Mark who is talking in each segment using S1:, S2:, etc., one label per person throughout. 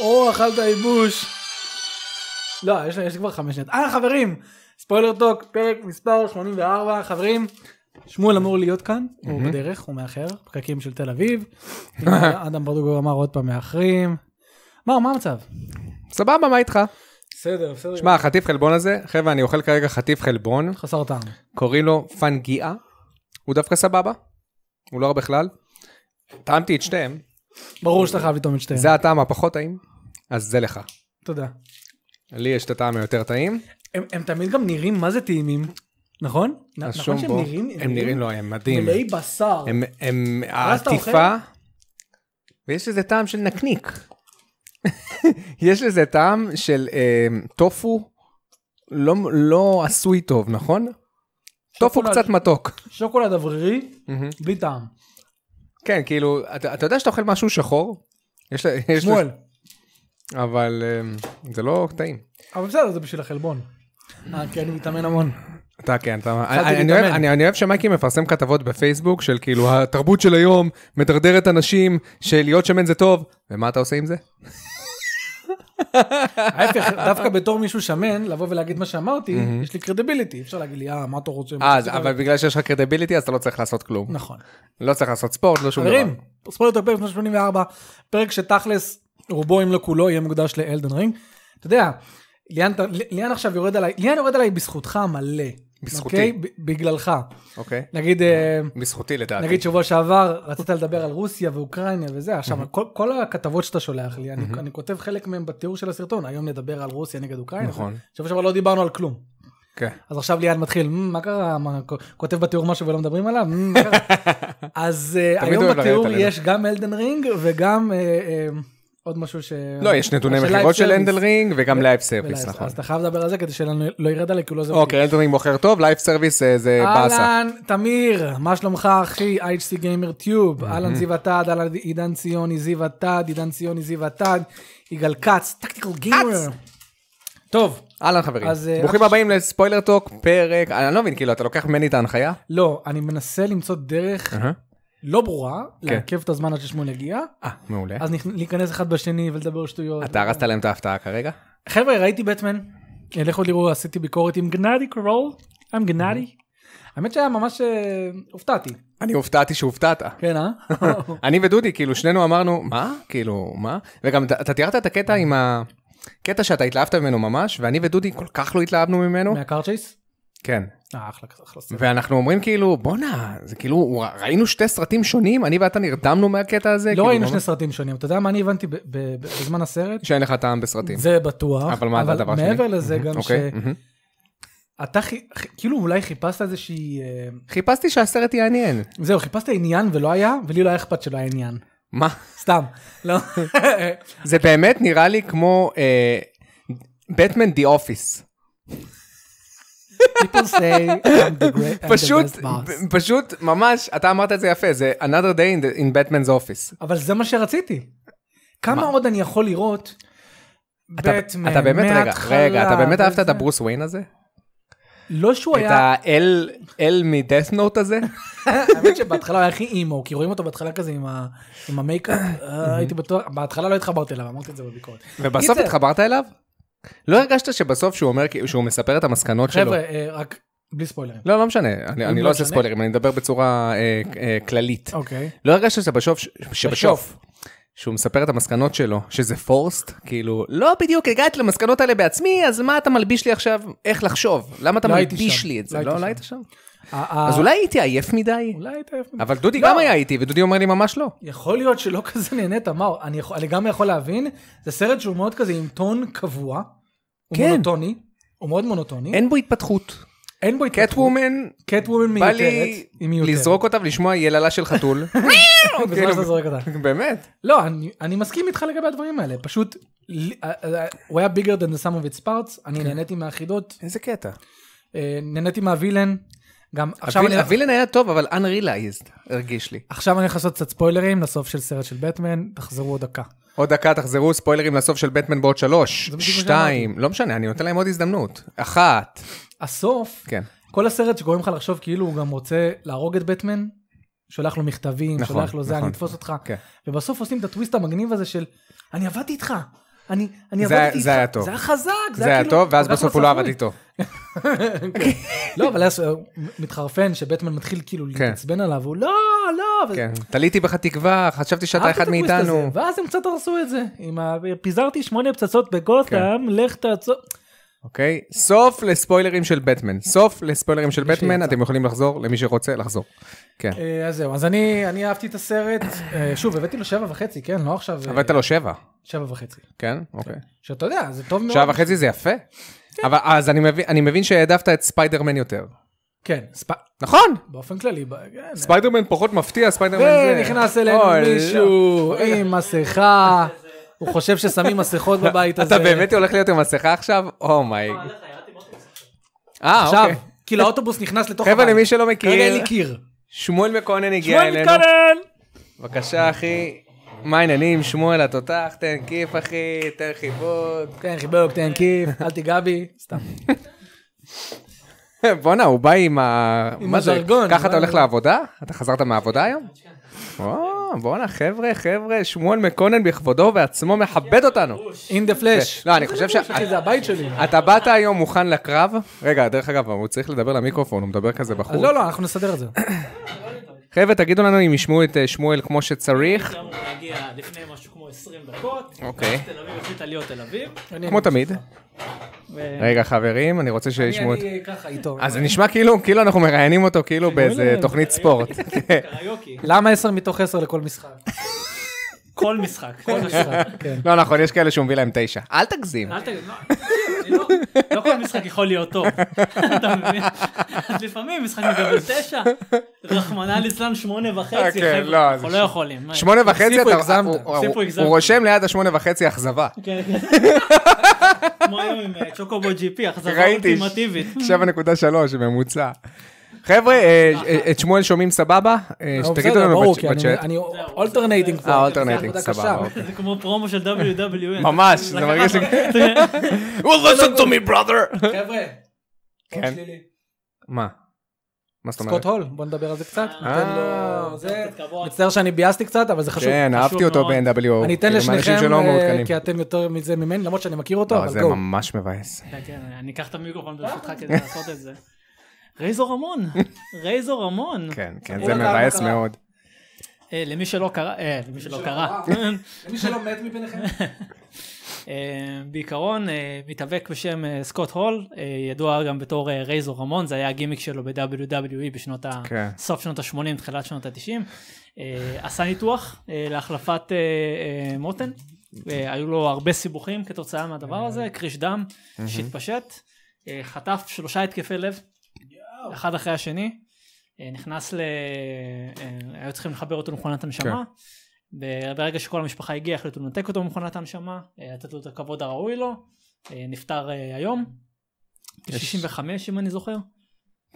S1: או אכלת ייבוש. לא, יש לי יש לי כבר חמש שניות. אה, חברים! ספוילר טוק, פרק מספר 84, חברים. שמואל אמור להיות כאן, הוא בדרך, הוא מאחר, פקקים של תל אביב. הנה, אדם ברדוגו אמר עוד פעם מאחרים. מה, מה המצב?
S2: סבבה, מה איתך?
S1: בסדר, בסדר.
S2: שמע, החטיף חלבון הזה, חבר'ה, אני אוכל כרגע חטיף חלבון,
S1: חסר טעם.
S2: קוראים לו פנגיאה, הוא דווקא סבבה, הוא לא רע בכלל. טעמתי את שתיהם,
S1: ברור שאתה חייב לטעום את שתיהן.
S2: זה הטעם הפחות טעים, אז זה לך.
S1: תודה.
S2: לי יש את הטעם היותר טעים,
S1: הם, הם תמיד גם נראים מה זה טעימים, נכון? נ- נכון
S2: השום
S1: שהם
S2: בו,
S1: נראים,
S2: הם נראים, לא, הם מדהים.
S1: מלאי בשר.
S2: הם, הם,
S1: ואז אתה
S2: העטיפה, ויש לזה טעם של נקניק. יש לזה טעם של אה, טופו, לא, לא עשוי טוב, נכון? טופו
S1: שוקולד.
S2: קצת מתוק.
S1: שוקולד אוורירי, בלי טעם.
S2: כן, כאילו, אתה, אתה יודע שאתה אוכל משהו שחור? יש, לה- יש
S1: שמואל.
S2: לזה- אבל אה, זה לא טעים.
S1: אבל בסדר, זה בשביל החלבון. אה, כי אני מתאמן המון.
S2: אתה כן, אתה...
S1: התחלתי
S2: אני, אני, אוהב,
S1: להתאמן.
S2: אני, אני אוהב שמייקי מפרסם כתבות בפייסבוק של כאילו התרבות של היום מדרדרת אנשים שלהיות שמן זה טוב, ומה אתה עושה עם זה?
S1: ההפך, דווקא בתור מישהו שמן, לבוא ולהגיד מה שאמרתי, יש לי קרדיביליטי, אפשר להגיד לי, אה, מה אתה רוצה?
S2: אה, אז- אבל בגלל שיש לך קרדיביליטי אז אתה לא צריך לעשות כלום.
S1: נכון.
S2: לא צריך לעשות ספורט, לא שום דבר.
S1: חברים, ספורט יותר פרק 84, פרק שתכלס, רובו אם לא כולו, יהיה מוקדש לאלדן רינג. אתה יודע, ליאן ת- ליאן עכשיו יורד עליי, ליאן יורד עליי בזכותך מלא.
S2: בזכותי.
S1: אוקיי? ב- בגללך.
S2: אוקיי.
S1: נגיד, אה,
S2: בזכותי לדעתי.
S1: נגיד שבוע שעבר רצית לדבר על רוסיה ואוקראינה וזה, עכשיו כל- כל הכתבות שאתה שולח לי, אני אני כותב חלק מהם בתיאור של הסרטון, היום נדבר על רוסיה נגד אוקראינה.
S2: נכון.
S1: שבוע שעבר לא דיברנו על כלום.
S2: כן.
S1: אז עכשיו ליאן מתחיל, "מ, מה קרה, מה, כ- כותב בתיאור משהו ולא מדברים עליו, "מ, מה קרה?" אז אה,
S2: תמיד
S1: היום
S2: אוהב לרדת
S1: בתיאור
S2: עלינו.
S1: יש גם אלדן רינג וגם אה, אה, עוד משהו ש...
S2: לא, יש נתוני
S1: של
S2: מכירות
S1: live
S2: של
S1: service.
S2: אנדל רינג וגם לייב סרוויס,
S1: ולייב-
S2: נכון.
S1: אז אתה חייב לדבר על זה כדי שלא לא ירד עליי, כי הוא לא זה.
S2: אוקיי, אנדל רינג מוכר טוב, לייב סרוויס אה, זה באסה.
S1: אהלן, תמיר, מה שלומך אחי? HC גיימר טיוב, אהלן זיו עתד, אהלן עידן ציוני זיו עתד, עידן ציוני זיו עתד, יגאל כץ, טקטיקל גיימר. טוב,
S2: אהלן חברים.
S1: אז, אה,
S2: ברוכים
S1: רק-
S2: הבאים לספוילר טוק, פרק, אני לא מבין, כאילו, אתה לוקח ממני את ההנחיה?
S1: לא, אני מנסה למצוא
S2: כן.
S1: דרך לא ברורה, לעכב את הזמן עד ששמואל יגיע,
S2: אה, מעולה.
S1: אז נכ- להיכנס אחד בשני ולדבר שטויות.
S2: אתה הרסת להם את ההפתעה כרגע?
S1: חבר'ה, ראיתי בטמן, לכו תראו, עשיתי ביקורת עם גנדי קרול, I'm גנדי. האמת שהיה ממש אה, הופתעתי,
S2: אני הופתעתי שהופתעת.
S1: כן אה?
S2: אני ודודי, כאילו, שנינו אמרנו, מה? כאילו, מה? וגם אתה- אתה תיארת את הקטע עם ה... קטע שאתה התלהבת ממנו ממש, ואני ודודי כל כך לא התלהבנו ממנו.
S1: מהקאר צ'ייס?
S2: כן.
S1: אה, אחלה, אחלה סרט.
S2: ואנחנו אומרים כאילו בואנה זה כאילו ראינו שתי סרטים שונים אני ואתה נרדמנו מהקטע הזה.
S1: לא
S2: כאילו,
S1: ראינו שני
S2: ממש-
S1: סרטים שונים, אתה יודע מה אני הבנתי ב- ב- ב- בזמן הסרט?
S2: שאין לך טעם בסרטים.
S1: זה בטוח,
S2: אבל מה הדבר השני?
S1: מעבר לזה גם
S2: אוקיי, מהמם.
S1: שאתה חי- חי- כאילו אולי חיפשת איזושהי, אה,
S2: חיפשתי שהסרט יעניין.
S1: זהו חיפשת עניין ולא היה, ולי לא היה אכפת שלא היה עניין,
S2: מה?
S1: סתם, לא,
S2: זה באמת נראה לי כמו אה, בטמן די אופיס.
S1: people say I'm the great, I'm the
S2: פשוט
S1: best boss.
S2: פ- פשוט ממש אתה אמרת את זה יפה זה another day in the- in Batman's office.
S1: אבל זה מה שרציתי. כמה עוד אני יכול לראות?
S2: אתה-
S1: בטמן,
S2: אתה באמת רגע
S1: מההתחלה,
S2: רגע אתה באמת אהבת את
S1: וזה.
S2: הברוס וויין הזה?
S1: לא שהוא
S2: את
S1: היה,
S2: האל אל מדאט נוט הזה?
S1: האמת שבהתחלה הוא היה הכי אימו, כי רואים אותו בהתחלה כזה עם ה- עם המייקאפ, אה, הייתי בטוח, בהתחלה לא התחברתי אליו, אמרתי את זה בביקורת.
S2: ובסוף
S1: קיצר,
S2: התחברת אליו? לא הרגשת שבסוף שהוא אומר כאילו- שהוא מספר את המסקנות שלו?
S1: חבר'ה, אה, רק בלי ספוילרים.
S2: לא, לא משנה, אני, אני
S1: לא
S2: לא עושה
S1: משנה.
S2: ספוילרים, אני מדבר בצורה אה, אה, כללית.
S1: אוקיי.
S2: לא הרגשת שבשוף, שבשוף, שהוא מספר את המסקנות שלו, שזה פורסט, כאילו, לא בדיוק הגעתי למסקנות האלה בעצמי, אז מה אתה מלביש לי עכשיו, איך לחשוב? למה אתה
S1: לא הייתי
S2: מלביש
S1: שם.
S2: לי את זה?
S1: לא
S2: לא,
S1: הייתי
S2: לא היית שם?
S1: ה- ה-
S2: אז אולי הייתי עייף מדי?
S1: אה, אולי היית יפה.
S2: אבל דודי
S1: לא.
S2: גם היה איתי, ודודי אומר לי ממש לא.
S1: יכול להיות שלא כזה נהנית, מאור, אני יכול- אני גם יכול להבין, זה סרט שהוא מאוד כזה עם טון קבוע, הוא
S2: כן.
S1: מונוטוני, הוא מאוד מונוטוני,
S2: אין בו התפתחות.
S1: אין בו התפתחות.
S2: קטוומן,
S1: קטוומן
S2: בא
S1: מיותרת,
S2: לי
S1: היא מיותרת. כן,
S2: לזרוק אותה ולשמוע יללה של חתול.
S1: בזמן
S2: כאילו,
S1: שאתה זורק אותה.
S2: באמת.
S1: לא, אני- אני מסכים איתך לגבי הדברים האלה, פשוט, ל- אה, אה, הוא היה bigger than the sum of its parts,
S2: כן.
S1: אני נהניתי מהחידות,
S2: איזה קטע.
S1: אה, נהניתי מהווילן, גם עכשיו
S2: הוויל-
S1: אני...
S2: הווילן היה טוב, אבל unrealized הרגיש לי.
S1: עכשיו אני הולך לעשות קצת ספוילרים לסוף של סרט של בטמן, תחזרו עוד דקה.
S2: עוד דקה תחזרו ספוילרים לסוף של בטמן בעוד שלוש,
S1: זה בדיוק מה
S2: שתיים, לא משנה, אני נותן להם עוד הזדמנות. אחת,
S1: הסוף,
S2: כן.
S1: כל הסרט שגורם לך לחשוב כאילו הוא גם רוצה להרוג את בטמן, שולח לו מכתבים,
S2: נכון,
S1: שולח לו זה,
S2: נכון.
S1: אני אתפוס אותך,
S2: כן.
S1: ובסוף עושים את הטוויסט המגניב הזה של, אני עבדתי איתך, אני, אני
S2: זה
S1: עבדתי
S2: היה- זה היה טוב.
S1: זה היה חזק,
S2: זה היה
S1: כאילו
S2: טוב, ואז
S1: לקחנו
S2: בסוף הוא לא
S1: צפוי.
S2: עבד איתו.
S1: כן. לא, אבל היה ס- מתחרפן שבטמן מתחיל כאילו
S2: כן.
S1: להתעצבן עליו, הוא לא, לא, וזה-
S2: כן. תליתי בך תקווה, חשבתי שאתה
S1: אהבתי
S2: אחד
S1: את הטוויסט הזה,
S2: מאיתנו.
S1: ואז הם קצת הרסו את זה. עם ה... פיזרתי שמונה פצצות
S2: כן.
S1: בגותם, לך תעצור.
S2: אוקיי? סוף לספוילרים של בטמן. סוף לספוילרים של בטמן,
S1: שיצא.
S2: אתם יכולים לחזור, למי שרוצה לחזור. כן.
S1: אה, אז זהו, אז אני אני אהבתי את הסרט. אה, שוב, הבאתי לו שבע וחצי, כן? לא עכשיו... אה,
S2: אבל אתה לו שבע,
S1: שבע וחצי.
S2: כן? אוקיי.
S1: שאתה יודע, זה טוב מאוד.
S2: שעה וחצי זה יפה. אבל אז אני מבין- אני מבין שהעדפת את ספיידרמן יותר.
S1: כן, ספ-
S2: נכון!
S1: באופן כללי. ב- כן.
S2: ספיידרמן פחות מפתיע, ספיידרמן זה...
S1: ונכנס אלינו
S2: אוי, לא.
S1: מישהו עם מסכה, הוא חושב ששמים מסכות בבית הזה.
S2: אתה באמת הולך להיות עם מסכה עכשיו? אומיי. אה,
S1: עכשיו,
S2: אוקיי.
S1: כאילו האוטובוס נכנס לתוך הבית.
S2: חבר'ה, למי כן, שלא
S1: כרגע אין
S2: מכיר,
S1: לי קיר.
S2: שמואל מקונן הגיע
S1: שמואל
S2: אלינו.
S1: מתקרן!
S2: בבקשה, אחי. מה העניינים? שמואל התותח, תן כיף, אחי, תן חיבוק.
S1: תן כן, חיבוק, תן כיף, אל תיגע בי, סתם.
S2: בואנה, הוא בא עם ה...
S1: עם
S2: מה זה?
S1: הז'רגון,
S2: ככה אתה
S1: מה-
S2: הולך לעבודה? אתה חזרת מהעבודה היום? וואו, בואנה, חבר'ה, חבר'ה, שמואל מקונן בכבודו ובעצמו מכבד אותנו.
S1: אין דה פלאש.
S2: לא, אני חושב ש...
S1: אחי, זה הבית שלי.
S2: אתה באת היום מוכן לקרב? רגע, דרך אגב, הוא צריך לדבר למיקרופון, הוא מדבר כזה בחוץ.
S1: לא, לא, אנחנו נסדר את זה.
S2: חבר'ה, תגידו לנו אם ישמעו את אה, שמואל כמו שצריך.
S3: הייתי אמור להגיע לפני משהו כמו 20 דקות.
S2: אוקיי.
S3: תל אביב החליטה להיות תל אביב.
S2: כמו תמיד.
S3: ו-
S2: רגע, חברים, אני רוצה שישמעו את...
S1: אני ככה איתו.
S2: אז זה נשמע כאילו, כאילו אנחנו מראיינים אותו כאילו באיזה
S1: אליהם.
S2: תוכנית ספורט. כן.
S3: קריוקי.
S1: למה 10 מתוך 10 לכל משחק?
S3: כל משחק. כל משחק.
S1: משחק, כן.
S2: לא נכון, יש כאלה שהוא מביא להם תשע. אל תגזים.
S3: אל תגיד, לא, אני לא- לא כל משחק יכול להיות טוב. אתה מבין? אז לפעמים משחק מקבל תשע, רחמנא ליצלן שמונה וחצי,
S2: אוקיי,
S3: חבר'ה,
S2: לא,
S3: אנחנו
S2: זה
S3: לא יכולים. מה?
S2: שמונה וחצי,
S1: תוסיפו,
S2: אתה-
S1: הגזמת.
S2: הוא- הוא-
S3: תוסיפו,
S2: הוא-
S3: הגזמת.
S2: הוא רושם ליד השמונה וחצי אכזבה.
S3: כן, כן. כמו היום עם אה, צ'וקובו ג'י פי, החזרה
S2: ראיתי,
S3: אולטימטיבית.
S2: 7.3 ממוצע. חבר'ה, אה, אה, את שמואל שומעים סבבה? אה,
S1: לא,
S2: שתגידו
S1: בסדר,
S2: לנו
S1: ברור,
S2: בצ'-
S1: כי אני-
S2: בצ'אט.
S1: אני אולטרנייטינג פה.
S2: אה, אולטרנייטינג,
S1: עבודה קשה.
S2: סבבה, אוקיי.
S3: זה כמו פרומו של E. WWE.
S2: ממש, זה מרגיש לי- Well, listen to me, brother!
S1: חבר'ה,
S2: כן. מה? מה זאת אומרת?
S1: סקוט הול, בוא נדבר על זה קצת. ניתן לו- אה, זה-
S3: קצת כבוד.
S1: מצטער שאני ביאסתי קצת, אבל זה חשוב.
S2: כן, אוקיי, אהבתי אותו
S3: מאוד.
S2: ב-NWO.
S1: אני אתן לשניכם,
S2: כאילו, שלא
S1: אה,
S2: מעודכנים.
S1: כי אתם יותר מזה ממני, למרות שאני מכיר אותו,
S2: לא,
S1: אבל
S2: זה
S1: גו.
S2: ממש מבאס.
S3: כן, כן, אני אקח את המיקרופון ברשותך כדי לעשות את זה. רייזו רמון, רייזו רמון.
S2: כן, כן,
S1: הוא
S2: זה
S1: לא קרא,
S2: מבאס
S1: לא קרא.
S2: מאוד.
S3: אה, למי שלא קרא, אה, למי שלא קרא.
S1: מי שלא מת מביניכם?
S3: אה, בעיקרון, אה, מתאבק בשם אה, סקוט הול, אה, ידוע גם בתור אה, רייזו רמון, זה היה הגימיק שלו ב-WWE בשנות ה...
S2: כן.
S3: סוף שנות ה-80, תחילת שנות ה-90. עשה ניתוח אה, להחלפת אה, אה, מותן. אה, היו לו הרבה סיבוכים כתוצאה מהדבר הזה, קריש דם שהתפשט, אה, חטף שלושה התקפי לב, אחד אחרי השני, אה, נכנס ל... אה, היו צריכים לחבר אותו למכונת הנשמה. ב- ברגע שכל המשפחה הגיעה החליטו לנתק אותו ממכונת הנשמה, אה, לתת לו את הכבוד הראוי לו, אה, נפטר אה, היום,
S2: יש-
S3: 65 אם אני זוכר.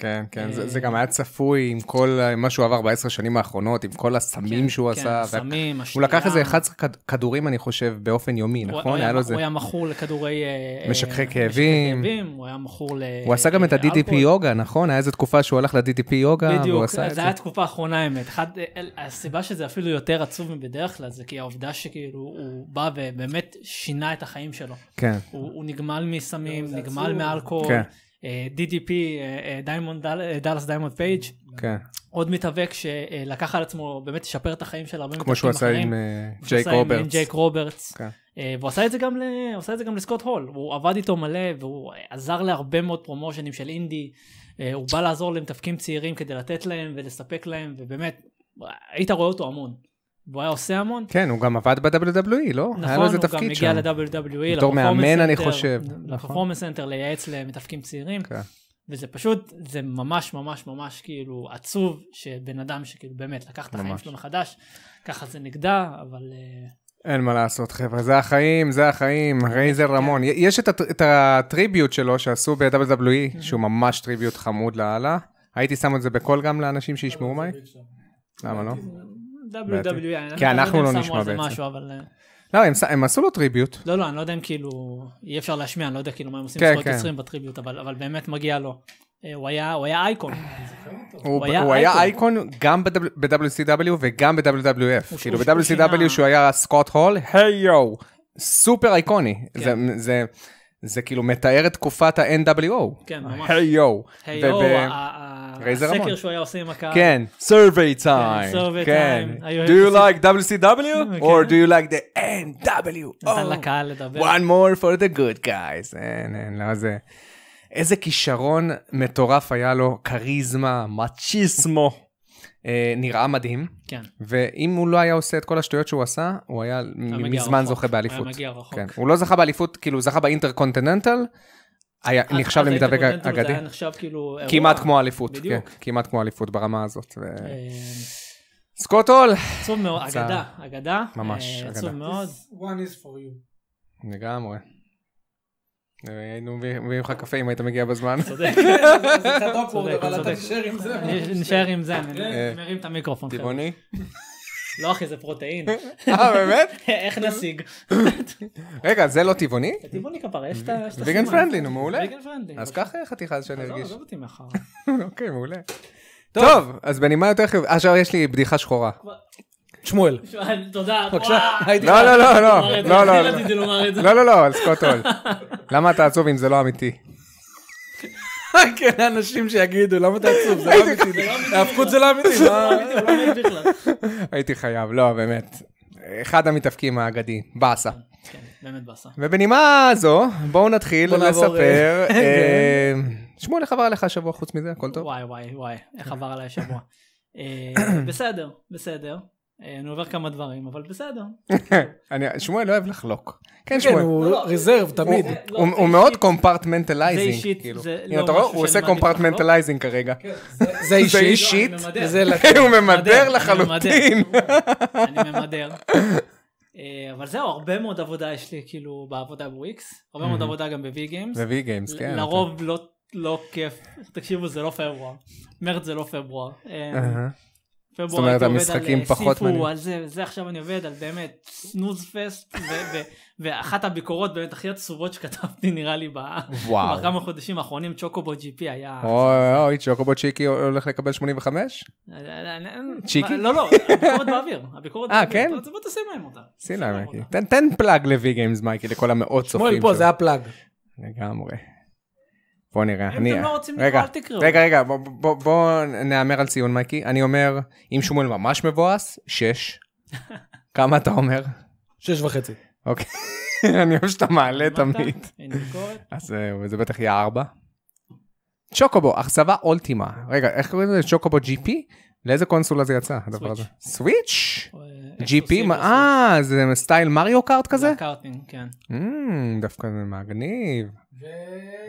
S2: כן, כן, זה
S3: אה,
S2: זה גם היה צפוי עם כל אה, מה שהוא עבר בעשר שנים האחרונות, עם כל הסמים
S3: כן,
S2: שהוא
S3: כן,
S2: עשה. וה-
S3: הסמים,
S2: הוא לקח איזה
S3: השתייה.
S2: 11 כד- כדורים, אני חושב, באופן יומי,
S3: הוא-
S2: נכון?
S3: הוא
S2: היה לו איזה...
S3: הוא היה מכור לכדורי... אה, אה,
S2: משככי
S3: משככי
S2: כאבים.
S3: כאבים, הוא היה מכור ל...
S2: הוא עשה גם את ה-DDP
S3: אה, אלכוהול.
S2: יוגה, נכון? היה איזו תקופה שהוא הלך ל-DDP יוגה, והוא
S3: בדיוק,
S2: עשה את
S3: זה
S2: זה.
S3: היה התקופה האחרונה האמת. אחד, אה, אל- הסיבה שזה אפילו יותר עצוב מבדרך כלל זה כי העובדה שכאילו הוא בא ובאמת שינה את החיים שלו.
S2: כן,
S3: הוא, הוא נגמל מסמים,
S1: זה
S3: נגמל
S1: עצוב.
S3: מאלכוהול,
S2: כן.
S3: אה, DDP, אה, אה, דיימונד, דל- אה, דאלאס דיימונד פייג',
S2: כן.
S3: עוד מתאבק שלקח על עצמו באמת לשפר את החיים של הרבה
S2: כמו שהוא
S3: מתאבקים
S2: עשה עם
S3: אחרים.
S2: אה,
S3: כמו שהוא
S2: ג'ייק
S3: עשה עם- עם
S2: רוברטס.
S3: ג'ייק רוברטס.
S2: כן.
S3: אה, והוא עשה את זה גם ל... הוא עשה את זה גם לסקוט הול, הוא עבד איתו מלא והוא אה, עזר להרבה מאוד פרומושנים של אינדי, אה, הוא בא לעזור למתאבקים צעירים כדי לתת להם ולספק להם ובאמת אה, היית רואה אותו המון, והוא היה עושה המון.
S2: כן, הוא גם עבד ב-WWE, לא? היה לו
S3: נכון,
S2: איזה
S3: הוא גם
S2: תפקיד
S3: הגיע E,
S2: שם.
S3: ל-WWE,
S2: בתור
S3: ל-Performance
S2: מאמן, אני
S3: Center,
S2: חושב.
S3: נכון. לפרפורמנס סנטר לייעץ למתאפקים צעירים,
S2: כן.
S3: וזה פשוט, זה ממש ממש ממש כאילו עצוב שבן אדם שכאילו באמת לקח את החיים
S2: ממש.
S3: שלו מחדש, ככה זה נגדע, אבל אה,
S2: אין מה לעשות, חבר'ה, זה החיים, זה
S3: כן,
S2: החיים, רייזר רמון. יש את הט- את הטריביוט שלו שעשו
S3: כן.
S2: ב-WWE, שהוא ממש טריביוט חמוד לאללה. הייתי שם את זה בקול גם לאנשים שישמעו מה למה לא?
S3: WWE, אני
S2: כי
S3: לא יודע
S2: אנחנו
S3: אם
S2: לא
S3: שמו
S2: נשמע
S3: על זה
S2: בעצם.
S3: משהו, אבל אה,
S2: לא, הם ש- הם עשו לו טריביוט.
S3: לא לא, אני לא יודע אם כאילו, אי אפשר להשמיע, אני לא יודע כאילו מה הם עושים
S2: כן,
S3: זכויות
S2: כן.
S3: יוצרים בטריביות, אבל אבל באמת מגיע לו. אה, הוא היה הוא היה אייקון,
S2: הוא
S3: הוא היה
S2: הוא היה אייקון גם ב-WCW וגם ב-WWF.
S3: הוא-
S2: כאילו
S3: הוא- הוא
S2: ב-WCW
S3: שינה-
S2: שהוא היה סקוט הול, היי יואו, סופר אייקוני.
S3: כן.
S2: זה, זה, זה כאילו מתאר את תקופת ה-NWO.
S3: כן, ממש.
S2: היי יו.
S3: היי,
S2: וב-
S3: יואו, ה- ה- ה-
S2: רייזר המון.
S3: הסקר שהוא היה עושה עם הקהל.
S2: כן, survey time.
S3: Uh, survey
S2: כן.
S3: time. היו
S2: Do you
S3: אפס-
S2: like WCW?
S3: כן.
S2: or do you like the NWO?
S3: נתן לקהל לדבר.
S2: one more for the good guys. אין, אין, לא זה. איזה כישרון מטורף היה לו, כריזמה, מצ'יסמו. אה, נראה מדהים,
S3: כן.
S2: ואם הוא לא היה עושה את כל השטויות שהוא עשה, הוא היה מ-
S3: מגיע
S2: מזמן
S3: רחוק.
S2: זוכה באליפות.
S3: היה מגיע רחוק.
S2: כן. הוא לא זכה באליפות, כאילו זכה באינטרקונטיננטל, היה
S3: אז-
S2: נחשב
S3: אז
S2: למתאבק
S3: האינטרקונטיננטל
S2: אגדי.
S3: זה היה נחשב כאילו... אירוע.
S2: כמעט כמו אליפות, כן,
S3: בדיוק.
S2: כמעט כמו אליפות ברמה הזאת. ו-
S3: אה,
S2: סקוט הול!
S3: עצוב מאוד,
S2: צער.
S3: אגדה, אגדה.
S2: ממש,
S3: אה,
S2: אגדה.
S3: עצוב
S1: לא,
S3: מאוד.
S1: one is for you.
S2: לגמרי. היינו מביאים לך קפה אם היית מגיע בזמן.
S3: צודק.
S1: זה קצת awkward,
S3: צודק,
S1: אבל אתה
S3: צודק.
S1: תישאר עם זה.
S3: אני- נשאר עם זה, אני
S2: אה,
S3: מרים את המיקרופון. חבר'ה.
S2: טבעוני?
S3: לא אחי, זה פרוטאין.
S2: אה, באמת?
S3: איך נשיג?
S2: רגע, זה לא טבעוני?
S3: טבעוני כפרה, יש את ה... יש את
S2: ויגן
S3: הסימן.
S2: פרנדלי, נו, מעולה.
S3: ויגן פרנדלי.
S2: אז קח אה, חתיכה שאני
S3: עזוב,
S2: ארגיש.
S3: עזוב אותי מאחר.
S2: אוקיי, מעולה. טוב, אז בנימה יותר חיובית, עכשיו יש לי בדיחה שחורה.
S1: שמואל.
S3: תודה.
S1: בבקשה, הייתי
S2: לא, לא, לא, לא,
S3: לומר את זה,
S2: לא,
S3: הכי
S2: לא,
S3: רציתי לומר את זה.
S2: לא, לא, לא, על סקוט הול. למה אתה עצוב אם זה לא אמיתי?
S1: כן, אנשים שיגידו, למה אתה עצוב? זה לא אמיתי. ההפקות זה לא אמיתי. מה-
S3: בדיוק, לא מעיד בכלל.
S2: הייתי חייב, לא, באמת. אחד המתאבקים האגדי, באסה.
S3: כן, באמת באסה.
S2: ובנימה זו, בואו נתחיל
S1: בואו נעבור,
S2: לספר. אה,
S3: כן.
S2: שמואל, איך עבר עליך השבוע חוץ מזה? הכל טוב?
S3: וואי וואי וואי,
S2: כן.
S3: איך עבר עליי השבוע. אה, בסדר, בסדר. אה, אני עובר כמה דברים, אבל בסדר.
S2: אני- שמואל לא אוהב לחלוק. כן,
S1: כן,
S2: שמואל.
S1: הוא
S3: לא, לא.
S1: רזרב תמיד.
S2: הוא-
S3: לא,
S2: הוא
S3: זה
S2: הוא מאוד
S3: אישית- זה
S2: קומפרטמנטלייזינג,
S3: אישית,
S2: כאילו.
S3: זה
S2: הנה,
S3: לא
S2: אתה רואה?
S3: משהו
S2: הוא
S3: שאני
S2: עושה
S3: מעדיף כן, לחלוק.
S2: קומפרטמנטלייזינג כרגע.
S1: זה
S2: זה
S1: אישי. כן.
S2: אישית,
S3: לא, אני ממדר.
S2: וזה לכן הוא ממדר
S3: אני
S2: לחלוטין.
S3: אני ממדר. אה, אבל זהו, הרבה מאוד עבודה יש לי כאילו בעבודה בוויקס, הרבה מאוד עבודה גם בווי גיימס.
S2: ו-V גיימס, כן. אתה-
S3: לרוב לא- לא כיף, תקשיבו זה לא פברואר, מרץ זה לא פברואר. אה,
S2: אהה.
S3: פברואר
S2: זאת אומרת,
S3: הייתי עובד
S2: המשחקים
S3: על, אה,
S2: פחות
S3: סיפו,
S2: מעניינים.
S3: על זה, זה עכשיו אני עובד על באמת סנוז פסט, ו- ו- ואחת הביקורות באמת הכי עצובות שכתבתי נראה לי ב-
S2: וואו.
S3: בכמה חודשים האחרונים, צ'וקובו ג'י פי היה...
S2: אוי
S3: אה.
S2: אוי, צ'וקובו צ'יקי הולך לקבל 85? צ'יקי?
S3: לא, לא, הביקורת באוויר. הביקורת
S2: אה,
S3: באוויר.
S2: כן?
S3: אז בוא תשים להם אותה.
S2: שים
S3: תשים
S2: להם,
S3: להם
S2: מייקי.
S3: אותה.
S2: תן- תן פלאג ל-V גיימס, מייקי, לכל המאות צופים.
S1: שמואל פה,
S2: שלו.
S1: זה הפלאג.
S2: לגמרי. בוא נראה.
S3: אם
S2: אני-
S3: אתם לא רוצים לקרוא,
S2: רגע,
S3: אל תקראו.
S2: רגע, רגע, בוא- בוא- בוא נהמר על ציון, מייקי. אני אומר, אם שמואל ממש מבואס, 6. כמה אתה אומר?
S1: שש וחצי.
S2: אוקיי. אני אוהב שאתה מעלה
S3: למטה,
S2: תמיד.
S3: אין ביקורת.
S2: אז זהו, זה בטח יהיה 4. צ'וקובו, אכזבה אולטימה. רגע, איך קוראים לזה? צ'וקובו GP? לאיזה קונסולה זה יצא, הדבר הזה? סוויץ'?
S3: אה,
S2: GP?
S3: אקסקלוסיב,
S2: מה- אה, זה סטייל מריו קארט כזה?
S3: קארטינג, כן.
S2: אמ, דווקא זה מגניב.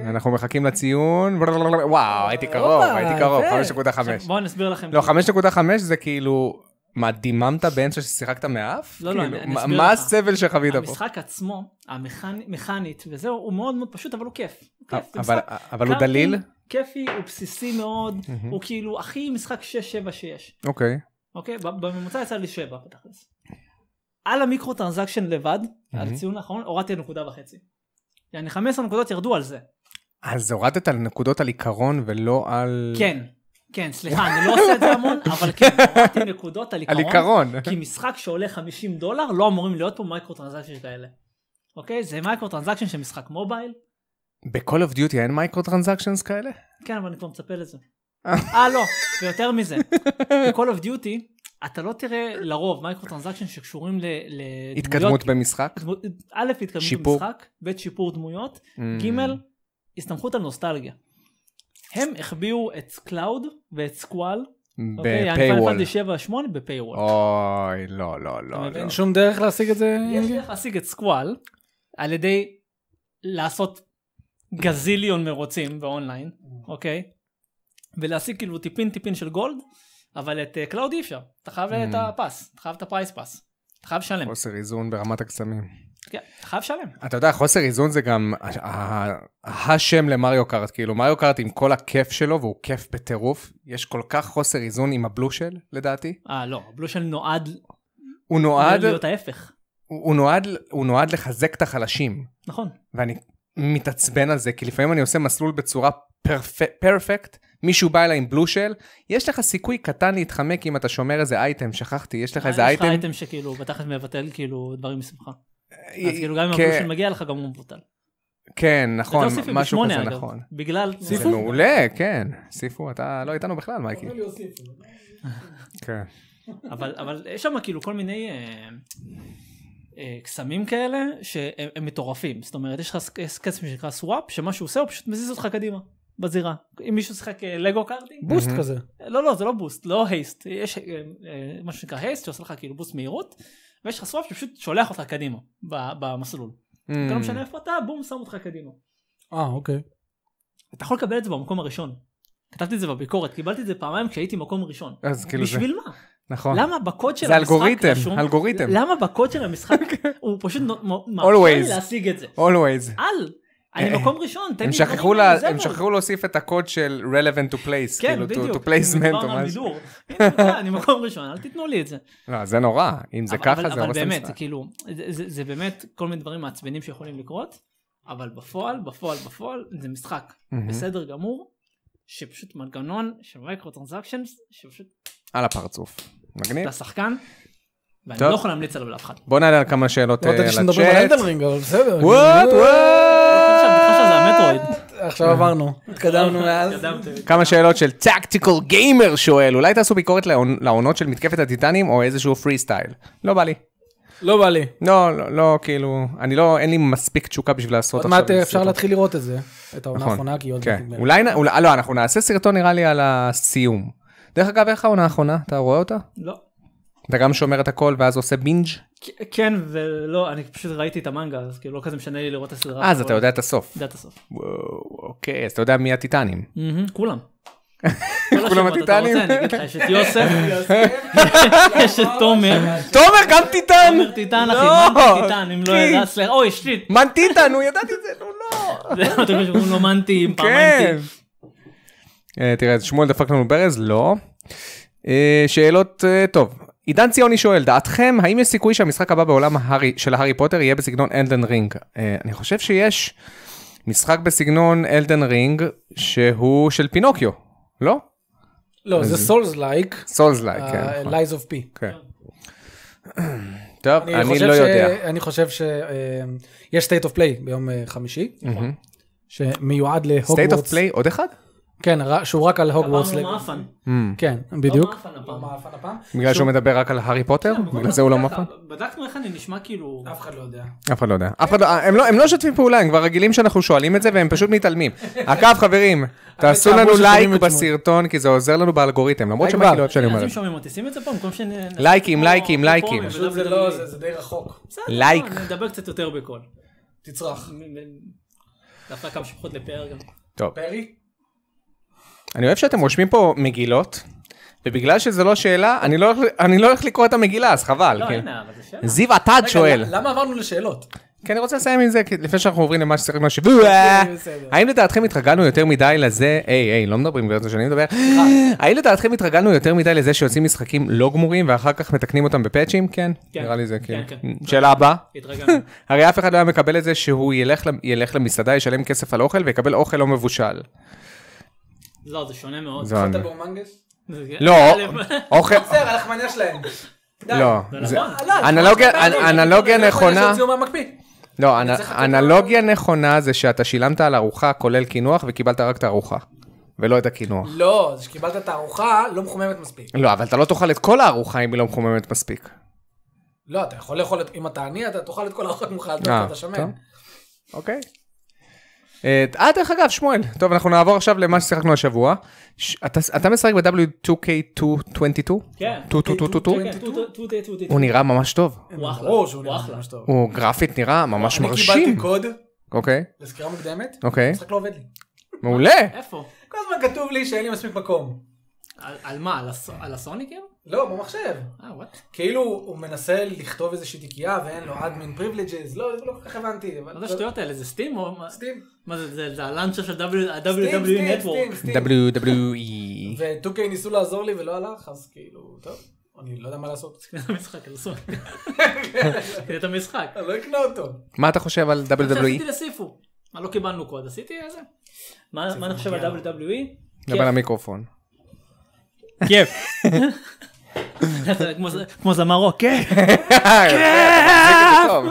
S2: אנחנו מחכים לציון. וואו, הייתי קרוב,
S1: הופה,
S2: הייתי קרוב,
S1: יפה.
S2: 5.5.
S3: בואו נסביר לכם.
S2: לא, 5.5 זה כאילו... מה, דיממת באמצע ששיחקת מאף?
S3: לא, לא,
S2: כאילו,
S3: אני- אני
S2: מה-
S3: אסביר
S2: מה
S3: לך.
S2: הסבל שחווית פה?
S3: המשחק עצמו, המכנית וזהו, הוא מאוד מאוד פשוט, אבל הוא כיף. הוא כיף, זה
S2: אה, אבל-
S3: משחק
S2: אבל הוא דליל? Mm-hmm.
S3: קארטינג, כיפי, הוא בסיסי מאוד, הוא כאילו הכי משחק 6-7 שיש.
S2: אוקיי.
S3: אוקיי? ב- בממוצע יצא לי 7 בתכלס. על המיקרו טרנזקשן לבד,
S2: Mm-hmm.
S3: על הציון האחרון, הורדתי נקודה וחצי. יעני 15 נקודות ירדו על
S2: Mm-hmm.
S3: זה.
S2: אז הורדת על נקודות על עיקרון ולא על...
S3: כן, כן, סליחה, אני לא עושה את זה המון, אבל כן, הורדתי נקודות על
S2: על
S3: עיקרון.
S2: עיקרון. כן.
S3: כי משחק שעולה 50 דולר, לא אמורים להיות פה מייקרו טרנזקשן כאלה. אוקיי? זה מייקרו טרנזקשן של משחק מובייל.
S2: ב-call of duty אין מייקרו טרנזקשנס כאלה?
S3: כן, אבל אני כבר מצפה לזה. אה, לא, ויותר מזה, ב-call of duty, אתה לא תראה לרוב מייקרו טרנזקשן שקשורים ל- לדמויות.
S2: התקדמות במשחק?
S3: דמו- א', התקדמות
S2: שיפור.
S3: במשחק, ב', שיפור דמויות,
S2: Mm.
S3: ג', הסתמכות על נוסטלגיה. הם החביאו את קלאוד ואת סקוואל, אוקיי, אני
S2: בפייוול.
S3: פאנפנטי 7 8 בפייוול.
S2: אוי, לא, לא, לא.
S3: אתה
S2: לא.
S1: אין שום דרך להשיג את זה?
S3: יש לך להשיג את סקוואל על ידי לעשות גזיליון מרוצים באונליין,
S2: Mm.
S3: אוקיי? ולהשיג כאילו טיפין טיפין של גולד, אבל את אה, קלאוד אי אפשר, אתה חייב
S2: Mm.
S3: את הפס, אתה חייב את הפרייס פס, אתה חייב לשלם,
S2: חוסר איזון ברמת הקסמים.
S3: כן, אתה חייב לשלם.
S2: אתה יודע, חוסר איזון זה גם ה- ה- השם למריו קארט. כאילו, מריו קארט עם כל הכיף שלו, והוא כיף בטירוף, יש כל כך חוסר איזון עם הבלושל, לדעתי.
S3: אה לא, הבלושל נועד
S2: הוא נועד,
S3: להיות ההפך,
S2: הוא הוא נועד, הוא נועד לחזק את החלשים.
S3: נכון.
S2: ואני מתעצבן על זה, כי לפעמים אני עושה מסלול בצורה פרפ- פרפקט, מישהו בא אליי עם בלושל, יש לך סיכוי קטן להתחמק אם אתה שומר איזה אה, אייטם, שכחתי, יש לך איזה
S3: אה, יש לך
S2: אייטם,
S3: אייטם שכאילו בתכלס מבטל כאילו דברים משמחה. אז כאילו גם אם
S2: כן.
S3: הבושן מגיע לך גם הוא מבוטל.
S2: כן, נכון,
S3: יותר סעיפים
S2: משהו
S3: בשמונה,
S2: כזה,
S3: אגב,
S2: נכון.
S3: בגלל...
S2: זה מעולה, כן. סיפו, אתה לא איתנו בכלל, מייקי. כן.
S3: אבל, אבל יש שם כאילו כל מיני אה, אה, קסמים כאלה שהם הם מטורפים. זאת אומרת, יש לך ס- אה, קסם שנקרא סוואפ, שמה שהוא עושה הוא פשוט מזיז אותך קדימה, בזירה. אם מישהו שיחק אה, לגו קארטינג,
S1: בוסט כזה.
S3: לא, לא, זה לא בוסט, לא הייסט. יש אה, אה, משהו שנקרא הייסט שעושה לך כאילו בוסט מהירות, ויש לך סוואפ שפשוט שולח אותך קדימה ב- במסלול.
S2: Mm.
S3: אתה לא משנה איפה אתה, בום, שם אותך קדימה.
S1: אה, אוקיי.
S3: אתה יכול לקבל את זה במקום הראשון. כתבתי את זה בביקורת, קיבלתי את זה פעמיים כשהייתי מקום ראשון.
S2: אז כאילו זה,
S3: בשביל מה?
S2: נכון.
S3: למה בקוד של
S2: זה
S3: המשחק
S2: אלגוריתם,
S3: רשום-
S2: אלגוריתם.
S3: למה בקוד של המשחק הוא פשוט נו- מ- מאפשר
S2: כן.
S3: לי
S2: Always.
S3: להשיג את זה.
S2: always.
S3: על,
S2: אה,
S3: אני מקום ראשון, תן לי
S2: הם
S3: דברים
S2: שכחו
S3: האלה,
S2: לה-
S3: זה
S2: הם
S3: אבל.
S2: שכחו להוסיף את הקוד של relevant to place,
S3: כן,
S2: כאילו to-
S3: בדיוק.
S2: to placement או
S3: דיברנו על
S2: משהו.
S3: בידור. הנה, תודה, אני מקום ראשון, אל תיתנו לי את זה.
S2: לא, זה נורא, אם זה
S3: אבל-
S2: ככה
S3: אבל-
S2: זה הורס את
S3: אבל באמת, זה
S2: המשחק.
S3: כאילו, זה- זה זה באמת כל מיני דברים מעצבנים שיכולים לקרות, אבל בפועל, בפועל, בפועל, זה משחק
S2: מהמם.
S3: בסדר גמור, שפשוט מנגנון של מייקרו טרנזקשיינס, שפשוט
S2: על הפרצוף. מגניב.
S3: אתה שחקן, ואני
S2: כן. טוב.
S3: לא יכול להמליץ עליו לאף אחד.
S2: בוא נעלה על כמה שאלות
S1: לא
S2: אה,
S1: ידעתי שמדברים על
S2: לצ'אט.
S1: אלדן רינג, אבל בסדר. כאילו,
S2: וואט
S3: עכשיו, הבדיחה
S2: וואט.
S3: שלה זה המטרואיד.
S1: עכשיו
S2: אה.
S1: עברנו. התקדמנו מאז.
S3: התקדמתם.
S2: כמה שאלות של טקטיקל גיימר שואל, אולי תעשו ביקורת לעונ- לעונות של מתקפת הטיטנים או איזשהו פרי סטייל? לא בא לי.
S1: לא בא לי.
S2: לא, לא, לא, כאילו, אני לא, אין לי מספיק תשוקה בשביל לעשות
S1: עוד
S2: עכשיו.
S1: מעט אה, אפשר
S2: סרטון.
S1: להתחיל לראות את זה. את העונה
S2: נכון.
S1: האחרונה, כי עוד מעט
S2: כן.
S1: נגמרת.
S2: אולי, נ- אולי, לא, אנחנו נעשה סרטון נראה לי על הסיום. דרך אגב, איך העונה האחרונה? אתה רואה אותה?
S3: לא.
S2: אתה גם שומר את הכל ואז עושה בינג'?
S3: כ- כן ולא, אני פשוט ראיתי את המנגה, אז כאילו לא כזה משנה לי לראות את הסדרה.
S2: אה, אז אתה יודע את הסוף.
S3: יודע את הסוף.
S2: וואו, אוקיי, אז אתה יודע מי הטיטנים.
S3: כולם. כל
S2: כולם
S3: השמות, אתה
S2: הטיטנים?
S3: רוצה, אני אגיד לך, יש את יוסף, יש את
S1: לא.
S3: תומר,
S2: תומר, גם טיטן!
S3: תומר טיטן, אחי,
S2: לא!
S3: מנטי טיטן, אם לא
S2: כי-
S3: ידע, סליחה, אוי, שיט,
S2: מן טיטן, הוא ידעתי את זה, נו לא.
S3: זה- אתם חושבים לא מנטי,
S2: כן.
S3: פעמנטי.
S2: אה, תראה, שמואל דפק לנו ברז? לא. אה, שאלות, אה, טוב. עידן ציוני שואל, דעתכם, האם יש סיכוי שהמשחק הבא בעולם ההארי, של הארי פוטר יהיה בסגנון אלדן רינג? אה, אני חושב שיש משחק בסגנון אלדן רינג שהוא של פינוקיו, לא?
S1: לא, זה סולס לייק.
S2: סולס לייק, אה. כן. נכון.
S1: Lies of P.
S2: כן. טוב, אני
S1: חושב
S2: לא
S1: ש-
S2: יודע.
S1: אני חושב שיש state of play ביום אה, חמישי, שמיועד
S2: state of
S1: להוגוורטס.
S2: play עוד אחד?
S1: כן, ר- שהוא רק על הוגוורטס.
S3: אמרנו מאפן.
S1: כן, בדיוק.
S3: לא מאפן הפעם.
S2: בגלל שהוא מדבר רק על הארי פוטר?
S3: כן,
S2: בגלל זה הוא לא מפה?
S3: בדקנו איך אני נשמע כאילו...
S1: אף אחד לא יודע.
S2: אף אחד לא יודע. אף אחד לא, הם לא, הם לא משתפים פעולה, הם כבר רגילים שאנחנו שואלים את זה והם פשוט מתעלמים. עקב חברים, תעשו
S1: כאמור
S2: לנו לייק
S1: ששומעים את שמואל.
S2: בסרטון, כי זה עוזר לנו באלגוריתם, למרות
S1: לייק
S2: שמייקי
S1: בר.
S2: לא אוהב שאני אומר
S3: אז אם
S2: את זה.
S3: שומעים אותי, שים את זה פה במקום שנ...
S2: לייקים, לייקים, לייקים.
S1: פשוט זה לא, זה- זה די רחוק.
S2: לייק.
S3: נדבר קצת יותר בקול.
S1: תצרח.
S3: דווקא כמה שפחות לפאר גם.
S2: טוב,
S1: פרי?
S2: אני אוהב שאתם רושמים פה מגילות, ובגלל שזה לא שאלה, אני לא הולך- אני לא הולך לקרוא את המגילה, אז חבל.
S3: לא,
S2: כן.
S3: הנה, אבל זה שאלה.
S2: זיו עתד שואל,
S1: רגע, למה עברנו לשאלות?
S2: כי אני רוצה לסיים עם זה כי- לפני שאנחנו עוברים למה שצריך מהשיבוע.
S1: בסדר.
S2: האם לדעתכם התרגלנו יותר מדי לזה, היי היי, לא מדברים ברצון שאני מדבר, האם לדעתכם התרגלנו יותר מדי לזה שיוצאים משחקים לא גמורים ואחר כך מתקנים אותם בפאצ'ים? כן,
S3: כן.
S2: נראה לי זה
S3: כן,
S2: כאילו.
S3: כן.
S2: שאלה הבאה.
S3: התרגלנו.
S2: הרי אף אחד לא היה מקבל את זה שהוא ילך, למ- ילך למסעדה, ישלם כסף על אוכל ויקבל אוכל לא מבושל.
S3: לא, זה שונה מאוד.
S2: זו אני.
S1: בורמנגס?
S3: זה- כן.
S2: לא, אוכל,
S1: בסדר, הלחמניה שלהם. די. אה,
S2: לא.
S3: זה
S2: זה-
S3: נכון.
S2: אנלוגיה-
S1: זה נכון.
S2: אנלוגיה
S1: זה נכון,
S2: נכונה.
S1: שהוציאו מהמקפיא.
S2: לא, אנ-
S1: צריך לתת לו-
S2: אנלוגיה נכונה זה שאתה שילמת על ארוחה כולל קינוח וקיבלת רק את הארוחה, ולא את הקינוח.
S1: לא, זה שקיבלת את הארוחה לא מחוממת מספיק.
S2: לא, אבל אתה לא תאכל את כל הארוחה אם היא לא מחוממת מספיק.
S1: לא, אתה יכול לאכול, את- אם אתה עני, אתה תאכל את כל הארוחות ממך, אל
S2: אה,
S1: תאכל, אתה
S2: טוב.
S1: שמן.
S2: אוקיי. אה, אה, דרך אגב, שמואל. טוב, אנחנו נעבור עכשיו למה ששיחקנו השבוע. ש- אתה- אתה משחק ב-W2K222?
S3: כן.
S2: 222?
S3: כן, כן, טו- טו- טו- טו- טו- טו-
S2: הוא נראה ממש טוב.
S3: הוא אחלה.
S1: ברור שהוא
S3: הוא
S1: נראה
S3: אחלה.
S1: ממש טוב.
S2: הוא גרפית נראה ממש
S1: אני קיבלתי
S2: מרשים.
S1: קוד
S2: אוקיי,
S1: לסקירה מוקדמת,
S2: אוקיי.
S1: המשחק לא עובד לי.
S2: מעולה.
S3: איפה?
S1: כל הזמן כתוב לי שאין לי מספיק מקום.
S3: על- על מה? על הס- על הסוניקים?
S1: לא, במחשב.
S3: אה, וואט?
S1: כאילו הוא מנסה לכתוב איזושהי תיקייה ואין לו אדמין פריבלג'ז, לא, זה לא כל כך הבנתי. אבל-
S3: מה זה השטויות האלה? זה סטים או מה?
S1: סטים,
S3: מה זה? זה? זה הלאנצ'ר של
S1: סטים,
S3: ה-WWE
S1: סטים,
S3: E
S1: סטים,
S3: Network.
S1: סטים.
S2: WWE.
S1: ו-2K ניסו לעזור לי ולא הלך, אז כאילו, טוב, אני לא יודע מה לעשות.
S3: זה משחק על סוניק. זה את המשחק.
S1: אני לא אקנה אותו.
S2: מה אתה חושב על E?
S3: רציתי
S2: WWE?
S3: לסיפו. מה, לא קיבלנו קוד, עשיתי את זה? מה מה אני חושב על WWE?
S2: דבר למיקרופון.
S3: כיף. כן, כמו זמרו, כיף.
S2: כן. טוב.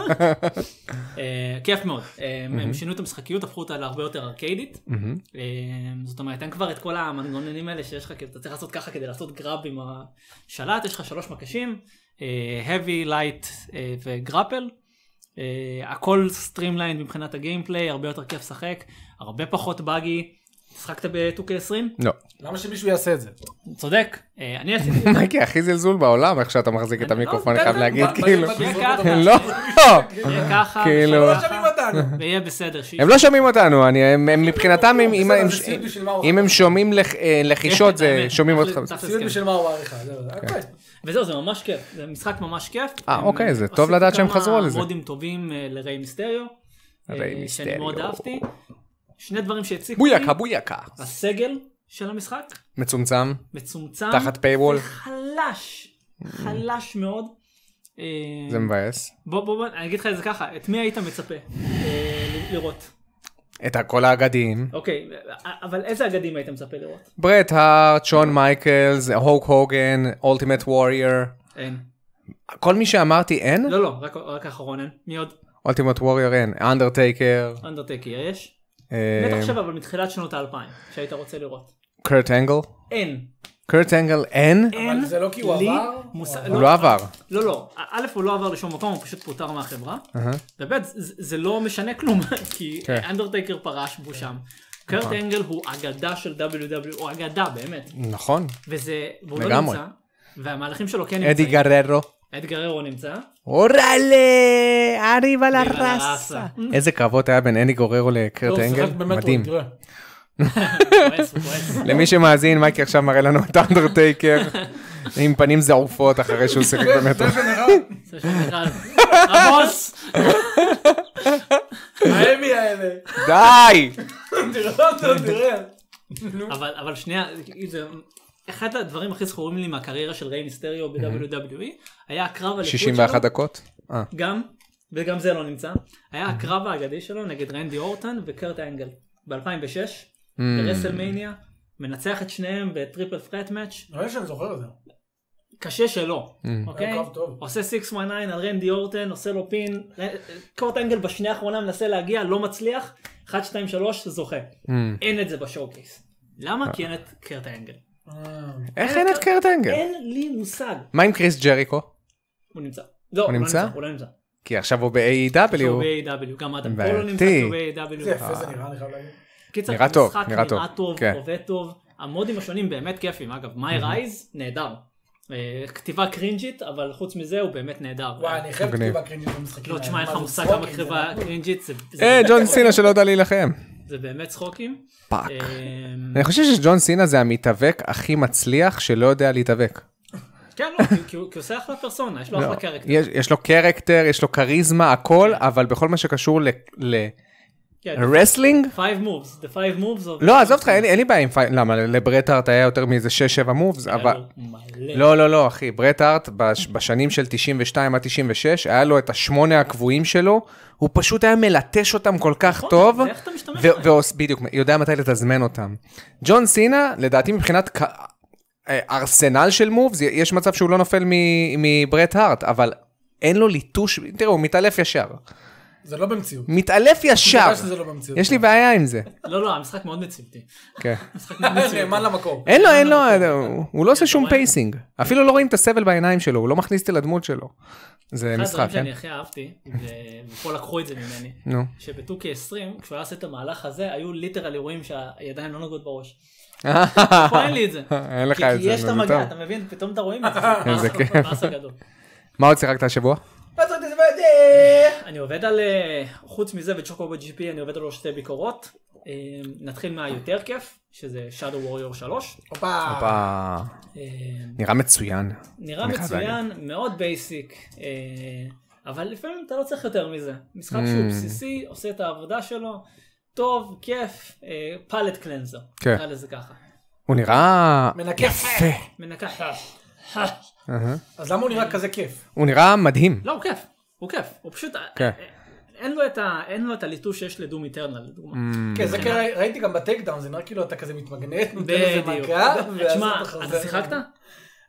S3: אה, כיף מאוד. אה, הם שינו את המשחקיות, הפכו אותה להרבה יותר ארקיידית.
S2: מהמם.
S3: אה, זאת אומרת, אין כבר את כל המנגנונים האלה שיש לך, כאילו אתה צריך לעשות ככה כדי לעשות גראב עם השלט, יש לך שלוש מקשים, אה, heavy, light אה, וגראפל. אה, הכל סטרימליין מבחינת הגיימפליי, הרבה יותר כיף לשחק, הרבה פחות באגי. שחקת ב-2K20?
S2: לא.
S1: למה שמישהו יעשה את זה?
S3: צודק, אה, אני עשיתי את זה.
S2: מייקי, הכי זלזול בעולם איך שאתה מחזיק את
S3: אני-
S2: המיקרופון,
S3: לא,
S2: אני חייב
S3: בסדר,
S2: להגיד,
S1: ב- ב-
S2: כאילו.
S1: ב- ב-
S3: יהיה ככה,
S2: לא.
S3: יהיה ככה,
S2: כאילו.
S1: לא שומעים אותנו.
S3: ויהיה בסדר. שיש-
S2: הם לא שומעים אותנו, אני- הם הם מבחינתם, אם- אם-
S1: בסדר,
S2: אם-
S1: זה סיוט בשביל מה הוא
S2: אם הם שומעים לח- אה, לחישות,
S3: כן,
S2: זה
S3: האמת,
S2: שומעים
S3: צריך-
S2: אותך.
S3: צריך
S1: ציוד
S3: להסכים.
S1: בשביל מה הוא עריכה, זהו, זה
S2: אוקיי.
S1: אוקיי. הכל.
S3: וזהו, זה ממש כיף, זה משחק ממש כיף.
S2: אה,
S3: הם,
S2: אוקיי, זה
S3: עשו
S2: טוב לדעת שהם חזרו
S3: כמה
S2: לזה.
S3: מודים טובים אה, לריי מיסטריו.
S2: ריי
S3: אה, שאני
S2: מיסטריו.
S3: מאוד אהבתי. שני דברים שהציקו לי,
S2: בויאקה, בויאקה.
S3: הסגל של המשחק,
S2: מצומצם,
S3: מצומצם.
S2: תחת paywall.
S3: חלש, חלש מאוד. אה,
S2: זה מבאס.
S3: בוא, בוא, בוא, אני אגיד לך את זה ככה, את מי היית מצפה אה, ל- לראות?
S2: את הכל האגדיים.
S3: אוקיי, אה, אבל איזה אגדים היית מצפה לראות?
S2: ברט הארט, שון מייקלס, הוק הוגן, אולטימט ווריור.
S3: אין.
S2: כל מי שאמרתי אין?
S3: לא, לא, רק- רק האחרון אין. מי עוד?
S2: אולטימט ווריור אין. אנדרטייקר. אה,
S3: אנדרטקר יש. באמת עכשיו אבל מתחילת שנות האלפיים שהיית רוצה לראות.
S2: קרט אנגל.
S3: אין.
S2: קרט אנגל אין?
S3: אין.
S1: אבל זה לא כי הוא
S3: לי
S1: עבר?
S3: מושג-
S2: הוא לא עבר.
S3: לא לא. א' הוא לא עבר לשום מקום הוא פשוט פוטר מהחברה.
S2: אהה.
S3: וב' זה זה לא משנה כלום כי
S2: כן. נכון.
S3: אנדרטייקר פרש
S1: כן.
S3: והוא שם. קרט אנגל הוא אגדה של WW הוא אגדה באמת.
S2: נכון.
S3: וזה והוא לא
S2: לגמרי.
S3: נמצא. והמהלכים שלו כן
S2: אדי
S3: נמצאים.
S2: גררו.
S3: אד גררו נמצא.
S2: אוראלה! אריבה לה
S3: ויבה לה
S2: ראסה.
S3: ראסה.
S2: איזה קרבות היה בין אדי גוררו לקרט
S1: לא, הוא שיחק
S2: אנגל?
S1: במטרול,
S2: מדהים.
S1: תראה.
S3: כועס, הוא כועס.
S2: למי שמאזין, מייקי עכשיו מראה לנו את אנדרטייקר עם פנים זעופות אחרי שהוא שיחק
S1: זה
S2: במטרו.
S1: שנראה,
S3: זה שנקרא, הבוס!
S1: האמי האלה.
S2: די!
S1: תראה אותו, תראה.
S3: אבל, אבל שנייה, זה... אחד הדברים הכי זכורים לי מהקריירה של ריי מיסטריו ב-WWE היה הקרב על
S2: 61 דקות? אה,
S3: גם, וגם זה לא נמצא, היה הקרב האגדי שלו נגד רנדי אורטון וקרט אנגל ב-2006, ברסלמניה, מנצח את שניהם בטריפל פרט מאץ',
S1: נראה שאני זוכר את זה.
S3: קשה שלא, אוקיי?
S1: היה קרב טוב.
S3: עושה 619 על רנדי אורטון, עושה לו פין, ר- קורט אנגל בשנייה האחרונה מנסה להגיע, לא מצליח, 1, 2, 3, זוכה.
S2: Hmm.
S3: אין את זה בשואו-קייס. למה? כי אין את קרט אנגל.
S1: אה,
S2: איך אין את קרט אנגל?
S3: אין לי מושג.
S2: מה עם קריס ג'ריקו?
S3: הוא נמצא. לא, הוא לא
S2: נמצא?
S3: נמצא? הוא לא נמצא.
S2: כי עכשיו הוא E ב-AEW.
S3: הוא ב-AW, גם אדם פול לא
S2: בעייתי.
S3: נמצא, כי הוא
S1: איזה
S3: ב-AW.
S1: יפה זה נראה, אני חייב להגיד.
S3: קיצר,
S2: נראה טוב,
S3: המשחק
S2: נראה טוב,
S3: נראה טוב,
S2: כן.
S3: עובד טוב. המודים השונים באמת כיפים, אגב, מיי רייז, נהדר. אה, כתיבה קרינג'ית, אבל חוץ מזה הוא באמת נהדר.
S1: וואי, אני כאילו חייב
S2: מגניב.
S1: כתיבה קרינג'ית במשחקים.
S3: לא, תשמע,
S1: האלה.
S3: אין לך
S1: מה זה, לא-
S3: מושג
S1: צחוקים,
S3: כמה כתיבה קרינג'ית, זה- זה אה.
S2: אה,
S3: באמת
S2: ג'ון
S3: צחוקים.
S2: סינה שלא יודע להילחם.
S3: זה באמת צחוקים.
S2: פאק.
S3: אמ,
S2: אני חושב שג'ון סינה זה המתאבק הכי מצליח שלא יודע להתאבק.
S3: כן, לא, כי- כי הוא כי הוא עושה אחלה פרסונה, יש לו
S2: לא.
S3: אחלה קרקטר.
S2: יש, יש לו קרקטר, יש לו כריזמה, הכל, אבל בכל מה שקשור
S3: כן,
S2: לרסלינג,
S3: Five moves, the five moves. of-
S2: לא, עזוב אותך, אין, לי- אין לי בעיה עם פייט, למה, לברטהארט היה יותר מאיזה 6-7 מובס,
S3: היה
S2: אבל...
S3: לו מלא.
S2: לא, לא, לא, אחי, ברטהארט בש, בשנים של 92 עד 96, היה לו את השמונה הקבועים שלו, הוא פשוט היה מלטש אותם כל כך
S3: נכון,
S2: טוב,
S3: זה איך אתה משתמש
S2: ו-
S3: בהם.
S2: ועוש- בדיוק, יודע מתי לתזמן אותם. ג'ון סינה, לדעתי מבחינת ק- אה, ארסנל של מובס, יש מצב שהוא לא נופל מ- מברטהארט, אבל אין לו ליטוש, תראו, הוא מתעלף ישר.
S1: זה לא במציאות.
S2: מתעלף ישר.
S1: בגלל שזה לא במציאות.
S3: כן.
S2: יש לי בעיה עם זה.
S3: לא, לא, המשחק מאוד מציבתי.
S2: כן.
S3: המשחק מאוד
S1: אה,
S3: מציבתי.
S1: נאמן למקור.
S2: אין לו, אין לו, הוא- הוא לא עושה שום
S3: כן, רואה?
S2: פייסינג. אפילו לא רואים את הסבל בעיניים שלו, הוא לא מכניס אותי לדמות שלו. זה
S3: אחד
S2: משחק,
S3: הדברים
S2: כן?
S3: שאני הכי אהבתי, ו- ופה לקחו את זה ממני,
S2: נו.
S3: שבטוקי 20, כשהוא היה עושה את המהלך הזה, היו ליטרל אירועים שהידיים לא נוגעות בראש. פה אין לי את זה.
S2: אין לך
S3: כי-
S2: את
S3: כי
S2: זה,
S3: יש את
S2: נו, זה
S3: המגע,
S2: טוב.
S3: אתה מבין? פתאום אתה רואים את זה.
S2: איזה
S3: פס-
S2: כיף.
S3: פס הגדול.
S2: מה עוד שיחקת השבוע?
S1: אה,
S3: אני עובד על, אה, חוץ מזה וצ'וקו ב-GP, אני עובד על עוד שתי ביקורות. אה, נתחיל מהיותר כיף, שזה Shadow Warrior 3.
S1: הופה.
S2: הופה,
S3: אה,
S2: נראה מצוין.
S3: נראה
S2: אני חייב
S3: מצוין, מאוד בייסיק, אה, אבל לפעמים אתה לא צריך יותר מזה. משחק שהוא
S2: Mm.
S3: בסיסי, עושה את העבודה שלו, טוב, כיף, פלט קלנזר,
S2: כן.
S3: נקרא לזה ככה.
S2: הוא נראה...
S1: מנקה.
S2: יפה.
S3: מנקה,
S2: אהה.
S1: אז למה הוא נראה כזה כיף?
S2: הוא נראה מדהים.
S3: לא, הוא כיף, הוא כיף, הוא פשוט,
S2: כן.
S3: אין לו את ה- אין לו את הליטוש שיש לדום איטרנל, לדוגמה.
S2: Mm,
S1: כן, זה כן, ראיתי גם בטייק דאון, זה נראה כאילו אתה כזה מתמגנט, נותן איזה
S3: בדיוק. אה,
S1: מכה, ואז
S3: תשמע,
S1: אתה חוזר.
S3: אתה שיחקת? אה,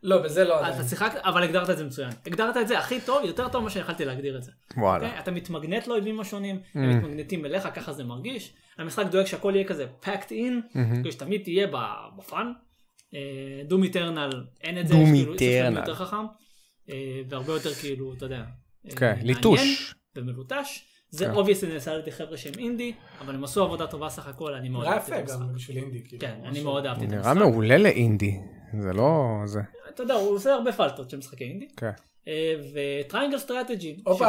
S1: לא, בזה לא עדיין.
S3: אתה שיחקת, אבל הגדרת את זה מצוין. הגדרת את זה הכי טוב, יותר טוב ממה שיכלתי להגדיר את זה.
S2: וואלה.
S3: אוקיי? אתה מתמגנט לאויבים השונים,
S2: Mm.
S3: הם מתמגנטים אליך, ככה זה מרגיש. המשחק דואג שהכל יהיה כזה packed in,
S2: Mm-hmm.
S3: כאילו שתמיד תהיה ב- בפאן. דום איטרנל, אין את זה,
S2: Doom
S3: יש כאילו יש שחקן
S2: Eternal.
S3: יותר חכם, אה, והרבה יותר כאילו, אתה יודע, אה,
S2: כן,
S3: מעניין
S2: ליטוש.
S3: ומלוטש. זה
S2: כן.
S3: אובייסט נעשה על ידי חבר'ה שהם אינדי, אבל הם עשו עבודה טובה סך הכל, אני מאוד
S1: נראה
S3: אהבתי את
S1: יפה
S3: המשחק.
S1: גם בשביל אינדי. כאילו,
S3: כן, אני
S1: משהו.
S3: מאוד אהבתי
S2: הוא
S3: את
S2: נראה
S3: המשחק.
S2: מעולה לאינדי. זה לא... זה...
S3: אתה יודע, הוא עושה הרבה פלטות של משחקי אינדי.
S2: כן.
S3: וטריינגל סטרטג'י.
S1: הופה,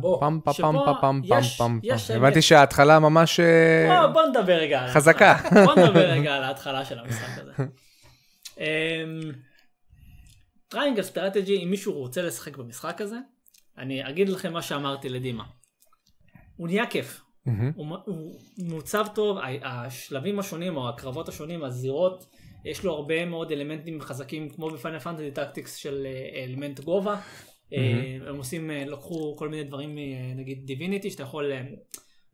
S1: בוא.
S2: פעם פעם פעם
S3: שבו
S2: פעם פעם פעם
S3: יש-
S2: פעם.
S3: יש לא,
S2: פעם.
S3: אמת.
S2: הבנתי שההתחלה ממש... אה,
S3: בוא נדבר רגע. על ההתחלה.
S2: חזקה.
S3: בוא נדבר רגע על ההתחלה של המשחק הזה. טריינגל סטרטג'י, אם מישהו רוצה לשחק במשחק הזה, אני אגיד לכם מה שאמרתי לדימה. הוא נהיה כיף.
S2: מהמם.
S3: הוא מ- הוא מעוצב טוב, ה- השלבים השונים או הקרבות השונים, הזירות, יש לו הרבה מאוד אלמנטים חזקים כמו בפאנל פנטזי טקטיקס של אה, אלמנט גובה. אה, הם עושים, אה, לקחו כל מיני דברים מנגיד דיביניטי שאתה יכול אה,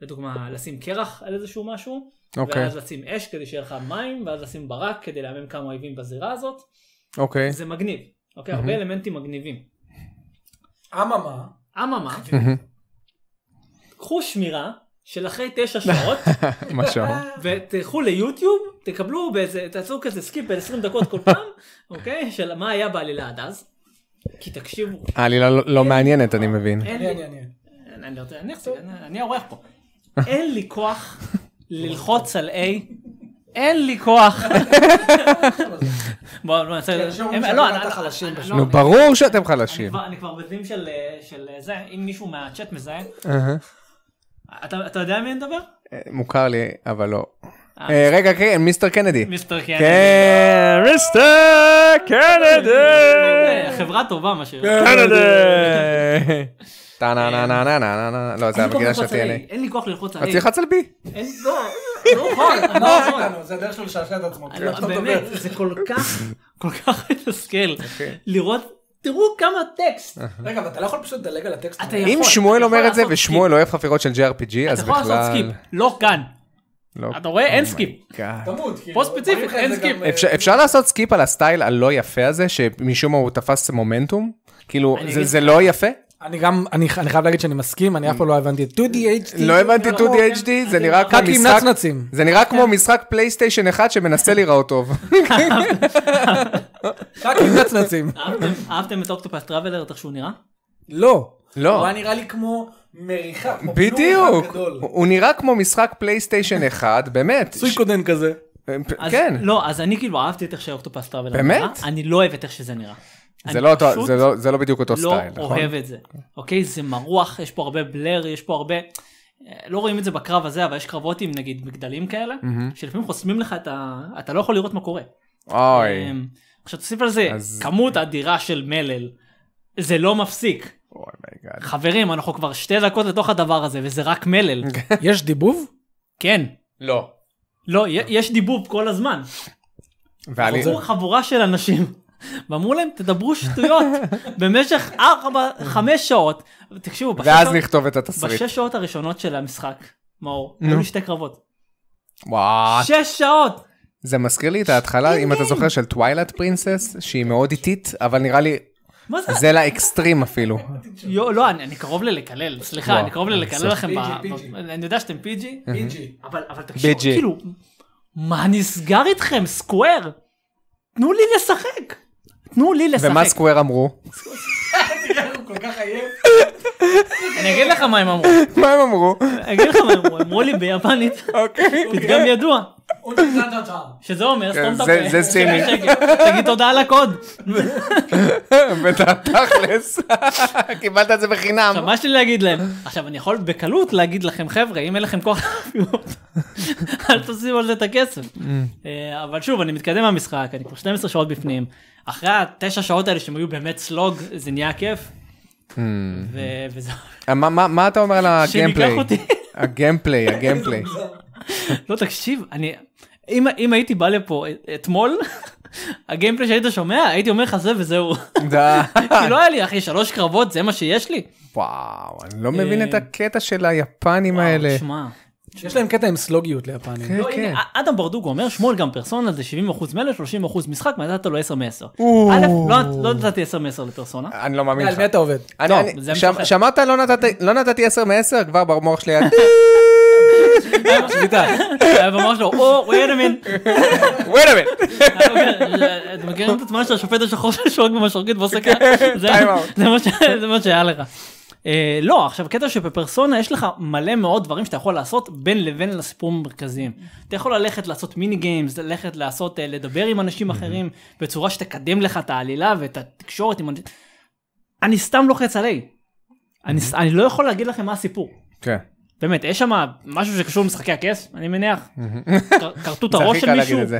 S3: לדוגמה לשים קרח על איזשהו משהו,
S2: אוקיי.
S3: ואז לשים אש כדי שיהיה לך מים, ואז לשים ברק כדי להמם כמה אויבים בזירה הזאת,
S2: אוקיי.
S3: זה מגניב, אוקיי? הרבה אלמנטים מגניבים.
S1: אממה,
S3: אממה,
S2: מהמם.
S3: קחו שמירה של אחרי תשע שעות,
S2: מה שאמרת.
S3: ותלכו ליוטיוב, תקבלו באיזה, תעשו כזה סקיפ בין 20 דקות כל פעם, אוקיי? של מה היה בעלילה עד אז. כי תקשיבו,
S2: העלילה לא-
S3: אה.
S2: לא מעניינת, אני מבין.
S3: אין
S1: אני,
S3: לי,
S1: אני, אני.
S3: אני לא יודע, אני אחזיק, אני- אני האורח פה. אין לי כוח ללחוץ על A, אין לי כוח. בוא, בוא, נעשה-
S1: כן, שאומרים
S3: הם-
S1: שאתם
S3: לא, אני-
S1: אתה
S3: אני-
S1: חלשים
S3: אני-
S1: פשוט.
S3: לא,
S2: נו,
S3: אני-
S2: ברור שאתם
S3: אני
S2: חלשים.
S3: כבר- אני כבר בזים של אה, של, אה, זה, אם מישהו מהצ'אט מזהה.
S2: אהה.
S3: אתה אתה יודע מי אני מדבר?
S2: אה, מוכר לי, אבל לא. אה, רגע, כן, מיסטר קנדי.
S3: מיסטר קנדי.
S2: כן, מיסטר
S3: אה,
S2: קנדי!
S3: חברה טובה מה ש...
S2: כן. קנדי! טה נה נה נה נה נה נה לא, זה
S3: אין לי כוח
S2: המגילה של
S3: ללחוץ על
S2: TNA.
S3: A, אין לי כוח ללחוץ על
S2: אז
S3: A.
S2: תלחץ על בי.
S3: אין, לא, לא יכול, אני לא
S1: מה
S3: יכול.
S1: איתנו? זה הדרך שלו לשעשע את
S2: כן,
S1: עצמו.
S3: אני
S1: כאילו,
S3: לא-
S1: אתה מדבר.
S3: באמת, זה כל כך, כל כך מתסכל.
S2: אוקיי. אה,
S3: לראות, תראו כמה טקסט.
S1: רגע, אבל אתה לא יכול פשוט לדלג על הטקסט.
S3: אתה
S1: הזה?
S3: יכול.
S2: אם שמואל
S3: אתה
S2: אומר
S3: יכול
S2: את זה
S3: לעשות
S2: ושמואל אוהב חפירות של JRPG,
S3: אתה
S2: אז
S3: יכול לעשות
S2: בכלל...
S3: סקיפ, לא כאן.
S2: לא.
S3: אתה רואה? אין
S2: Oh my
S3: סקיפ.
S2: God.
S1: תמות, כאילו.
S3: פה ספציפית,
S1: אומרים לך את
S3: אין
S1: זה
S3: סקיפ.
S1: גם,
S2: אפשר-
S1: אה,
S2: אפשר לעשות סקיפ על הסטייל הלא יפה הזה, שמשום מה הוא תפס מומנטום? כאילו,
S3: אני
S2: זה-
S3: אגיד-
S2: זה לא יפה?
S1: אה, אני גם, אני אני חייב להגיד שאני מסכים, אני אף פעם לא הבנתי את 2DHD.
S2: לא הבנתי
S1: נכון.
S2: 2DHD, זה
S3: אתם-
S2: נראה כמו
S1: קאקים
S2: משחק...
S1: נצנצים.
S2: זה נראה כמו משחק פלייסטיישן אחד שמנסה להיראות טוב.
S1: קאקים נצנצים.
S2: אוקיי.
S3: אהבתם- אהבתם את אוקטופס טראבלר, את איך שהוא נראה?
S1: לא.
S2: לא.
S1: הוא היה נראה לי כמו מריחה, כמו פלום
S2: בדיוק,
S1: אחד
S3: לא,
S1: גדול.
S2: הוא נראה כמו משחק פלייסטיישן אחד, באמת.
S1: סויקודן כזה.
S3: אז-
S2: כן,
S3: לא, אז אני כאילו אהבתי את איך שאוקטופס טראבלר נראה.
S2: באמת?
S3: אני לא אוהב את איך שזה נראה.
S2: זה
S3: אני
S2: לא אותו-
S3: פשוט
S2: זה לא- זה לא בדיוק אותו
S3: לא
S2: סטייל, נכון?
S3: אוהב את זה. אוקיי? זה מרוח, יש פה הרבה בלר, יש פה הרבה... אה, לא רואים את זה בקרב הזה, אבל יש קרבות עם נגיד מגדלים כאלה, שלפעמים חוסמים לך את ה... אתה לא יכול לראות מה קורה.
S2: אוי,
S3: אמ, עכשיו תוסיף על זה,
S2: אוקיי. אז-
S3: כמות אדירה של מלל, זה לא מפסיק.
S2: אוי מייגאד.
S3: חברים, אנחנו כבר שתי דקות לתוך הדבר הזה, וזה רק מלל.
S1: יש דיבוב?
S3: כן.
S2: לא.
S3: לא, י- יש דיבוב כל הזמן.
S2: ואני-
S3: עבור חבורה של אנשים. ואמרו להם תדברו שטויות במשך 4-5 שעות. תקשיבו, בשש
S2: ואז
S3: שעות-
S2: נכתוב את התסריט.
S3: בשש שעות הראשונות של המשחק, מאור, היו לי שתי קרבות.
S2: וואו.
S3: שש שעות!
S2: זה מזכיר לי את ההתחלה, אם אתה זוכר, של טווילט פרינסס, שהיא מאוד איטית, אבל נראה לי
S3: מה זה?
S2: זה לאקסטרים אפילו.
S3: יו, לא, אני, אני קרוב ללקלל, סליחה,
S2: וואו, אה.
S3: אני קרוב ללקלל
S2: בסדר.
S3: לכם, ב,
S1: PG.
S3: ב, אני יודע שאתם פיג'י,
S1: פיג'י.
S3: אבל, אבל תקשיבו,
S2: PG.
S3: כאילו, מה נסגר איתכם, סקוואר? תנו לי לשחק. תנו לי לשחק.
S2: ומה סקוואר אמרו?
S1: הוא כל כך עייף.
S3: אני אגיד לך מה הם אמרו,
S2: מה הם אמרו?
S3: אני אגיד לך מה הם אמרו, אמרו לי ביפנית,
S2: אוקיי.
S3: פתגם ידוע,
S1: הוא נמצא אותם.
S3: שזה אומר,
S2: כן,
S3: סתום את
S2: זה-
S3: הפה,
S2: זה ציני.
S3: תגיד תודה על הקוד.
S2: ותכלס, קיבלת את זה בחינם.
S3: עכשיו, מה יש לי להגיד להם? עכשיו, אני יכול בקלות להגיד לכם, חבר'ה, אם אין לכם כוח להפיות, אל תוסיפו על זה את הכסף. אה, אבל שוב, אני מתקדם מהמשחק, אני כבר 12 שעות בפנים. אחרי התשע שעות האלה שהם היו באמת סלוג, זה נהיה כיף. ו- וזה...
S2: Hmm. אה, מה- מה מה אתה אומר על הגיימפליי?
S3: שניקח אותי.
S2: הגיימפליי, הגיימפליי.
S3: לא, תקשיב, אני... אם, אם הייתי בא לפה אתמול, הגיימפלי שהיית שומע, הייתי אומר לך זה וזהו.
S2: אה. די.
S3: כי לא היה לי, אחי, שלוש קרבות, זה מה שיש לי.
S2: וואו, אני לא מבין את הקטע של היפנים האלה.
S3: אה, שמע,
S1: יש להם קטע עם סלוגיות ליפנים.
S2: כן,
S3: לא,
S2: כן.
S3: הנה, אדם ברדוגו אומר, שמואל גם פרסונה זה 70% מלך, 30% משחק, מה נתת לו 10 מ-10.
S2: או.
S3: א', לא- לא נתתי 10 מ-10 לפרסונה.
S2: אני לא מאמין
S1: על
S2: לך.
S1: מי אתה עובד?
S2: אני-
S3: לא,
S2: אני-
S3: זה
S2: שמ-
S3: משחק.
S2: שמעת? לא נתתי- לא נתתי 10 מ-10, כבר במוח שלי היה...
S1: שביתה.
S3: אוקיי, היה ממש לא, או, wait a minute.
S2: wait a minute.
S3: אתם מכירים את התמונה של השופט השחור ששורק במשרקית ועושה ככה? זה-
S2: כן, time out.
S3: זה מה ש- זה מה שהיה לך. אה, לא, עכשיו קטע שבפרסונה יש לך מלא מאוד דברים שאתה יכול לעשות בין לבין לסיפורים המרכזיים. אתה יכול ללכת לעשות מיני גיימס, ללכת לעשות, אה, לדבר עם אנשים אחרים בצורה שתקדם לך את העלילה ואת התקשורת עם אנשים. אני סתם לוחץ עליי. אני ס- אני לא יכול להגיד לכם מה הסיפור.
S2: כן.
S3: באמת, יש שם משהו שקשור למשחקי הכס, אני מניח. כר- כרתו את
S2: זה
S3: הראש
S2: הכי
S3: של
S2: קל להגיד
S3: מישהו.
S2: את זה.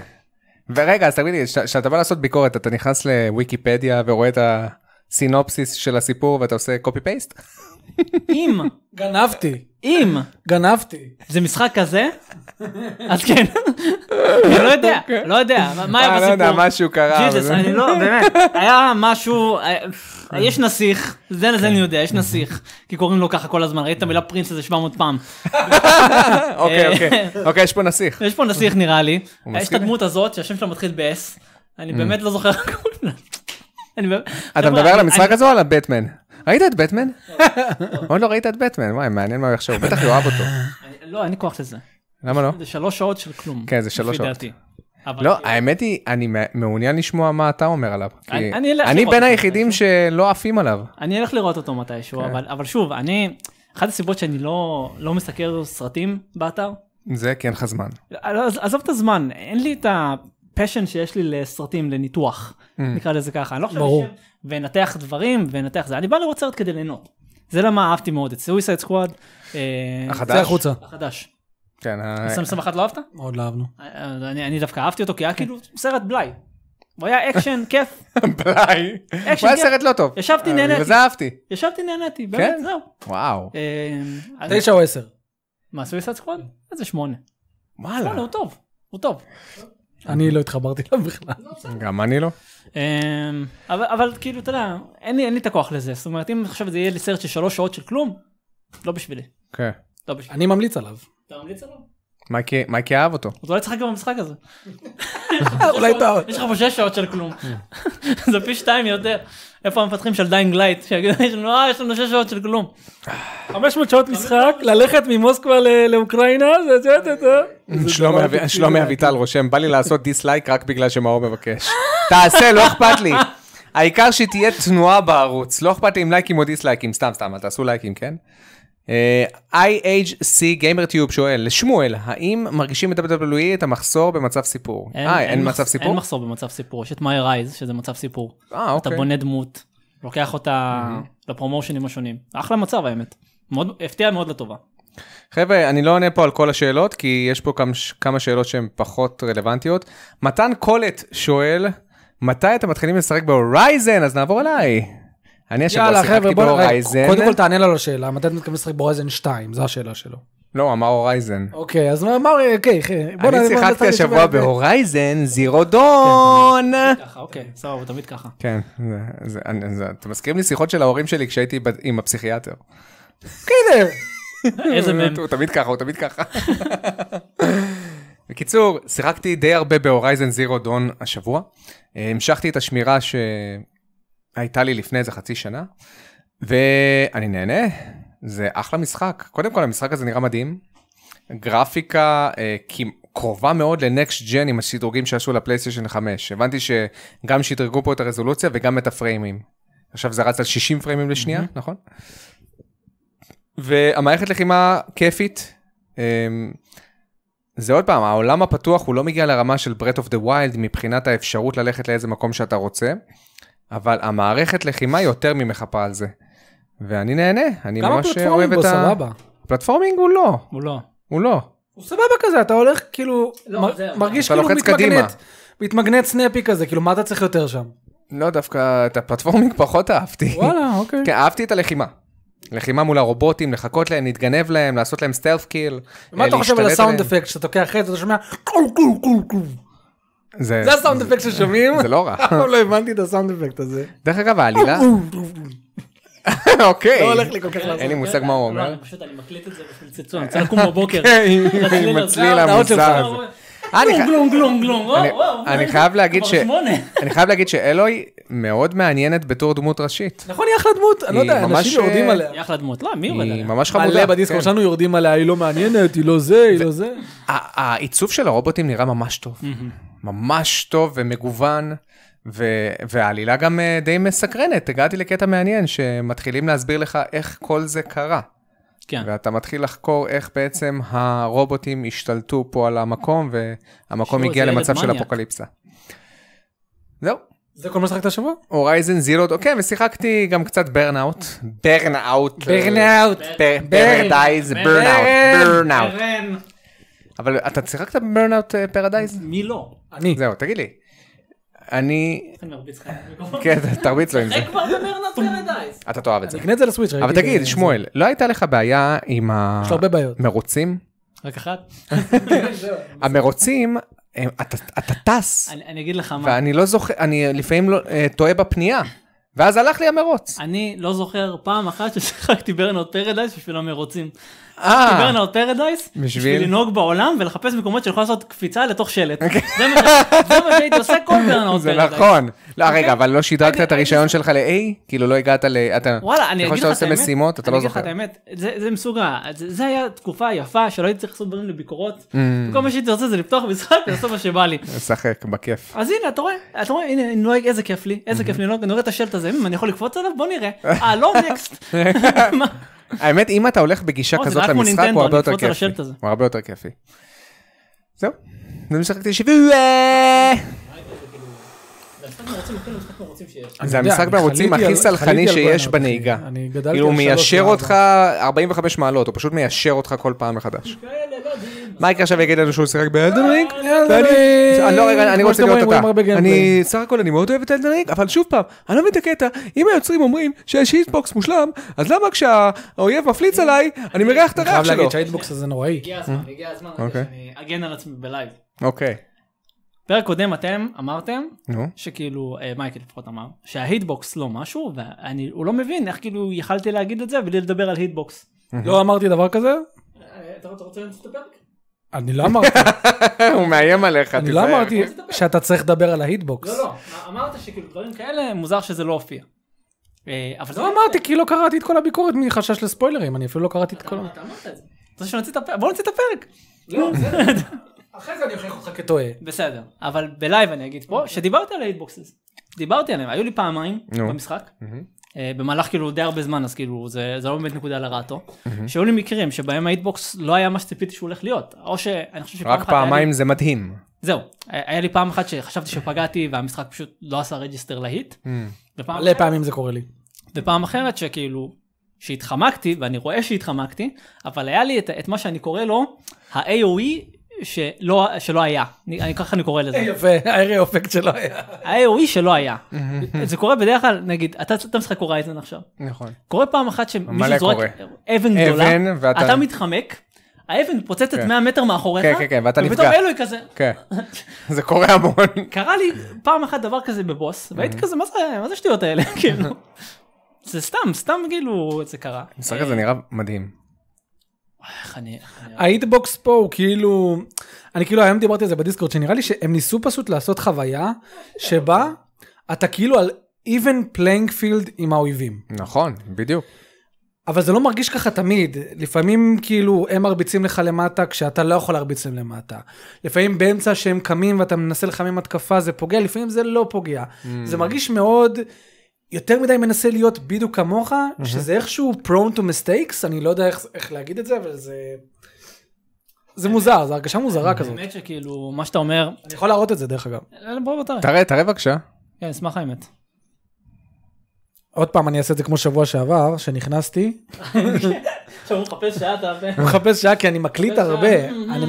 S2: ורגע, אז תגיד לי, כש- כשאתה בא לעשות ביקורת, אתה נכנס לוויקיפדיה ורואה את הסינופסיס של הסיפור ואתה עושה קופי פייסט?
S3: אם,
S1: גנבתי,
S3: אם
S1: גנבתי.
S3: זה משחק כזה, אז כן. אני לא יודע, לא יודע, מה- מה היה
S2: אה,
S3: בסיפור?
S2: לא יודע, משהו קרה.
S3: ג'יזוס,
S2: אבל-
S3: אני לא, באמת, היה משהו, אה, יש נסיך,
S2: כן.
S3: זה זה אני יודע,
S2: אוקיי.
S3: יש נסיך, כי קוראים לו ככה כל הזמן, ראיתי את המילה פרינס איזה 700 פעם. אה,
S2: אוקיי, אוקיי. אוקיי, יש פה נסיך.
S3: יש פה נסיך נראה לי,
S2: הוא
S3: יש את
S2: מסכים?
S3: הדמות הזאת שהשם שלה מתחיל ב-S, אני באמת לא זוכר איך קוראים לה. אני באמת-
S2: אתה
S3: חבר'ה,
S2: מדבר על
S3: אני-
S2: המשחק
S3: אני-
S2: הזה או על הבטמן? ראית את בטמן? עוד לא ראית את בטמן, וואי, מעניין מה הוא יחשוב, בטח יאהב אותו.
S3: אני- לא, אין לי כוח לזה.
S2: למה לא?
S3: זה שלוש שעות של כלום.
S2: כן, זה שלוש
S3: לפי
S2: שעות.
S3: דעתי. אבל-
S2: לא, האמת היא, אני מע- מעוניין לשמוע מה אתה אומר עליו. כי
S3: אני- אני אלך
S2: אני
S3: לראות
S2: בין
S3: אותו
S2: היחידים שלא עפים עליו.
S3: אני אלך לראות אותו מתישהו,
S2: כן.
S3: אבל, אבל שוב, אני, אחת הסיבות שאני לא, לא מסקר סרטים באתר,
S2: זה כי אין לך זמן.
S3: לא, אז- עזוב את הזמן, אין לי את הפשן שיש לי לסרטים, לניתוח,
S2: Mm.
S3: נקרא לזה ככה, אני לא חושב
S1: ברור.
S3: שאני אשב ואנתח דברים ואנתח זה, אני בא לראות סרט כדי ליהנות. זה למה אהבתי מאוד את סוויסייד סקוואד.
S2: החדש?
S1: צא החוצה.
S3: החדש.
S2: כן, ה-
S3: 2021 לא אהבת?
S1: מאוד לא אהבנו.
S3: אה, אני אני דווקא אהבתי אותו כי היה
S2: כן.
S3: כאילו סרט בלאי. הוא היה אקשן, כיף,
S2: בליי.
S3: אקשן,
S2: הוא היה
S3: כיף.
S2: סרט לא טוב.
S3: ישבתי,
S2: אה,
S3: נהניתי.
S2: בגלל זה אהבתי.
S3: ישבתי נהניתי, באמת,
S2: כן?
S3: זהו.
S2: וואו.
S3: אה, אז-
S1: תשע או עשר.
S3: מה, סוויסד סקוואד? איזה שמונה.
S2: וואלה.
S3: שמונה, לא, הוא טוב, הוא טוב.
S1: אני לא התחברתי אליו בכלל.
S2: גם אני לא.
S3: אמ, אבל, אבל כאילו, אתה יודע, אין לי, אין לי את הכוח לזה. זאת אומרת, אם עכשיו זה יהיה לי סרט של שלוש שעות של כלום, לא בשבילי.
S2: כן.
S3: לא בשבילי.
S1: אני ממליץ עליו.
S3: אתה ממליץ עליו?
S2: מייקי- מייקי אהב אותו.
S3: אז אולי תשחק גם במשחק הזה.
S1: אולי טעות.
S3: יש לך פה שש שעות של כלום. זה פי שתיים יותר. איפה המפתחים של דיינג לייט? שיגידו, "יש לנו- אה, יש לנו שש שעות של כלום.
S1: 500 שעות משחק, ללכת ממוסקבה ל- לאוקראינה, זה- זה זה זה. זה
S2: שלומי
S1: דבר
S2: אבי-
S1: אפקטיבי.
S2: שלומי אביטל רושם, בא לי לעשות דיסלייק רק בגלל שמאור מבקש. תעשה, לא אכפת לי. העיקר שתהיה תנועה בערוץ, לא אכפת לי אם לייקים או דיסלייקים, סתם סתם, אל תעשו לייקים, כן? אה, IHC GamerTube שואל, שמואל, האם מרגישים ב-WWE את המחסור במצב סיפור? אה, אין
S3: מחס-
S2: מצב סיפור?
S3: אין מחסור במצב סיפור. יש את מייר רייז, שזה מצב סיפור.
S2: אה,
S3: אתה
S2: אוקיי.
S3: בונה דמות, לוקח אותה לפרומושנים השונים. אחלה מצב האמת. מאוד- הפתיע מאוד לטובה.
S2: חבר'ה, אני לא עונה פה על כל השאלות, כי יש פה כמה, ש- כמה שאלות שהן פחות רלוונטיות. מתן קולט שואל, מתי אתם מתחילים לשחק בהורייזן? אז נעבור אליי. אני השבוע
S1: יאללה חבר'ה
S2: שיחקתי
S1: בוא נראה,
S2: בהורייזן.
S1: קודם כל תענה לו לשאלה, מתי אתה מתכוון לשחק בהורייזן 2, זו השאלה שלו.
S2: לא, הוא אמר הורייזן.
S1: אוקיי, אז מה, מה- אוקיי, אחי, בוא נ-
S2: אני
S1: בוא נתחיל
S2: שיחקתי
S1: לתשובה
S2: השבוע
S1: את זה. כן,
S2: בהורייזן, זירו דון.
S3: ככה, אוקיי, סבבה, תמיד ככה.
S2: כן, זה- זה- אני- זה- אתם מזכירים לי שיחות של ההורים שלי כשהייתי ב- עם הפסיכיאטר.
S1: הנה,
S3: איזה מהם.
S2: הוא אה, תמיד ככה, הוא תמיד ככה. בקיצור, שיחקתי די הרבה בהורייזן זירו דון השבוע. אה, המשכתי את השמירה שהייתה לי לפני איזה חצי שנה, ואני נהנה, זה אחלה משחק. קודם כל, המשחק הזה נראה מדהים. גרפיקה אה, כמ- קרובה מאוד לנקסט ג'ן עם השדרוגים שעשו לפלייסטיישן 5. הבנתי שגם שדרגו פה את הרזולוציה וגם את הפריימים. עכשיו זה רץ על 60 פריימים לשנייה, נכון? והמערכת לחימה כיפית. אמ, זה עוד פעם, העולם הפתוח הוא לא מגיע לרמה של ברט אוף דה ויילד מבחינת האפשרות ללכת לאיזה מקום שאתה רוצה, אבל המערכת לחימה יותר ממחפה על זה. ואני נהנה, אני
S1: גם
S2: ממש אוהב
S1: הפלטפורמים
S2: את
S1: בו
S2: ה...
S1: סבבה.
S2: פלטפורמינג הוא לא,
S3: הוא לא.
S2: הוא לא.
S1: הוא סבבה כזה, אתה הולך כאילו,
S3: לא,
S1: מ-
S3: זהו.
S1: מרגיש
S2: אתה
S1: כאילו
S2: לוחץ קדימה.
S1: מתמגנט, מתמגנט סנאפי כזה, כאילו מה אתה צריך יותר שם?
S2: לא, דווקא את הפלטפורמינג פחות אהבתי.
S1: וואלה, אוקיי.
S2: כן, אהבתי את הלחימה. לחימה מול הרובוטים, לחכות להם, להתגנב להם, לעשות להם סטלף קיל.
S1: מה
S2: אה,
S1: אתה חושב על
S2: להשתלט
S1: הסאונד
S2: עליהם.
S1: אפקט שאתה לוקח את זה, אתה שומע קול קול קול קול.
S2: זה-
S1: זה הסאונד אפקט ששומעים?
S2: כן. זה לא רע.
S1: אף פעם לא הבנתי את הסאונד אפקט הזה.
S2: דרך אגב, העלילה... אוקיי.
S1: לא הולך לי כל כך לעזור.
S2: אין לי מושג מה הוא
S3: לא,
S2: אומר. כן,
S3: אני פשוט, אני מקליט את זה בשביל צלצול, אני רוצה לקום בבוקר.
S2: עם
S3: לצליל
S2: עם
S3: הזה.
S2: הצליל המוזר
S3: אה,
S2: הזה. אה, אני
S3: גלום,
S2: ח-
S3: גלום, גלום, גלום, וואו,
S2: אני-
S3: וואו.
S2: אני
S3: וואו,
S2: חייב להגיד
S3: כבר
S2: ש-
S3: שמונה.
S2: אני חייב להגיד שאלוי מאוד מעניינת בתור דמות ראשית.
S1: נכון, היא אחלה דמות, אני לא
S2: היא
S1: יודע,
S2: ממש,
S1: אנשים יורדים
S2: אה,
S1: עליה.
S3: היא אחלה דמות. לא, מי יורד
S2: היא
S3: עליה?
S2: ממש חמודה.
S1: מלא בדיסקורד
S2: כן.
S1: שלנו יורדים עליה, היא לא מעניינת, היא לא זה, היא לא זה.
S2: ה- העיצוב של הרובוטים נראה ממש טוב. ממש טוב ומגוון, ו- והעלילה גם אה, די מסקרנת. הגעתי לקטע מעניין שמתחילים להסביר לך איך כל זה קרה.
S3: כן.
S2: ואתה מתחיל לחקור איך בעצם הרובוטים השתלטו פה על המקום, והמקום
S3: שיעור,
S2: הגיע
S3: זה ילד
S2: למצב של
S3: מניאק.
S2: אפוקליפסה. זהו.
S1: זה כל מה שחקת השבוע?
S2: הורייזן זירו, אוקיי, ושיחקתי גם קצת ברנאוט. ברנאוט.
S1: ברנאוט.
S2: פרדייז, ברנאוט. ברנאוט.
S3: קרן.
S2: אבל אתה שיחקת ברנאוט פרדייז?
S3: מי לא?
S1: אני.
S2: זהו, תגיד לי. אני...
S3: אני מרביץ לך. במיקרופון.
S2: כן, תרביץ לו עם זה.
S3: זה כבר בברנרד פרדייז.
S2: אתה תאהב את
S1: אני
S2: זה.
S1: אקנה את זה לסוויץ'.
S2: אבל
S1: ראיתי את
S2: תגיד,
S1: זה.
S2: שמואל, לא הייתה לך בעיה עם
S1: יש לו הרבה בעיות.
S2: המרוצים?
S3: רק אחת?
S2: המרוצים, הם- אתה אתה טס,
S3: אני אני אגיד לך מה.
S2: ואני לא זוכר, אני לפעמים לא- אה, טועה בפנייה, ואז הלך לי המרוץ.
S3: אני לא זוכר פעם אחת ששיחקתי ברנרד פרדייז בשביל המרוצים.
S2: אה,
S3: ברנרד פרדייס בשביל לנהוג בעולם ולחפש מקומות שאני יכול לעשות קפיצה לתוך שלט. זה מה ש- זה מה שהייתי עושה כל ברנרד פרדייס.
S2: אוקיי. זה נכון. לא, רגע,
S3: אוקיי?
S2: אבל לא שדרגת
S3: אני-
S2: את הרישיון שלך ל-A? כאילו לא הגעת ל... אתה...
S3: וואלה, אני
S2: ככל
S3: אגיד לך את האמת.
S2: נכון שאתה עושה משימות, אתה לא זוכר.
S3: אני אגיד לך את האמת, זה- זה מסוג ה... זה זה היה תקופה יפה שלא הייתי צריך לעשות דברים לביקורות.
S2: אמ,
S3: כל מה שהייתי רוצה זה לפתוח משחק ולעשות מה שבא לי.
S2: לשחק, בכיף.
S3: אז הנה, אתה רואה, אתה רואה, הנה, אני נוהג, איזה כיף לי, איזה
S2: Mm-hmm.
S3: כיף לי, אני רואה את השלט הזה, "מ, אני יכול לקפוץ עליו? בוא נראה. אה, לא, נקסט. מה?
S2: האמת, אם אתה הולך בגישה
S3: או, זה
S2: כזאת
S3: נראה כמו
S2: למשחק,
S3: נינטנדו,
S2: הוא הרבה
S3: אני
S2: יותר
S3: אקפוץ על
S2: כיפי.
S3: השלט הזה.
S2: הוא הרבה יותר כיפי. זהו. זה משחקתי שבוע.
S1: יודע,
S2: זה המשחק
S1: אני
S2: בערוצים
S1: חליתי
S2: הכי
S1: על-
S2: סלחני
S1: חליתי על ברנאוט,
S2: שיש
S1: אחי.
S2: בנהיגה.
S1: אני גדלתי
S2: כאילו
S1: על
S2: הוא
S1: שלוש
S2: מיישר
S1: וארבע.
S2: אותך 45 מעלות, הוא פשוט מיישר אותך כל פעם מחדש. מייקה עכשיו יגיד לנו שהוא שיחק באלדן רינג? ואני-
S1: אלדן
S2: אני לא, רגע, אני
S1: אה, כמו
S2: רוצה
S1: שאתם
S2: להיות
S1: רואים, רואים הרבה
S2: אותה.
S1: גיימפליי.
S2: אני, סך הכל אני מאוד אוהב את אלדן רינג, אבל שוב פעם, אני לא מבין את הקטע, אם היוצרים אומרים שיש היטבוקס מושלם, אז למה כשהאויב מפליץ עליי, אני מריח את
S1: אני חייב
S2: הריח שלו?
S1: להגיד שהאיטבוקס הזה נוראי.
S3: הגיע הזמן, הגיע הזמן
S2: אוקיי.
S3: שאני אגן על עצמי בלייב.
S2: אוקיי,
S3: פרק קודם אתם אמרתם
S2: נו.
S3: שכאילו אה, מייקל לפחות אמר שההיטבוקס לא משהו והוא לא מבין איך כאילו יכלתי להגיד את זה בלי לדבר על היטבוקס.
S2: כן.
S1: לא אמרתי דבר כזה?
S3: אה, אתה רוצה לנסות את הפרק?
S1: אני לא אמרתי,
S2: הוא מאיים עליך,
S1: אני לא
S2: תיזהר.
S1: אמרתי שאתה צריך לדבר על ההיטבוקס.
S3: לא לא אמרת שכאילו דברים כאלה מוזר שזה לא הופיע. אה, אבל זה
S1: לא אמרתי כי לא קראתי את כל הביקורת מחשש לספוילרים, אני אפילו לא קראתי את כל...
S3: אתה אמרת את זה. אתה רוצה שנוציא את הפרק? בוא נוציא את הפרק.
S1: לא, אחרי זה אני אוכיח אותך כטועה.
S3: בסדר אבל בלייב אני אגיד פה שדיברתי על ההיטבוקסס. דיברתי עליהם היו לי פעמיים
S2: נו.
S3: במשחק. אה, במהלך כאילו די הרבה זמן אז כאילו זה, זה לא באמת נקודה לרעתו. שהיו לי מקרים שבהם ההיטבוקס לא היה מה שציפיתי שהוא הולך להיות. או שאני חושב שפעם
S2: רק
S3: אחת היה לי-
S2: פעמיים זה מדהים.
S3: זהו, היה לי פעם אחת שחשבתי שפגעתי והמשחק פשוט לא עשה רג'יסטר להיט.
S2: Mm,
S3: ופעם,
S1: מלא פעמים זה קורה לי.
S3: ופעם אחרת שכאילו, שהתחמקתי, ואני רואה שהתחמקתי, אבל היה לי את, את מה שאני קורא לו ה-AOE שלא, שלא היה. אני, אני, ככה אני קורא
S1: אה,
S3: לזה.
S1: יפה, הארי אופקט שלו היה.
S3: ה-AOE שלא היה. זה קורה בדרך כלל, נגיד, אתה, אתה משחק הורייזן עכשיו.
S2: נכון.
S3: קורה פעם אחת
S2: מלא
S3: שמישהו זורק
S2: קורה.
S3: אבן גדולה,
S2: אבן, ואתה-
S3: אתה מתחמק, האבן פוצצת
S2: כן.
S3: 100 מטר מאחוריך,
S2: כן, כן, כן, ואתה נפגע.
S3: ופתאום אלוהי כזה,
S2: כן. זה קורה המון.
S3: קרה לי פעם אחת דבר כזה בבוס, והייתי כזה, מה זה, מה זה השטויות האלה, כאילו. זה סתם, סתם כאילו, זה קרה. אה,
S2: המשחק הזה נראה מדהים.
S3: איך אני... איך אני-
S1: ההיטבוקס פה הוא כאילו, אני כאילו היום דיברתי על זה בדיסקורד, שנראה לי שהם ניסו פשוט לעשות חוויה שבה אתה כאילו על even playing field עם האויבים.
S2: נכון, בדיוק.
S1: אבל זה לא מרגיש ככה תמיד, לפעמים כאילו הם מרביצים לך למטה כשאתה לא יכול להרביץ להם למטה. לפעמים באמצע שהם קמים ואתה מנסה לחמם התקפה זה פוגע, לפעמים זה לא פוגע. זה מרגיש מאוד, יותר מדי מנסה להיות בדיוק כמוך, שזה איכשהו prone to mistakes, אני לא יודע איך, איך להגיד את זה, אבל זה... זה מוזר, זו הרגשה מוזרה כזאת.
S3: האמת שכאילו, מה שאתה אומר,
S1: אני יכול להראות את זה דרך אגב.
S3: לא, בוא בוא תראה,
S2: תראה, תראה בבקשה.
S3: כן, אשמח האמת.
S1: עוד פעם אני אעשה את זה כמו שבוע שעבר, שנכנסתי,
S3: עכשיו הוא מחפש שעה, אתה...
S1: אני מחפש שעה כי אני מקליט הרבה. אני-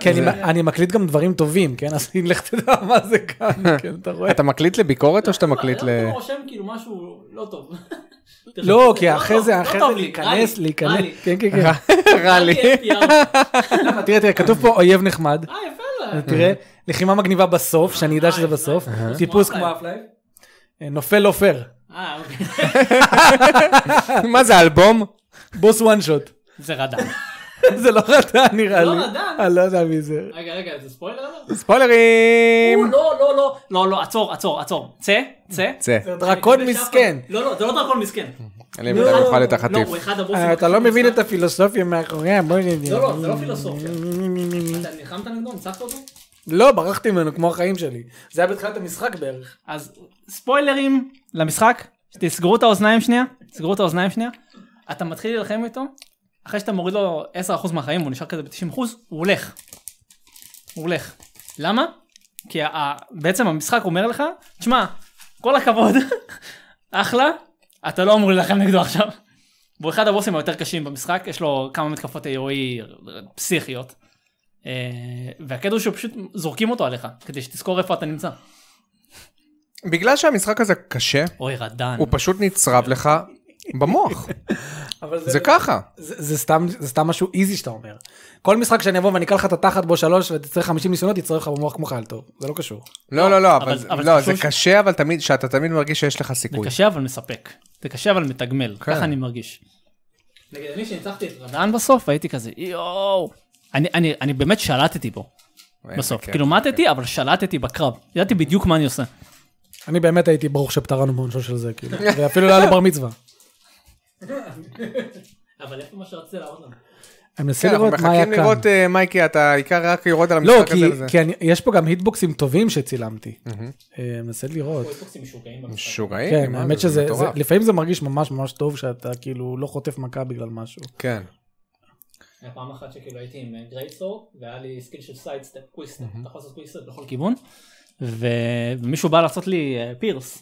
S1: כי כן, אני- אני מקליט גם דברים טובים, כן? אז לך תדע מה זה
S3: לא
S1: כאן, כן, אתה רואה?
S2: אתה מקליט לביקורת או שאתה מקליט ל...
S3: רושם כאילו משהו לא טוב.
S1: לא, כי אחרי זה, אחרי זה להיכנס, להיכנס, כן, כן, כן.
S2: רע לי.
S1: למה? תראה, תראה, כתוב פה אויב נחמד,
S3: אה, יפה לה.
S1: תראה,
S3: אה.
S1: לחימה מגניבה בסוף, שאני אדע שזה בסוף, טיפוס כמו אה,
S3: אפלייב.
S1: נופל לא פייר.
S3: אה, אוקיי.
S2: מה זה אלבום?
S1: בוס וואן שוט.
S3: זה רדאם.
S1: זה לא רדן נראה לי.
S3: לא רדן.
S1: אני לא יודע מי זה.
S3: רגע, רגע, זה ספוילר? אבל?
S2: ספוילרים!
S3: או, לא, לא, לא, לא, לא, עצור, עצור, עצור. צא, צא.
S2: צא.
S1: זה דרקון מסכן.
S3: לא, לא, זה לא דרקון מסכן.
S2: אני בטח אוכל את
S3: לא,
S2: החטיף.
S3: הוא אחד הבוסים.
S1: אה, אתה
S3: הכי
S1: לא מבין
S3: מוצלח.
S1: את הפילוסופיה מאחוריה, בוא נבין.
S3: לא, לא, זה לא פילוסופיה. אתה נלחמת נגדו, ניצחת אותו?
S1: לא, ברחתי ממנו כמו החיים שלי. זה היה בתחילת המשחק בערך.
S3: אז ספוילרים למשחק, תסגרו את האוזניים שנייה, תסגרו את האוזניים שנייה, אתה מתחיל להילחם איתו, אחרי שאתה מוריד לו 10% מהחיים, הוא נשאר כזה ב-90%, הוא הולך. הוא הולך. למה? כי ה- ה- בעצם המשחק אומר לך, תשמע, כל הכבוד, אחלה, אתה לא אמור להילחם נגדו עכשיו. והוא אחד הבוסים היותר קשים במשחק, יש לו כמה מתקפות AOE פסיכיות. אה, והקטע הוא שפשוט זורקים אותו עליך, כדי שתזכור איפה אתה נמצא.
S2: בגלל שהמשחק הזה קשה,
S3: אוי רדן.
S2: הוא פשוט נצרב לך במוח.
S1: אבל
S2: זה ככה.
S1: זה זה סתם זה סתם משהו איזי שאתה אומר. כל משחק שאני אבוא ואני אקח לך את התחת בו שלוש ותצטרך 50 ניסיונות יצטרך לך במוח כמו חייל טוב. זה לא קשור.
S2: לא, לא, לא,
S3: אבל-
S2: אבל
S3: אבל
S2: לא,
S3: חשוב
S2: זה
S3: ש-
S2: קשה, אבל תמיד, שאתה תמיד מרגיש שיש לך
S3: זה
S2: סיכוי.
S3: קשה אבל מספק. זה קשה אבל מתגמל,
S2: כן.
S3: ככה אני מרגיש. נגיד אני שניצחתי את רדן בסוף הייתי כזה יואו. אני, אני, אני באמת שלטתי בו
S2: אה,
S3: בסוף,
S2: כן.
S3: כאילו מתתי אבל שלטתי בקרב, ידעתי בדיוק מה אני עושה.
S1: אני באמת הייתי ברוך שפטרנו בעונשו של זה כאילו. ואפילו לא היה לו בר מצווה.
S3: אבל איפה מה שרציתי להראות לנו?
S1: אני מנסה
S2: כן, אנחנו
S1: לראות מה היה
S2: מחכים
S1: כאן.
S2: לראות, אה, מייקי, אתה העיקר רק לראות על
S1: לא,
S2: המשחק
S1: כי,
S2: הזה וזה.
S1: כי אני, יש פה גם היטבוקסים טובים שצילמתי. אה, מנסה לראות.
S2: משוגעים,
S1: כן,
S2: מה
S1: האמת
S2: זה, זה
S1: שזה, זה,
S2: מטורף.
S1: לפעמים זה מרגיש ממש ממש טוב שאתה כאילו לא חוטף מכה בגלל משהו.
S2: כן.
S3: היה פעם אחת שכאילו הייתי עם גרייסור, והיה לי סקיל של סיידסטפ, קוויסטפ, אתה יכול לעשות קוויסטפ בכל כיוון, ו- ומישהו בא לעשות לי אה, פירס,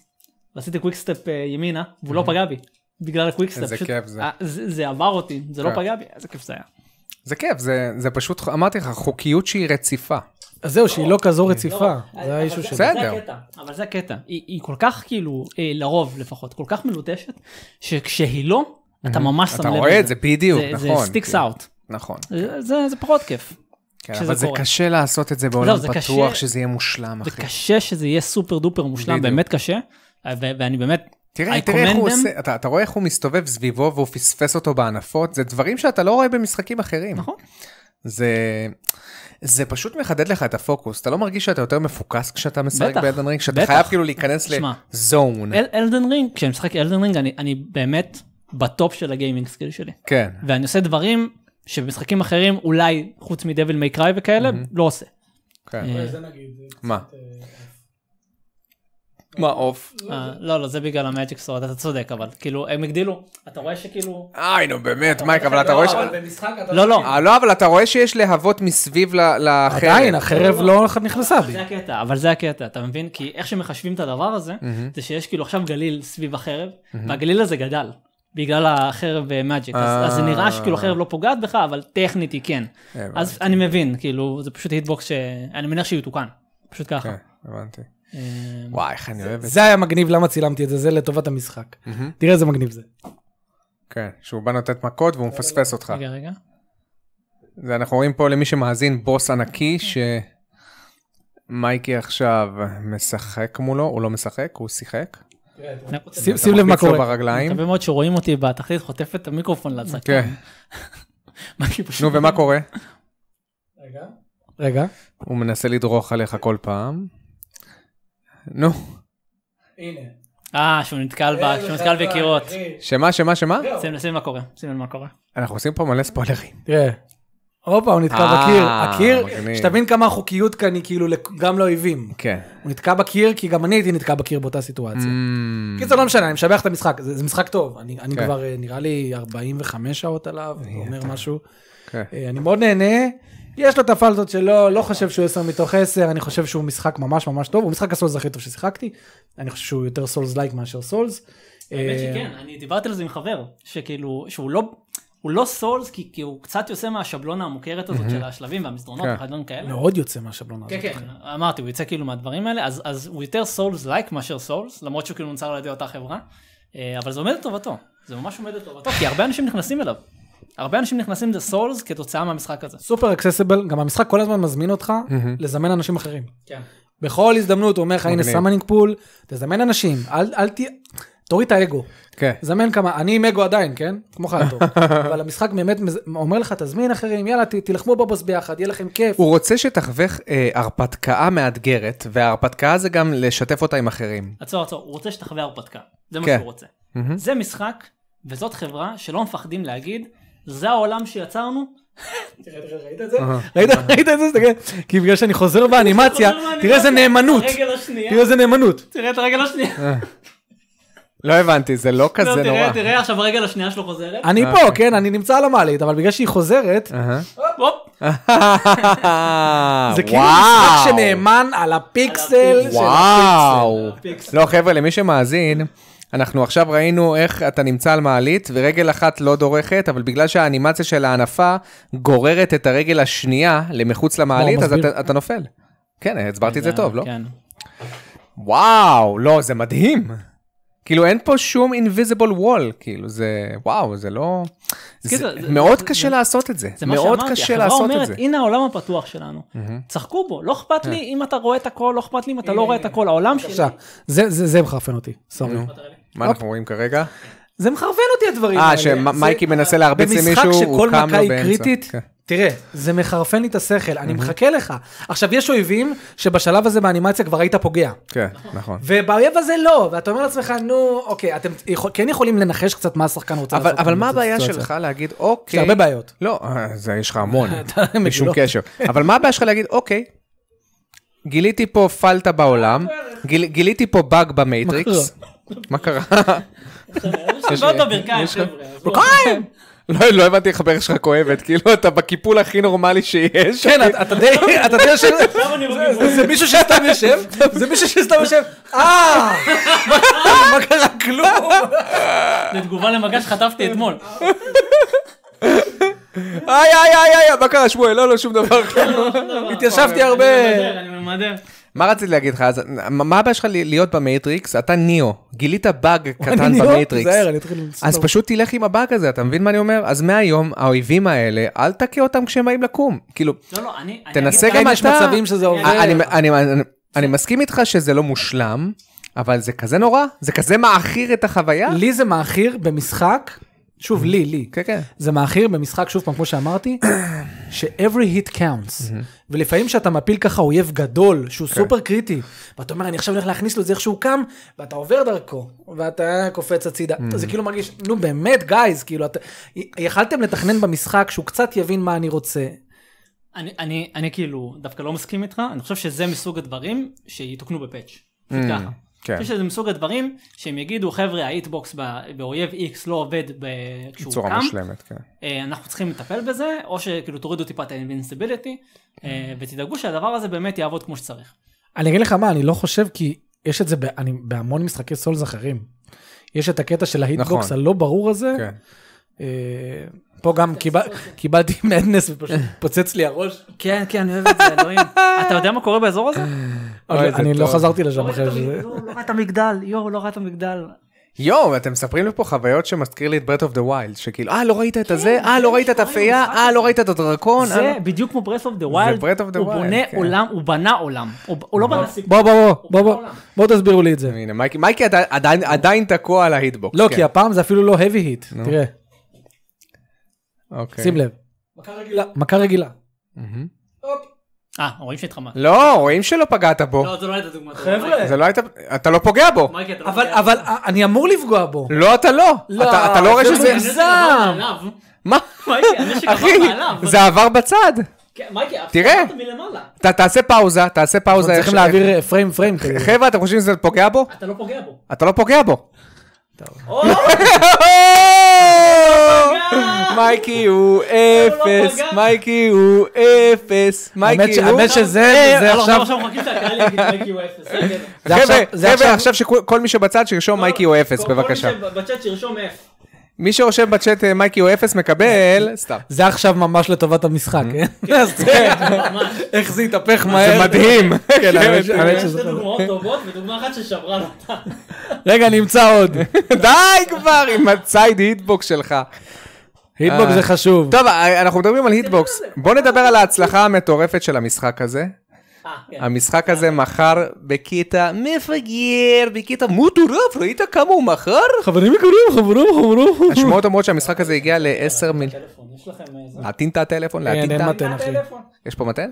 S3: ועשיתי קוויקסטפ אה, ימינה, והוא לא פגע בי, בגלל הקוויקסטפ.
S2: איזה
S3: פשוט-
S2: כיף זה.
S3: אה, זה זה עבר אותי, זה לא
S2: כן.
S3: פגע בי, איזה כיף זה היה.
S2: זה כיף, זה, זה פשוט, אמרתי לך, חוקיות שהיא רציפה.
S1: אז זהו, שהיא לא כזו רציפה,
S3: לא, אבל
S1: זה האישו
S3: זה-
S1: שלי.
S2: בסדר.
S3: זה הקטע, אבל זה הקטע. היא היא כל כך כאילו, אה, לרוב לפחות, כל כך מלוטשת, שכשהיא לא, אתה ממש שם לב.
S2: אתה רואה את זה, בדיוק, נכון.
S3: זה סטיקס
S2: כן.
S3: אאוט.
S2: נכון.
S3: זה פחות כיף.
S2: כן,
S3: כשזה
S2: אבל זה
S3: קורה.
S2: קשה לעשות את זה בעולם
S3: לא, זה
S2: פתוח,
S3: קשה.
S2: שזה יהיה מושלם,
S3: זה
S2: אחי.
S3: קשה שזה יהיה סופר דופר מושלם,
S2: בדיוק.
S3: באמת קשה, ו- ואני באמת,
S2: תראה,
S3: I
S2: תראה איך
S3: commend
S2: הוא
S3: them.
S2: עושה, אתה, אתה רואה איך הוא מסתובב סביבו והוא פספס אותו בענפות, זה דברים שאתה לא רואה במשחקים אחרים.
S3: נכון.
S2: זה, זה פשוט מחדד לך את הפוקוס, אתה לא מרגיש שאתה יותר מפוקס כשאתה משחק
S3: בטח,
S2: באלדן רינג, שאתה
S3: בטח.
S2: חייב כאילו להיכנס
S3: שמע.
S2: לזון.
S3: אל- אלדן רינג, כשאני משחק אלדן רינג, אני- אני באמת בטופ של הגיימינג סקיל שלי.
S2: כן,
S3: ואני עושה דברים שבמשחקים אחרים, אולי חוץ מדביל מיי קריי וכאלה, לא עושה.
S2: כן.
S3: אה,
S2: מה? מה עוף?
S3: אה, לא, לא, זה בגלל המאג'יק סורד, אתה צודק, אבל כאילו, הם הגדילו, אתה רואה שכאילו...
S2: איי, נו באמת, מייק, אבל אתה רואה ש...
S3: לא, לא,
S2: אה, לא, אבל אתה רואה שיש להבות מסביב ל- לחרב.
S1: עדיין, החרב
S3: לא,
S1: לא נכנסה בי.
S3: זה הקטע, אבל זה הקטע, אתה מבין? כי איך שמחשבים את הדבר הזה, זה שיש כאילו עכשיו גליל סביב החרב, והגליל הזה גדל. בגלל החרב אה, מאג'יק, אז אז זה נראה שכאילו החרב לא פוגעת בך, אבל טכנית היא כן.
S2: הבנתי.
S3: אז אני מבין, כאילו, זה פשוט היטבוקס שאני מניח שיתוקן, פשוט ככה.
S2: כן, הבנתי.
S3: אה,
S2: וואי, איך אני אוהב את זה.
S1: זה היה מגניב, למה צילמתי את זה? זה לטובת המשחק. תראה איזה מגניב זה.
S2: כן, שהוא בא לתת מכות והוא מפספס אותך.
S3: רגע, רגע.
S2: זה אנחנו רואים פה למי שמאזין בוס ענקי שמייקי עכשיו משחק מולו, הוא לא משחק, הוא שיחק.
S1: שים- שים לב מה
S2: קופץ לו
S1: קורה.
S2: ברגליים.
S3: מקווה מאוד שרואים אותי בתחתית חוטף את המיקרופון להצגה.
S2: כן, נו ומה קורה?
S1: רגע.
S2: הוא מנסה לדרוך עליך כל פעם. נו,
S1: הנה.
S3: אה, שהוא נתקל בה, שהוא נתקל בקירות.
S2: שמה, שמה, שמה?
S3: שים לב, שים לב מה קורה, שים לב מה קורה.
S2: אנחנו עושים פה מלא ספוילרים.
S1: תראה. הופה, הוא נתקע
S2: אה,
S1: בקיר. הקיר,
S2: מגניב.
S1: שתבין כמה החוקיות כאן היא כאילו לכ- גם לאויבים.
S2: כן.
S1: הוא נתקע בקיר כי גם אני הייתי נתקע בקיר באותה סיטואציה.
S2: Mm.
S1: קיצר לא משנה אני משבח את המשחק זה, זה משחק טוב אני, אני
S2: כן.
S1: כבר אה, נראה לי 45 שעות עליו זה אומר משהו
S2: כן.
S1: אה, אני מאוד נהנה יש לו את הפלטות שלו לא חושב שהוא 10 מתוך 10 אני חושב שהוא משחק ממש ממש טוב הוא משחק הסולס הכי טוב ששיחקתי אני חושב שהוא יותר סולס לייק מאשר סולס. אה,
S3: האמת שכן, אני דיברתי על זה עם חבר, שכאילו, שהוא לא, הוא לא סולס, כי כי הוא קצת יוצא מהשבלונה המוכרת הזאת של השלבים והמסדרונות
S2: כן.
S3: והדברים כאלה.
S1: מאוד יוצא מהשבלונה
S3: כן,
S1: הזאת.
S3: כן, אמרתי, הוא יוצא כאילו מהדברים האלה, אז- אז הוא יותר סולס לייק מאשר סולס, למרות שהוא כאילו נוצר על ידי אותה חברה, אה, אבל זה עומד לטובתו, זה ממש עומד לטובתו, כי הרבה אנשים נכנסים אליו. הרבה אנשים נכנסים לסולס כתוצאה מהמשחק הזה.
S1: סופר אקססיבל גם המשחק כל הזמן מזמין אותך לזמן אנשים אחרים.
S3: כן.
S1: בכל הזדמנות הוא אומר לך הנה
S2: מגניב.
S1: סמנינג פול תזמן אנשים אל, אל תהיה. תוריד את האגו.
S2: כן.
S1: זמן כמה, אני עם אגו עדיין, כן? כמו חלטור. אבל המשחק באמת מז- אומר לך, תזמין אחרים, יאללה, ת- תילחמו בבוס ביחד, יהיה לכם כיף.
S2: הוא רוצה שתחווה אה, הרפתקה מאתגרת, וההרפתקה זה גם לשתף אותה עם אחרים.
S3: עצור עצור, הוא רוצה שתחווה הרפתקה, זה מה
S2: כן.
S3: שהוא רוצה. זה משחק, וזאת חברה שלא מפחדים להגיד, זה העולם שיצרנו,
S1: ראית את זה? ראית ראית את זה? תסתכל. כי בגלל שאני חוזר באנימציה, תראה איזה נאמנות.
S3: הרגל השנייה,
S1: תראה איזה נאמנות.
S3: תראה את הרגל השנייה,
S2: לא הבנתי, זה לא
S3: לא,
S2: כזה
S3: תראה,
S2: נורא.
S3: תראה עכשיו הרגל השנייה שלו חוזרת,
S1: אני פה, כן? אני נמצא על המעלית, אבל בגלל שהיא חוזרת,
S2: אהה.
S3: הופ,
S2: אה,
S1: זה כאילו משחק שנאמן על הפיקסל. של
S2: וואו.
S3: הפיקסל.
S2: לא, חבר'ה, למי שמאזין, אנחנו עכשיו ראינו איך אתה נמצא על מעלית, ורגל אחת לא דורכת, אבל בגלל שהאנימציה של הענפה גוררת את הרגל השנייה למחוץ למעלית,
S1: וואו,
S2: אז
S1: מסביר.
S2: אתה- אתה נופל. כן, הסברתי את זה טוב, לא?
S3: כן.
S2: וואו, לא, זה מדהים. כאילו אין פה שום invisible wall, כאילו זה, וואו, זה לא... זה
S3: כאילו, זה-
S2: מאוד
S3: זה-
S2: קשה לעשות את זה.
S3: זה מה
S2: מאוד
S3: שאמרתי,
S2: קשה
S3: החברה
S2: לעשות את
S3: אומרת,
S2: זה. כן.
S3: הנה העולם הפתוח שלנו, צחקו בו, לא אכפת לי אם אתה רואה את הכל, לא אכפת לי אם אתה לא רואה את הכל, העולם שלי.
S1: עכשיו, זה- זה זה מחרפן אותי, סורי.
S2: מה אנחנו רואים כרגע?
S1: זה מחרפן אותי הדברים האלה.
S2: אה, שמייקי
S1: זה-
S2: מנסה להרביץ
S1: במשחק
S2: למישהו, הוא
S1: שכל
S2: קם לו
S1: מכה
S2: באמצע.
S1: היא קריטית,
S2: כן.
S1: תראה, זה מחרפן לי את השכל, אני מחכה לך. עכשיו, יש אויבים שבשלב הזה באנימציה כבר היית פוגע.
S2: כן, נכון.
S1: ובאויב הזה לא, ואתה אומר לעצמך, נו, אוקיי, אתם יכול- כן יכולים לנחש קצת מה השחקן רוצה
S2: אבל,
S1: לעשות.
S2: אבל
S1: עם
S2: מה הבעיה
S1: הסיטואציה.
S2: שלך להגיד, אוקיי...
S1: הרבה בעיות.
S2: לא, אה, זה יש לך המון,
S1: האמת,
S2: בשום
S1: לא.
S2: קשר. אבל מה הבעיה שלך להגיד, אוקיי, גיליתי פה פלטה בעולם, גיל- גיליתי פה באג במייטריקס. מה קרה?
S3: יש לו את הברכיים, חבר'ה. אז בואו.
S2: לא, לא הבנתי איך הברך שלך כואבת, כאילו אתה בקיפול הכי נורמלי שיש.
S1: כן, אתה- אתה די, אתה די יושב,
S3: עכשיו אני מבין.
S1: זה- זה מישהו שסתם יושב, זה מישהו שסתם יושב, אה, מה קרה? כלום.
S3: זה תגובה למגע שחטפתי אתמול.
S2: איי, איי, איי, איי, מה קרה, שמואל? לא, לא, שום דבר. כן,
S1: התיישבתי הרבה.
S3: אני ממדר, אני ממדר.
S2: מה רציתי להגיד לך, אז מה הבעיה שלך להיות במייטריקס? אתה ניאו, גילית באג קטן
S1: אני לא-
S2: במייטריקס.
S1: תיזהר, אני לא- אתחיל לסתום.
S2: אז פשוט תלך עם הבאג הזה, אתה מבין מה אני אומר? אז מהיום, האויבים האלה, אל תכה אותם כשהם באים לקום. כאילו,
S3: לא, לא, אני... אני
S2: תנסה
S3: אגיד
S2: גם
S1: כן,
S2: אתה...
S1: יש מצבים שזה עובר.
S2: אני- אני- אני- אני מסכים איתך שזה לא מושלם, אבל זה כזה נורא, זה כזה מעכיר את החוויה.
S1: לי זה מעכיר במשחק, שוב, לי, לי.
S2: כן, כן.
S1: זה מעכיר במשחק, שוב פעם, כמו שאמרתי, ש-every hit counts. ולפעמים כשאתה מפיל ככה אויב גדול, שהוא
S2: כן.
S1: סופר קריטי, ואתה אומר, אני עכשיו הולך להכניס לו את זה איך שהוא קם, ואתה עובר דרכו, ואתה קופץ הצידה. זה כאילו מרגיש, נו באמת, גייז, כאילו, אתה- י- יכלתם לתכנן במשחק שהוא קצת יבין מה אני רוצה.
S3: אני, אני, אני כאילו דווקא לא מסכים איתך, אני חושב שזה מסוג הדברים שיתוקנו בפאץ'. פשוט
S2: Mm,
S3: ככה.
S2: כן.
S3: אני חושב שזה מסוג הדברים שהם יגידו, חבר'ה, האיטבוקס ב- באויב X לא עובד ב- כשהוא קם.
S2: בצורה מושלמת, כן.
S3: אה, אנחנו צריכים לטפל בזה, או שכאילו תורידו טיפה את האינבינסיביליטי, אה, ותדאגו שהדבר הזה באמת יעבוד כמו שצריך.
S1: אני אגיד לך מה, אני לא חושב, כי יש את זה ב- אני- בהמון משחקי סולס אחרים. יש את הקטע של ההיטבוקס
S2: נכון.
S1: הלא ברור הזה,
S2: כן.
S1: אה, פה גם קיבל- קיבלתי מדנס ופשוט פוצץ לי הראש.
S3: כן, כן, אני אוהב את זה, אלוהים. אתה יודע מה קורה באזור הזה?
S2: אוי, זה
S1: אני לא
S2: טוב.
S1: חזרתי לשם אחרי שזה.
S3: לא ראה את המגדל, יואו, לא ראה את המגדל.
S2: יואו, אתם מספרים לי פה חוויות שמזכיר לי את ברט אוף דה ווילד, שכאילו, אה, לא ראית את הזה? אה, לא ראית את הפייה? אה, לא ראית את הדרקון? אה,
S3: זה
S2: לא-
S3: בדיוק כמו ברס אוף דה ווילד,
S2: Breath of the
S3: הוא
S2: Wild,
S3: בונה
S2: כן. נכון.
S3: עולם, הוא בנה עולם, הוא הוא לא בנה סיפור.
S1: בוא בוא בוא בוא בוא תסבירו לי את זה.
S2: הנה, מייקי, מייקי עדיין- עדיין- עדיין תקוע על ההיטבוקס.
S1: לא
S2: כן.
S1: כי הפעם זה אפילו לא heavy hit. תראה
S2: אוקיי.
S1: שים לב. מכה
S3: לא.
S1: רגילה. מכה רגילה.
S2: מהמם.
S3: אה, רואים שהתחמק.
S2: לא, רואים שלא פגעת בו.
S3: לא, זה לא הייתה דוגמא.
S1: חבר'ה.
S2: זה לא היית... אתה לא פוגע בו.
S3: מייקי, אתה לא
S1: אבל
S3: יודע.
S1: אבל אה, אני אמור לפגוע בו.
S2: לא, אתה לא. אתה אתה לא רואה
S1: זה
S2: שזה...
S1: מוגזם.
S3: הנשק עבר מעליו.
S2: מה?
S3: מייקי, הנשק עבר
S2: אחי,
S3: מעליו.
S2: זה עבר בצד.
S3: כן, מייקי, אף
S2: תראה.
S3: אחד מלמעלה.
S2: אתה תעשה פאוזה, תעשה פאוזה.
S1: צריכים
S2: יש-
S1: להעביר אה, פריים פריים. כזה.
S2: חבר'ה, אתם חושבים שזה פוגע בו?
S3: אתה לא פוגע בו.
S2: אתה לא פוגע בו.
S3: או,
S2: מייקי הוא אפס,
S3: לא, פגע.
S2: מייקי הוא אפס,
S1: האמת
S2: מייקי
S1: ש-
S2: הוא...
S1: האמת שזה
S2: אה,
S1: זה
S3: לא,
S1: עכשיו.
S3: לא, עכשיו מחכים שהקהל יגיד מייקי הוא אפס.
S1: זה
S3: זה הקטע.
S2: חבר'ה,
S1: עכשיו- זה
S2: חבר'ה,
S1: עכשיו-
S2: עכשיו שכל מי שבצד שירשום מייקי הוא אפס, בבקשה.
S3: לא, כל מי שבצ'אט שירשום אפס.
S2: מי שרושם בצ'אט אה, מייקי הוא אפס מקבל... סתם.
S1: זה עכשיו ממש לטובת המשחק.
S2: אה.
S1: כן? אז תראה, איך זה יתהפך מהר.
S2: זה מדהים.
S1: כן, האמת ש- האמת
S3: שתי
S1: שזה-
S3: דוגמאות טובות ודוגמה אחת ששברה לו אותה.
S1: רגע, אני אמצא עוד.
S2: די כבר עם הצייד היטבוקס שלך.
S1: היטבוק
S2: אה.
S1: זה חשוב.
S2: טוב, אנחנו מדברים על היטבוקס. בוא נדבר על ההצלחה המטורפת של המשחק הזה.
S3: אה, כן.
S2: המשחק הזה מכר בקטע מפגר, בקטע מטורף, ראית כמה הוא מכר?
S1: חברים יקרים, חברים, חברים.
S2: השמועות אומרות שהמשחק הזה הגיע ל-10 מיל...
S3: טלפון, יש לכם אה, איזה?
S2: להטעין את הטלפון, להטעין
S1: כן, אין
S2: את ה...
S1: מתן, אחי.
S2: יש פה מתן?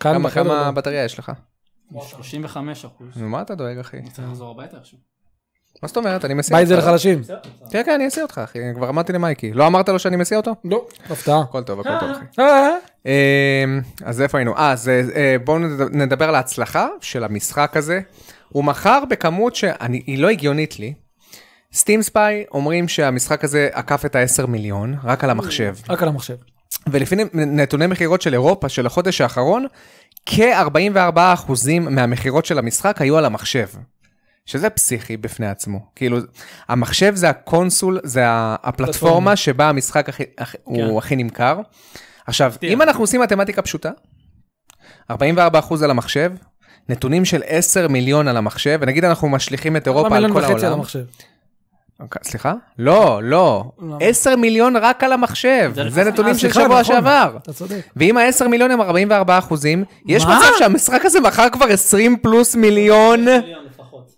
S1: כאן
S2: כמה-
S1: בחדר
S2: כמה
S1: לא.
S2: בטריה יש לך?
S3: 35 אחוז.
S2: נו, מה אתה דואג, אחי?
S3: אני צריך לחזור הביתה עכשיו.
S2: מה זאת אומרת? אני מסיע
S1: בית זה
S2: אותך.
S1: לחלשים.
S2: כן, כן, אני אסיע אותך, אחי. כבר אמרתי למייקי. לא אמרת לו שאני מסיע אותו?
S1: לא, הפתעה.
S2: הכל טוב, הכל טוב, אחי.
S1: אה,
S2: אמ, אז איפה היינו? אה, אז אה, בואו נד- נדבר על ההצלחה של המשחק הזה. הוא מכר בכמות שהיא לא הגיונית לי. סטים ספיי אומרים שהמשחק הזה עקף את ה-10 מיליון, רק על המחשב.
S1: רק על המחשב.
S2: ולפי נתוני מכירות של אירופה של החודש האחרון, כ-44% מהמכירות של המשחק היו על המחשב. שזה פסיכי בפני עצמו. כאילו, המחשב זה הקונסול, זה ה- הפלטפורמה
S1: פלטפורמה.
S2: שבה המשחק הכי, הכי,
S1: כן.
S2: הוא הכי נמכר. עכשיו,
S3: תראה.
S2: אם אנחנו עושים מתמטיקה פשוטה, 44% על המחשב, נתונים של 10 מיליון על המחשב, ונגיד אנחנו משליכים את אירופה על
S1: מיליון
S2: כל
S1: וחצי לא על
S2: העולם.
S1: המחשב.
S2: אוקיי, סליחה? לא, לא.
S1: למה?
S2: 10 מיליון רק על המחשב.
S3: זה
S2: זה
S3: לפני-
S2: נתונים
S1: אה,
S2: של
S1: סליחה,
S2: שבוע
S1: נכון.
S2: שעבר.
S1: אתה צודק.
S2: ואם ה-10 מיליון הם 44 אחוזים, יש
S1: מה?
S2: מצב שהמשחק הזה מכר כבר 20 פלוס מיליון?
S3: מיליון לפחות.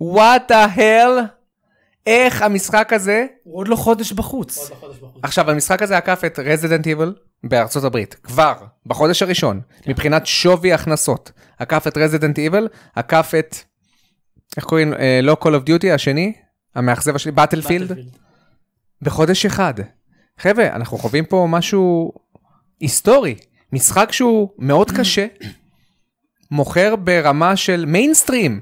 S2: וואט ההל? איך המשחק הזה...
S1: הוא עוד לא חודש בחוץ.
S3: עוד בחודש בחוץ.
S2: עכשיו, המשחק הזה עקף את רזידנט איבל בארצות הברית, כבר, בחודש הראשון,
S3: כן.
S2: מבחינת שווי הכנסות. עקף את רזידנט איבל, עקף את... איך קוראים? אה, לא Call of Duty, השני? המאכזב השני? באטלפילד? בחודש אחד. חבר'ה, אנחנו חווים פה משהו היסטורי. משחק שהוא מאוד קשה, מוכר ברמה של מיינסטרים.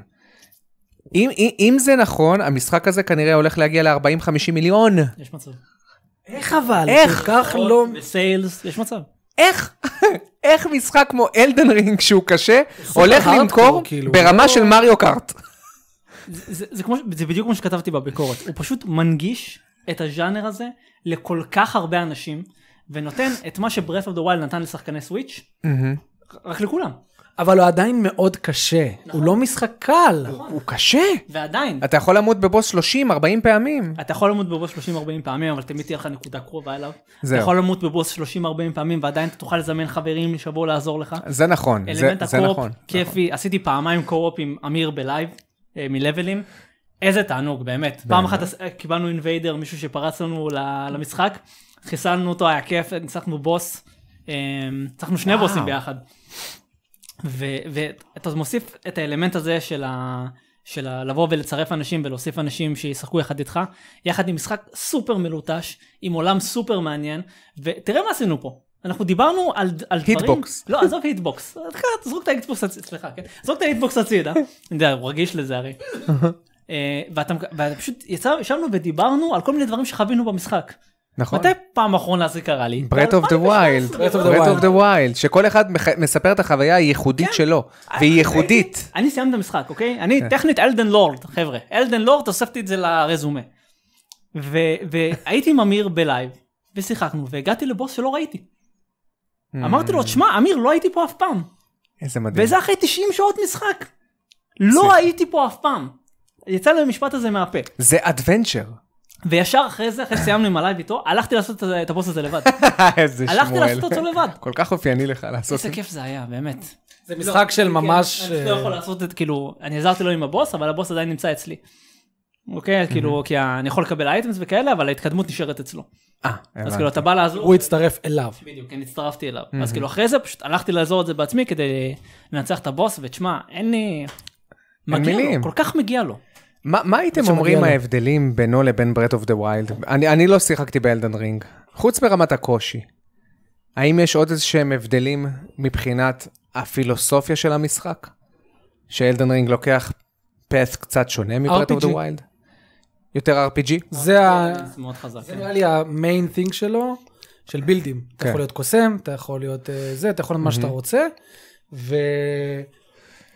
S2: אם, אם, אם זה נכון, המשחק הזה כנראה הולך להגיע ל-40-50 מיליון.
S3: יש מצב.
S1: איך אבל?
S2: איך?
S1: כל כך לא...
S3: בסיילס, יש מצב.
S2: איך, איך משחק כמו אלדן רינג שהוא קשה, הולך
S1: הארדקור,
S2: למכור
S1: כאילו,
S2: ברמה של מריו קארט?
S3: זה- זה זה כמו ש- זה בדיוק כמו שכתבתי בביקורת הוא פשוט מנגיש את הז'אנר הזה לכל כך הרבה אנשים ונותן את מה שברף אוף דה ווילד נתן לשחקני סוויץ' רק לכולם
S1: אבל הוא עדיין מאוד קשה. הוא לא משחק קל.
S2: הוא קשה.
S3: ועדיין
S2: אתה יכול למות בבוס 30-40 פעמים.
S3: אתה יכול למות בבוס 30-40 פעמים אבל תמיד תהיה לך נקודה קרובה אליו אתה
S2: זהו.
S3: יכול למות בבוס 30-40 פעמים ועדיין אתה תוכל לזמן חברים שיבואו לעזור לך
S2: זה נכון, זה,
S3: אלמנט
S2: זה
S3: הקו-אופ
S2: נכון.
S3: כיפי עשיתי פעמיים קו-אופ עם אמיר בלייב אה, מלבלים. איזה תענוג באמת פעם אחת עש- אה, קיבלנו אינוויידר מישהו שפרץ לנו ל- למשחק חיסלנו אותו היה כיף ניצחנו בוס אה, ניצחנו שני בוסים ביחד. ואתה מוסיף את האלמנט הזה של ה... של ה- לבוא ולצרף אנשים ולהוסיף אנשים שישחקו יחד איתך, יחד עם משחק סופר מלוטש, עם עולם סופר מעניין, ותראה מה עשינו פה. אנחנו דיברנו על, על דברים...
S2: היטבוקס.
S3: לא, עזוב היטבוקס. זרוק את ההיטבוקס הצידה, סליחה, כן? זרוק את ההיטבוקס הצידה. אני יודע, הוא רגיש לזה הרי. אה, ואתה ואתה פשוט יצא- ישבנו ודיברנו על כל מיני דברים שחווינו במשחק.
S2: נכון.
S3: מתי פעם אחרונה זה קרה לי?
S2: ברט אוף דה ויילד,
S1: Breath of the
S2: ברט אוף
S1: Wild.
S2: דה ויילד, שכל אחד מח- מספר את החוויה הייחודית
S3: כן.
S2: שלו,
S3: אה,
S2: והיא ייחודית.
S3: אני סיימתי את המשחק, אוקיי? אני טכנית אלדן לורד, חבר'ה. אלדן לורד, הוספתי את זה לרזומה. ו- והייתי עם אמיר בלייב, ושיחקנו, והגעתי לבוס שלא ראיתי. אמרתי לו, תשמע, אמיר, לא הייתי פה אף פעם.
S2: איזה מדהים.
S3: אה. וזה אחרי 90 שעות משחק. לא הייתי פה אף פעם. יצא לי המשפט הזה מהפה.
S2: זה אדוונצ'ר.
S3: וישר אחרי זה, אחרי שסיימנו עם הלייב איתו, הלכתי לעשות את- את הבוס הזה לבד.
S2: איזה שמואל.
S3: הלכתי לעשות אותו לבד.
S2: כל כך אופייני לך לעשות.
S3: איזה כיף זה היה, באמת.
S1: זה משחק של ממש...
S3: לא, כן, אני פשוט לא יכול לעשות את, כאילו, אני עזרתי לו עם הבוס, אבל הבוס עדיין נמצא אצלי. אוקיי, כאילו, כי אני יכול לקבל אייטמס וכאלה, אבל ההתקדמות נשארת אצלו.
S2: אה,
S3: אז
S2: הבנתי.
S3: כאילו, אתה בא לעזור.
S1: הוא הצטרף אליו.
S3: בדיוק, כן, הצטרפתי אליו. אז כאילו, אחרי זה פשוט הלכתי לעזור את זה בעצמי כדי לנצח את הבוס, ותשמע, אין לי... מגיע
S2: מילים.
S3: לו, כל כך מגיע לו.
S2: מה מה הייתם
S1: שמגיע
S2: אומרים
S1: לו.
S2: ההבדלים בינו לבין ברט אוף דה ויילד? אני לא שיחקתי באלדן רינג. חוץ מרמת הקושי. האם יש עוד איזה שהם הבדלים מבחינת הפילוסופיה של המשחק? שאלדן רינג לוקח פאס קצת שונה מברט אוף דה
S1: RPG.
S2: ויילד? יותר RPG?
S1: זה ה...
S3: זה מאוד חזק.
S1: זה לא- נראה לי המיין תינג שלו, של בילדים. אתה
S2: כן.
S1: יכול להיות קוסם, אתה יכול להיות אה, זה, אתה יכול להיות מה שאתה רוצה, ו...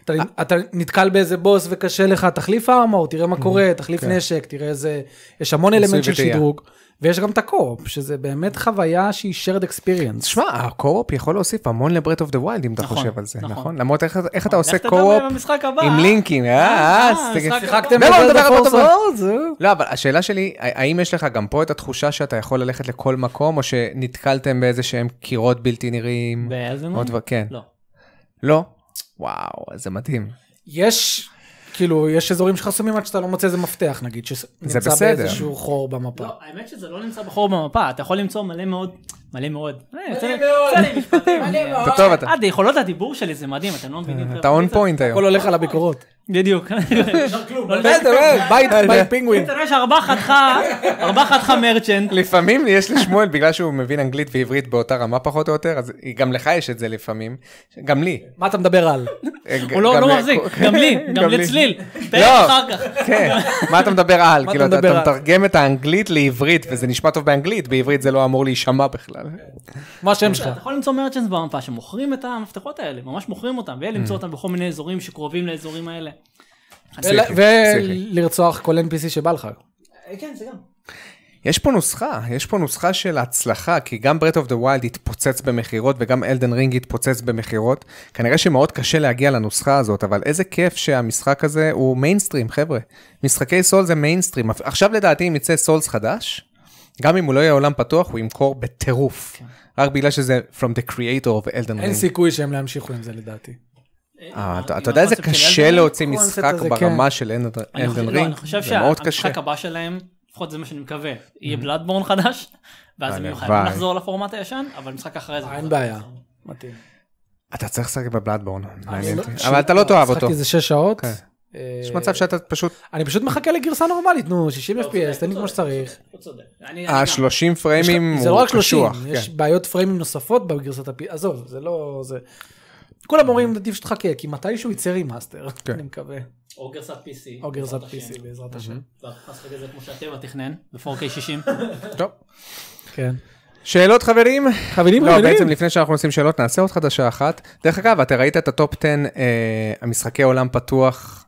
S1: אתה- אתה נתקל באיזה בוס וקשה לך, תחליף ארמור, תראה מה קורה, תחליף נשק, תראה איזה... יש המון אלמנט של
S2: כן. וטעייה.
S1: שדרוג, ויש גם את הקו-אופ, שזה באמת חוויה שהיא shared experience.
S2: תשמע, הקו-אופ יכול להוסיף המון לברט אוף דה ויילד, אם אתה
S3: נכון,
S2: חושב על זה,
S3: נכון.
S2: נכון? למרות איך- איך אתה עושה
S3: לך תדבר
S2: קו-אופ
S3: במשחק הבא,
S2: עם
S3: אה?
S2: לינקים, אה,
S3: אה,
S2: אז תגיד- לא,
S3: משחק-
S1: שיחקתם
S2: בואו
S1: ב-Breath
S2: נדבר
S1: of
S2: על Breath of the
S1: Wild?
S2: לא, אבל השאלה שלי, ה- האם יש לך גם פה את התחושה שאתה יכול ללכת לכל מקום, או שנתקלתם באיזה שהם קירות בלתי נראים?
S3: באלדן
S2: עוד
S3: רינג?
S2: דבר, כן.
S3: לא.
S2: לא? וואו, זה מדהים.
S1: יש, כאילו, יש אזורים שחסומים עד שאתה לא מוצא איזה מפתח, נגיד, שנמצא
S2: בסדר.
S1: באיזשהו חור במפה.
S3: לא, האמת שזה לא נמצא בחור במפה, אתה יכול למצוא מלא מאוד, מלא מאוד. אה, יוצא לי-
S1: מאוד.
S3: יוצא לי משפטים.
S2: אתה טוב, אתה-
S3: עד יכולות הדיבור שלי זה מדהים, אתם לא מבינים.
S2: אתה און פוינט היום.
S1: הכל הולך על הביקורות.
S3: בדיוק. לא,
S2: בסדר, אה, בית
S1: ביי
S2: בית פינג.
S1: פינגווין.
S3: אתה רואה שארבע חתיכה, ארבע חתיכה מרצ'נט.
S2: לפעמים יש לשמואל, בגלל שהוא מבין אנגלית ועברית באותה רמה פחות או יותר, אז גם לך יש את זה לפעמים, גם לי.
S1: מה אתה מדבר על?
S3: הוא לא
S2: אה, גם-
S3: לא מחזיק, גם לי, גם לצליל. פרק אחר כך.
S2: לא. כן, מה אתה מדבר על?
S1: מה
S2: כאילו,
S1: אתה
S2: אתה
S1: מדבר
S2: אתה
S1: על?
S2: מתרגם את האנגלית לעברית, וזה נשמע טוב באנגלית, בעברית זה לא אמור להישמע בכלל.
S1: מה השם שלך?
S3: אתה יכול למצוא מרצ'נטס במפה שמוכרים את המפתחות האלה, ממש מוכרים אותם,
S2: Mm.
S3: ולמצוא אותם בכל מיני אזורים שקרובים לאזורים האלה.
S1: אה,
S2: פסיכי, פסיכי.
S1: ולרצוח כל NPC שבא לך.
S3: כן, זה גם.
S2: יש פה נוסחה, יש פה נוסחה של הצלחה, כי גם ברט אוף דה ווילד התפוצץ במכירות וגם אלדן רינג התפוצץ במכירות. כנראה שמאוד קשה להגיע לנוסחה הזאת, אבל איזה כיף שהמשחק הזה הוא מיינסטרים, חבר'ה. משחקי סול זה מיינסטרים. עכשיו לדעתי אם יצא סולס חדש, גם אם הוא לא יהיה עולם פתוח, הוא ימכור בטירוף. רק בגלל שזה From the creator of אלדן
S1: אין
S2: רינג.
S1: סיכוי שהם לא ימשיכו עם זה לדעתי.
S3: אה,
S2: אה, אתה אתה יודע איזה קשה להוציא
S1: הקונספט
S2: משחק
S1: הזה,
S2: ברמה של אלדן
S3: אני חושב-
S2: אלדן
S3: לא, אני
S2: רינג?
S3: חושב
S2: זה מאוד קשה. Mm.
S3: שהמשחק הבא שלהם, לפחות זה מה שאני מקווה, יהיה בלאדבורן חדש, ואז הם יהיו
S2: הלוואי.
S3: חייבים לחזור לפורמט הישן, אבל משחק אחרי זה.
S1: אין בעיה. מתאים.
S2: אתה צריך לשחק בבלאדבורן, מעניין אותי. אבל אתה לא תאהב אותו. כן.
S1: שחקתי איזה 6 שעות. אה,
S2: יש מצב שאתה פשוט
S1: אני פשוט מחכה לגרסה נורמלית, נו,
S3: לא,
S1: 60 FPS, תן לי כמו שצריך.
S3: הוא צודק. אני- אני גם-
S2: אה, 30 פריימים
S1: זה לא
S2: הוא
S1: רק 30,
S2: קשוח,
S1: יש
S2: כן.
S1: בעיות פריימים נוספות בגרסת הפי... עזוב, זה לא... זה... כולם אומרים, עדיף שתחכה, כי מתישהו יצא רימאסטר,
S2: כן.
S1: אני מקווה.
S3: או גרסת PC.
S1: או גרסת
S3: בעזרת השם.
S1: PC בעזרת השם.
S3: ואנחנו נשחק את זה כמו שהטבע תכנן, ב-4K 60.
S2: טוב.
S1: כן.
S2: שאלות חברים?
S1: חברים,
S2: לא,
S1: חברים.
S2: בעצם לפני שאנחנו עושים שאלות נעשה עוד חדשה אחת. דרך אגב, אתה ראית את הטופ 10 אה, המשחקי עולם פתוח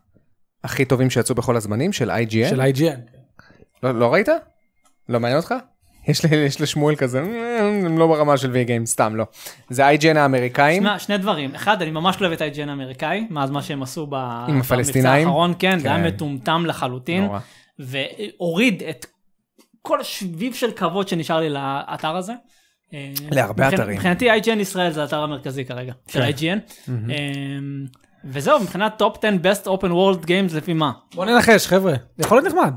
S2: הכי טובים שיצאו בכל הזמנים של IGN?
S1: של IGN.
S2: לא- לא ראית? לא מעניין אותך? יש לי- יש לשמואל כזה, "אה, הם לא ברמה של V-Game, סתם לא. זה IGN האמריקאים.
S3: תשמע, שני דברים. אחד, אני ממש לא אוהב את ה-IGN האמריקאי, מאז מה שהם עשו ב-
S2: עם הפלסטינאים?
S3: במבצע האחרון, כן, זה
S2: כן.
S3: היה מטומטם לחלוטין.
S2: נורא.
S3: והוריד את כל שביב של כבוד שנשאר לי לאתר הזה. אה,
S2: להרבה
S3: מבחינת-
S2: אתרים. כן.
S3: מבחינתי IGN ישראל זה האתר המרכזי כרגע, של IGN. אמ, וזהו, מבחינת טופ 10 best open world games לפי מה?
S1: בוא ננחש, חבר'ה. יכול להיות נחמד.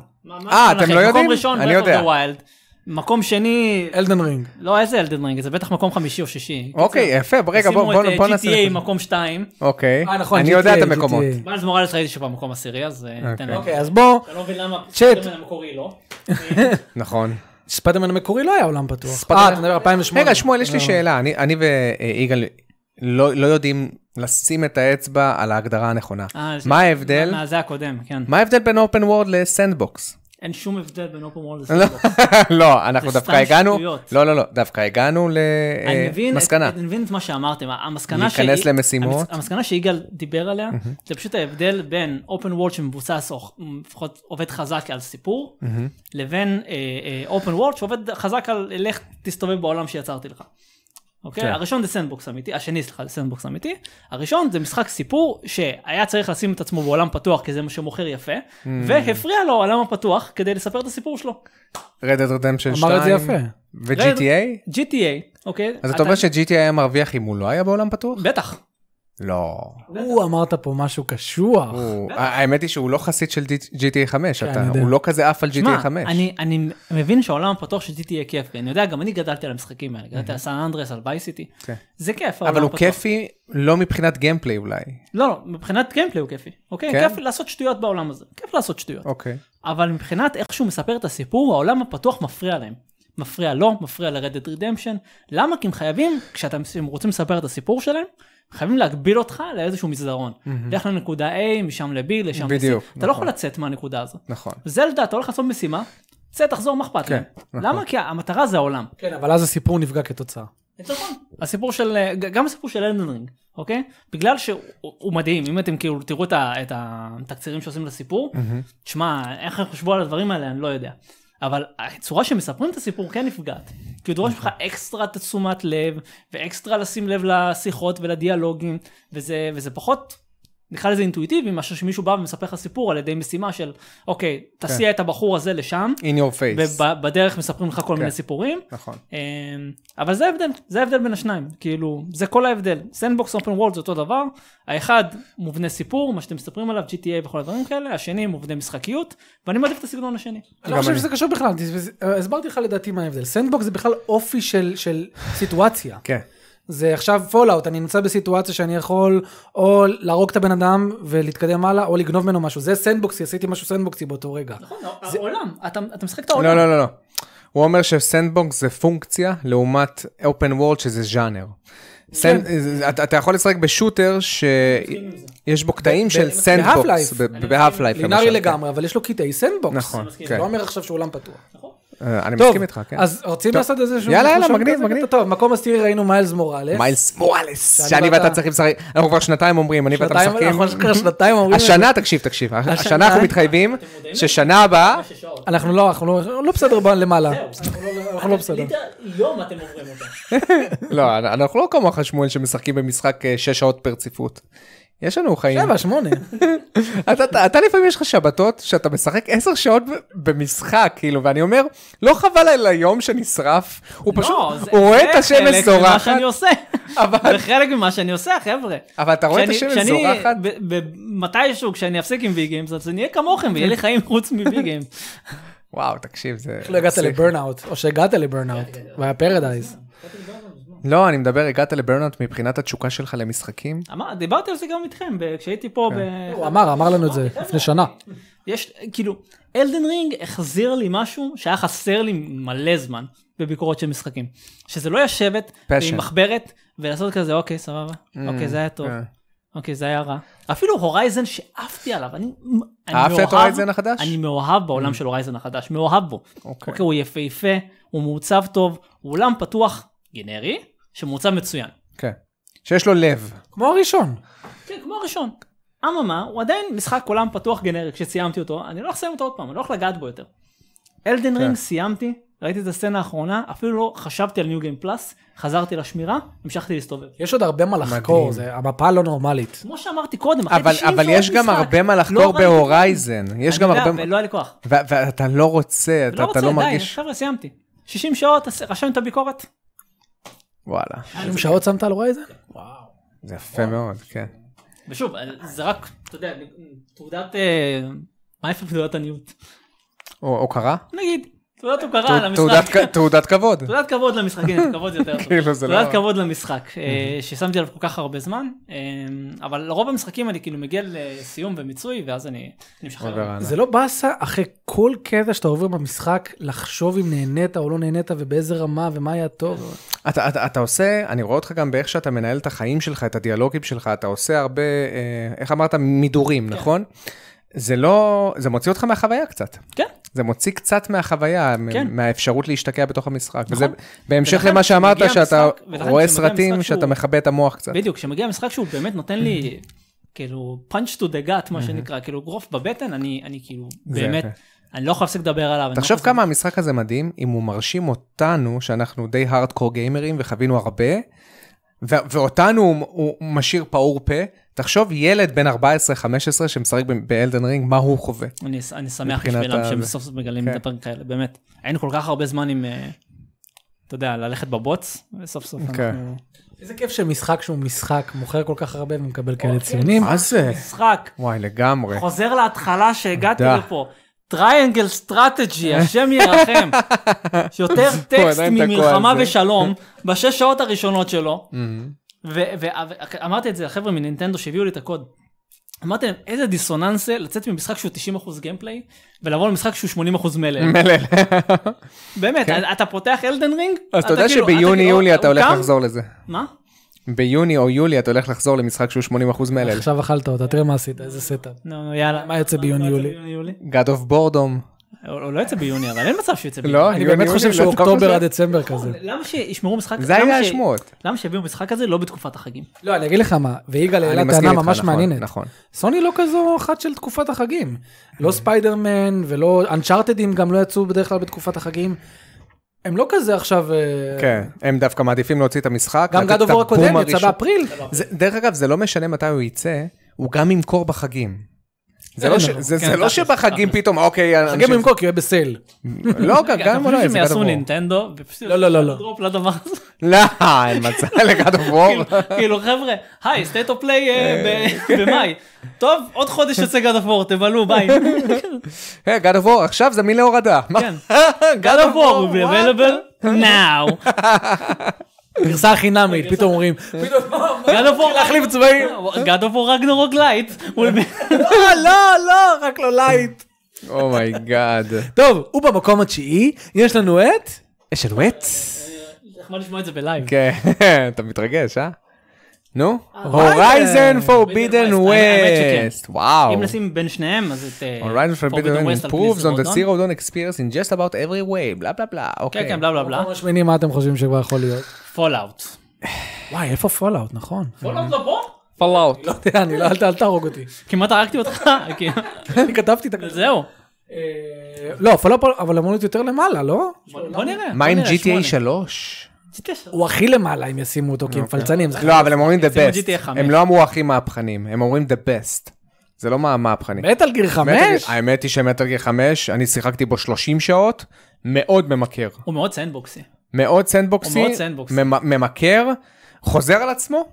S2: אה, אתם לא יודעים?
S3: מקום ראשון,
S2: אני
S3: Breath of
S2: יודע.
S3: the Wild. מקום שני,
S1: אלדן רינג.
S3: לא איזה אלדן רינג, זה בטח מקום חמישי או שישי.
S2: אוקיי, יפה, רגע, בוא- בוא בוא נעשה...
S3: שימו את
S2: את
S3: אה, GTA
S2: זה.
S3: מקום שתיים.
S2: אוקיי,
S1: אה, נכון,
S2: אני יודע
S1: GTA,
S2: את המקומות.
S1: GTA.
S3: בלז מוראלס ראיתי שהוא במקום עשירי, אז אה,
S2: אוקיי.
S3: ניתן להם.
S1: אוקיי, אז בוא,
S3: אתה לא מבין למה
S1: צ'אט.
S3: ספיידרמן המקורי לא.
S2: נכון.
S1: ספיידרמן המקורי לא היה עולם פתוח.
S2: ספיידרמן-
S1: אה, אתה מדבר 2008.
S2: רגע, שמואל, יש לי
S1: לא.
S2: שאלה. אני, אני ויגאל לא, לא יודעים לשים את האצבע על ההגדרה הנכונה.
S3: אה, זה-
S2: מה ההבדל?
S3: מה- זה הקודם, כן.
S2: מה ההבדל בין אופן וורד לסנדבוקס?
S3: אין שום הבדל בין אופן וורלד
S2: לא,
S3: לסנדבוקס.
S2: לא, אנחנו
S3: זה
S2: דווקא
S3: סתם
S2: הגענו,
S3: שטויות.
S2: לא, לא, לא, דווקא הגענו
S3: אני מבין, את,
S2: למסקנה.
S3: אני מבין את מה שאמרתם, המסקנה
S2: אה, להיכנס למשימות.
S3: המס- המסקנה שיגאל דיבר עליה, זה פשוט ההבדל בין אופן וורד שמבוסס, או לפחות עובד חזק על סיפור, לבין אה, אופן וורד שעובד חזק על לך תסתובב בעולם שיצרתי לך. אוקיי?
S2: כן.
S3: הראשון זה סנדבוקס אמיתי, השני סליחה זה סנדבוקס אמיתי, הראשון זה משחק סיפור שהיה צריך לשים את עצמו בעולם פתוח כי זה מה שמוכר יפה, והפריע לו העולם הפתוח כדי לספר את הסיפור שלו.
S2: Red Dead Redemption 2.
S1: אמר את זה יפה.
S2: ו-GTA?
S3: GTA, אוקיי?
S2: אז אתה
S3: אתה-
S2: אומר ש-GTA היה מרוויח אם הוא לא היה בעולם פתוח?
S3: בטח.
S2: לא.
S1: הוא אמרת פה משהו קשוח.
S2: הוא- האמת היא שהוא לא חסיד של GTA 5,
S1: כן, אני יודע.
S2: הוא לא כזה עף על
S3: שמע,
S2: GTA 5.
S3: אני, אני מבין שהעולם הפתוח של GTA כיף, כי אני יודע, גם אני גדלתי על המשחקים האלה, גדלתי על סן אנדרס, על ביי סיטי.
S2: כן.
S3: זה כיף, העולם
S2: אבל הוא
S3: הפתוח.
S2: כיפי לא מבחינת גיימפליי אולי.
S3: לא, לא, מבחינת גיימפליי הוא כיפי, אוקיי?
S2: כן?
S3: כיף לעשות שטויות בעולם הזה, כיף לעשות שטויות.
S2: אוקיי.
S3: אבל מבחינת איך שהוא מספר את הסיפור, העולם הפתוח מפריע להם. מפריע לו, מפריע ל-Red Dead Redemption. למה? כי הם חייבים, כשאתם הם רוצים לספר את הסיפור שלהם, חייבים להגביל אותך לאיזשהו מסדרון. לך לנקודה A, משם ל-B, לשם ל-C.
S2: בדיוק,
S3: אתה לא
S2: נכון.
S3: יכול לצאת מהנקודה הזאת.
S2: נכון.
S3: זלדה, אתה הולך לעשות משימה, צא, תחזור, מה אכפת להם? למה? כי המטרה זה העולם.
S1: כן, אבל אז הסיפור נפגע כתוצאה.
S3: נכון. הסיפור של, גם הסיפור של אלדן רינג, אוקיי? בגלל שהוא הוא מדהים, אם אתם כאילו תראו את ה- את התקצירים שעושים לסיפור, תשמע, איך הם חשבו על הדברים האלה, אני לא יודע. אבל הצורה שמספרים את הסיפור כן נפגעת. כי הוא דורש ממך אקסטרה תשומת לב, ואקסטרה לשים לב לשיחות ולדיאלוגים, וזה, וזה פחות נקרא לזה אינטואיטיבי, מאשר שמישהו בא ומספר לך סיפור על ידי משימה של, אוקיי, תסיע את הבחור הזה לשם,
S2: in your face.
S3: ובדרך מספרים לך כל מיני סיפורים.
S2: נכון.
S3: אמ, אבל זה ההבדל, זה ההבדל בין השניים, כאילו, זה כל ההבדל. סנדבוקס אופן וולד זה אותו דבר, האחד מובנה סיפור, מה שאתם מספרים עליו, GTA וכל הדברים כאלה, השני מובנה משחקיות, ואני מעדיף את הסגנון השני.
S1: אני
S2: גם
S1: לא חושב
S2: אני.
S1: שזה קשור בכלל, תס- הסברתי לך לדעתי מה ההבדל. סנדבוקס זה בכלל אופי של- של סיטואציה.
S2: כן.
S1: זה עכשיו פולאאוט, אני נמצא בסיטואציה שאני יכול או להרוג את הבן אדם ולהתקדם הלאה, או לגנוב ממנו משהו. זה סנדבוקסי, עשיתי משהו סנדבוקסי באותו רגע.
S3: נכון, העולם, אתה אתה משחק את
S2: לא,
S3: העולם.
S2: לא, לא, לא. הוא אומר שסנדבוקס זה פונקציה לעומת open world שזה ז'אנר.
S1: כן.
S2: סנ- זה- אתה אתה יכול לשחק בשוטר שיש בו קטעים של סנדבוקס,
S1: ב-Half-Life.
S2: בהאף לייף.
S1: לינארי לגמרי, אבל יש לו קטעי סנדבוקס.
S2: נכון,
S1: זה
S2: כן.
S1: לא אומר עכשיו שאולם פתוח.
S2: אני
S1: טוב,
S2: מסכים איתך, כן.
S1: אז רוצים
S2: טוב.
S1: לעשות איזה שהוא...
S2: יאללה, יאללה,
S1: משהו
S2: מגניב,
S1: כזה?
S2: מגניב.
S1: טוב, מקום עשירי ראינו מיילס מוראלס.
S2: מיילס מוראלס,
S1: שאני
S2: שאני ואתה
S1: ואתה-
S2: צריכים לשחק, אנחנו כבר שנתיים אומרים, אני ואתה
S1: שנתיים, אנחנו
S2: משחקים.
S1: אשכרה שנתיים אומרים... את זה.
S2: השנה, תקשיב, תקשיב, השנה
S1: השנה-
S2: אנחנו מתחייבים ששנה הבאה,
S1: אנחנו לא, אנחנו לא- לא בסדר ב- למעלה. אנחנו לא בסדר.
S3: יום אתם עוברים אותו.
S2: לא, אנחנו לא כמוך שמואל שמשחקים במשחק אה, שש שעות ברציפות. יש לנו חיים.
S1: שבע, שמונה.
S2: אתה, אתה, אתה לפעמים יש לך שבתות שאתה משחק 10 שעות ב- במשחק, כאילו, ואני אומר, לא חבל על היום שנשרף, הוא פשוט, הוא רואה את השמש
S3: לא, זה חלק ממה
S2: זורחת,
S3: שאני עושה.
S2: אבל-
S3: זה חלק ממה שאני עושה, חבר'ה.
S2: אבל אתה רואה את השמש זורחת,
S3: מתישהו, כשאני אפסיק עם וי גיימס, אז אני אהיה
S2: כן.
S3: כמוכם, ויהיה לי חיים חוץ מווי גיימס.
S2: וואו, תקשיב, זה...
S1: לא הגעת
S2: פסיכי.
S1: לברנאוט, או שהגעת לברנאוט, והיה פרדייז.
S2: לא, אני מדבר, הגעת לברנאוט מבחינת התשוקה שלך למשחקים?
S3: אמר- דיברתי על זה גם איתכם, ב- כשהייתי
S2: כן.
S3: פה ב...
S1: הוא אמר, אמר לנו את זה לפני שנה.
S3: יש, כאילו, אלדן רינג החזיר לי משהו שהיה חסר לי מלא זמן בביקורות של משחקים. שזה לא לשבת
S2: Passion.
S3: עם מחברת ולעשות כזה, אוקיי, סבבה, אוקיי, זה היה טוב,
S2: אה.
S3: אוקיי, זה היה רע. אפילו הורייזן שעפתי עליו, אני אני
S2: אהבת את
S3: מאוהב-
S2: הורייזן החדש? Mm.
S3: אני מאוהב בעולם של הורייזן החדש, מאוהב בו.
S2: אוקיי.
S3: אוקיי, הוא יפהפה, הוא מעוצב טוב, הוא עולם פתוח גנרי, שמעוצב מצוין.
S2: כן. שיש לו לב.
S3: אוקיי,
S1: כמו הראשון.
S3: כן, כמו הראשון. אממה, הוא עדיין משחק עולם פתוח גנרי, כשסיימתי אותו, אני לא הולך לסיים אותו עוד פעם, אני לא הולך לגעת בו יותר. אלדן
S2: כן.
S3: רינג סיימתי, ראיתי את הסצנה האחרונה, אפילו לא חשבתי על ניו גיים פלאס, חזרתי לשמירה, המשכתי להסתובב.
S1: יש עוד הרבה מה
S2: מדהים.
S1: לחקור, זה- המפה לא נורמלית.
S3: כמו שאמרתי קודם, אחרי
S2: אבל
S3: 90
S2: אבל
S3: שעות
S2: יש גם
S3: משחק,
S2: הרבה מה
S3: לא
S2: לחקור
S3: ראיתי-
S2: בהורייזן. יש גם
S3: אני יודע, לא
S2: הרבה...
S3: ולא היה לי כוח.
S2: ו- ואתה לא רוצה, אתה אתה
S3: לא רוצה,
S2: לא
S3: די,
S2: מרגיש...
S3: חבר'ה, סיימתי. 60 שעות, אז רשמנו את הביקורת.
S2: וואלה,
S1: 20 שעות שמת על הורייזן?
S2: נכון. זה יפה מאוד, כן.
S3: ושוב, אה, זה רק, אתה יודע, תעודת... אה, מה איפה תעודת עניות?
S2: או הוקרה?
S3: נגיד, תעודת הוקרה לא, על
S2: תעוד-
S3: המשחק.
S2: תעודת כ- תעודת כבוד.
S3: תעודת כבוד למשחק, הנה, כבוד זה יותר טוב.
S2: כאילו, זה לא-
S3: תעודת כבוד למשחק, אה, ששמתי עליו כל כך הרבה זמן, אה, אבל לרוב המשחקים אני כאילו מגיע לסיום ומיצוי, ואז אני אני
S2: עובר
S3: משחרר.
S2: הלאה.
S1: זה לא באסה אחרי כל קטע שאתה עובר במשחק לחשוב אם נהנית או לא נהנית ובאיזה רמה ומה היה טוב.
S2: אתה, אתה, אתה עושה, אני רואה אותך גם באיך שאתה מנהל את החיים שלך, את הדיאלוגים שלך, אתה עושה הרבה, אה, איך אמרת, מידורים, כן. נכון? זה לא, זה מוציא אותך מהחוויה קצת.
S3: כן,
S2: זה מוציא קצת מהחוויה,
S3: כן.
S2: כן. מהאפשרות להשתקע בתוך המשחק. נכון.
S3: נכון.
S2: וזה בהמשך
S3: ולכן
S2: למה שאמרת,
S3: כשמגיע
S2: שאתה
S3: המשחק- ולכן
S2: רואה
S3: כשמגיע
S2: סרטים,
S3: המשחק
S2: שאתה
S3: שהוא-
S2: מכבה את המוח קצת.
S3: בדיוק, כשמגיע משחק שהוא באמת נותן לי, כאילו, punch to the gut, מה שנקרא, כאילו, גרוף בבטן, אני אני כאילו,
S2: זה
S3: באמת,
S2: יפה.
S3: אני לא יכול להפסיק לדבר עליו. אני לא
S2: תחשוב
S3: יכול
S2: כמה המשחק הזה מדהים, אם הוא מרשים אותנו, שאנחנו די הארדקור גיימרים וחווינו הרבה, ו- ואותנו הוא, הוא משאיר פעור פה, תחשוב ילד בן 14-15 שמשחק ב- באלדן רינג, מה הוא חווה.
S3: להפסיק- אני אני שמח
S2: מבחינת
S3: בשבילם
S2: ה-
S3: שהם
S2: זה.
S3: סוף סוף מגלים
S2: כן.
S3: את הפרק האלה, באמת. היינו כל כך הרבה זמן עם, אה, אתה יודע, ללכת בבוץ, וסוף סוף
S2: כן.
S3: אנחנו...
S1: איזה כיף שמשחק שהוא משחק מוכר כל כך הרבה ומקבל
S2: אוקיי.
S1: כאלה ציונים.
S2: מה זה?
S3: משחק,
S2: וואי, לגמרי.
S3: חוזר להתחלה שהגעתי
S2: תודה.
S3: לפה. טריינגל סטרטג'י, השם ירחם. שיותר טקסט
S2: עדיין תקוע
S3: ממלחמה
S2: על זה.
S3: ושלום, בשש שעות הראשונות שלו. ואמרתי את זה לחבר'ה מנינטנדו שהביאו לי את הקוד. אמרתי להם, איזה דיסוננס זה לצאת ממשחק שהוא 90% גיימפליי, ולעבור למשחק שהוא 80% מלל.
S2: מלל.
S3: באמת, אתה פותח אלדן רינג,
S2: כן. אז אתה יודע
S3: כאילו-
S2: שביוני
S3: כאילו-
S2: יולי אתה
S3: הוא
S2: הולך
S3: קם-
S2: לחזור לזה.
S3: מה?
S2: ביוני או יולי אתה הולך לחזור למשחק שהוא 80% מלל.
S1: עכשיו אכלת אותה, תראה מה עשית, איזה סטאפ.
S3: נו, נו, יאללה.
S1: מה יוצא ביוני,
S3: מה יוצא
S1: יולי?
S3: יולי?
S2: God of Boredom.
S3: הוא הוא לא יוצא ביוני, אבל אין מצב שהוא יוצא ביוני.
S2: לא,
S1: אני באמת חושב שהוא אוקטובר עד דצמבר כזה.
S3: למה שישמרו משחק?
S2: זה
S3: למה
S2: היה
S3: ש-
S2: השמועות.
S3: למה שיביאו משחק כזה לא בתקופת החגים?
S1: לא, אני אגיד לך מה, ויגאל
S2: אני
S1: העלה
S2: מסכים
S1: טענה
S2: איתך,
S1: ממש
S2: נכון,
S1: מעניינת.
S2: נכון.
S1: סוני לא כזו אחת של תקופת החגים. לא
S2: אוקיי.
S1: ספיידרמן ולא אנצ'ארטדים גם לא יצאו בדרך כלל בתקופת החגים. הם לא כזה עכשיו... אה,
S2: כן, הם דווקא מעדיפים להוציא את המשחק.
S1: גם
S2: לתת
S1: גד
S2: את
S1: אובור
S2: הבום
S1: הקודם יצא
S2: הראשון.
S1: באפריל.
S2: זה- דרך אגב, זה לא משנה לא מתי הוא יצא, הוא גם ימכור בחגים. זה לא, ש...
S3: כן,
S2: זה, זה
S3: תכלס,
S2: לא שבחגים
S3: תכלס.
S2: פתאום, אוקיי,
S1: חגים
S2: אנשים-
S1: במקור כי הוא יהיה בסל.
S2: לא, גם-
S3: רגע, אתה
S2: גם
S3: חושב
S2: אולי,
S3: שהם
S2: זה גד
S3: יעשו
S2: אבור.
S3: נינטנדו? ופשוט
S1: לא, לא, לא, לא.
S3: דרופ לדבר הזה.
S2: לא, אין מצב לגד אבור.
S3: כאילו- כאילו חבר'ה, היי, סטייט אוף פליי אה,
S2: אה.
S3: במאי. טוב, עוד חודש יוצא גד אבור, תבלו, ביי.
S2: אה, גד אבור, עכשיו זמין להורדה. מה?
S3: כן.
S2: גד
S3: גד אבור,
S2: what?
S3: available now.
S1: גרסה חינמית, פתאום אומרים. פתאום
S3: גד אבור,
S1: להחליף צבעים.
S3: גד אבור רגנרוק לייט.
S1: לא, לא, לא, רק לא לייט.
S3: Oh
S2: אומייגאד.
S1: טוב, הוא במקום התשיעי, יש לנו את...
S2: יש לנו את?
S3: נחמד לשמוע את זה בלייב.
S2: כן, אתה מתרגש, אה? נו?
S1: Horizon
S2: הורייזן פורבידן
S3: האמת שכן.
S2: ווסט. וואו.
S3: אם נשים בין שניהם, אז את... אה,
S2: Horizon
S3: Forbidden
S2: Forbidden
S3: West
S2: West
S3: על
S2: improves
S3: פני
S2: on the
S3: זרודון.
S2: zero dawn experience in just about every way, בלה בלה בלה, אוקיי.
S3: כן, כן, בלה בלה בלה.
S1: מקום השמיני, מה אתם חושבים שכבר יכול להיות?
S3: פולאאוט.
S1: וואי, איפה פולאאוט, נכון.
S3: פולאאוט לא פה?
S2: פלאוט.
S1: לא יודע, אני לא, אל ת- אל תהרוג אותי.
S3: כמעט הרגתי אותך. כי-
S1: אני כתבתי את הכתוב.
S3: זהו.
S1: לא, פולאאוט, אבל אמור להיות יותר למעלה, לא?
S3: בוא בוא נראה.
S2: מה
S3: בוא
S2: עם
S3: נראה, שמונה.
S2: GTA 3?
S3: GTA שלוש.
S1: הוא הכי למעלה אם ישימו אותו, כי הם פלצנים. זה
S2: לא, אבל הם אומרים the
S3: שימו GTA
S2: best.
S3: חמש.
S2: הם לא אמרו הכי מהפכנים, הם אומרים the best. זה לא מה מהפכני.
S1: מת על גיר חמש?
S2: מטל- האמת היא שמטל גיר 5, אני שיחקתי בו 30 שעות, מאוד ממכר.
S3: הוא מאוד סנדבוקסי.
S2: מאוד סנדבוקסי,
S3: הוא מאוד סנדבוקסי.
S2: ממ- ממכר, חוזר על עצמו,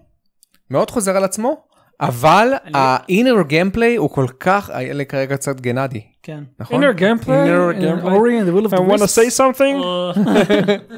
S2: מאוד חוזר על עצמו, אבל
S3: לא-
S2: ה-inner gameplay הוא כל כך, היה לי כרגע קצת גנדי,
S3: כן.
S2: נכון?
S1: inner gameplay,
S2: Inner
S1: and
S3: אה,
S2: gameplay.
S1: Ori and the Will of the Wisps. אה,
S2: something? Uh,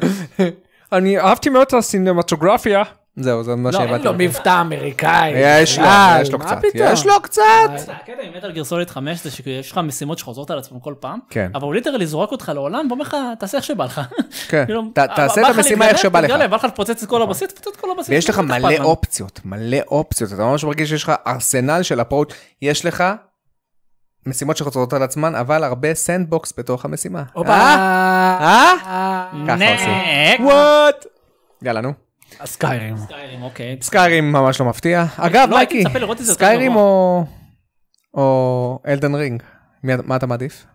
S2: אני אהבתי מאוד את הסינמטוגרפיה. זהו, זה מה
S1: לא, אין
S2: שהבנתי.
S1: לו מבטא אמריקאי.
S2: יש לו,
S1: אה,
S2: יש לו
S1: מה
S2: קצת,
S1: פתאום?
S2: יש לו קצת.
S1: אה,
S3: הקטע עם מטאל גיר סוליד 5 זה שיש לך משימות שחוזרות על עצמן כל פעם,
S2: כן.
S3: אבל הוא ליטרלי זורק אותך לעולם ואומר לך תעשה איך שבא לך.
S2: כן.
S3: כאילו,
S1: אה,
S2: ת-
S3: בא
S2: תעשה את
S3: לך
S2: המשימה
S3: להתגרף,
S2: איך שבא לך. נכון.
S3: תתגרף, בא לך לפוצץ את כל הבסיס, תפוצץ את כל הבסיס.
S2: ויש לך
S3: לא אכפת
S2: מלא
S3: לנו.
S2: אופציות, מלא אופציות, אתה ממש מרגיש שיש לך ארסנל של אפרוט, יש לך משימות שחוזרות על עצמן, אבל הרבה סנדבוקס בתוך המשימה.
S1: הופה.
S2: אה? אה? ככה
S3: נק.
S2: וואט? יאללה נו.
S1: הסקיירים.
S3: סקיירים, אוקיי.
S2: סקיירים ממש לא מפתיע. אגב,
S3: לא, הייתי
S2: מייקי,
S3: מצפה לראות את זה יותר
S2: סקיירים
S3: גבוה.
S2: או... או אלדן רינג? מי- מה אתה מעדיף?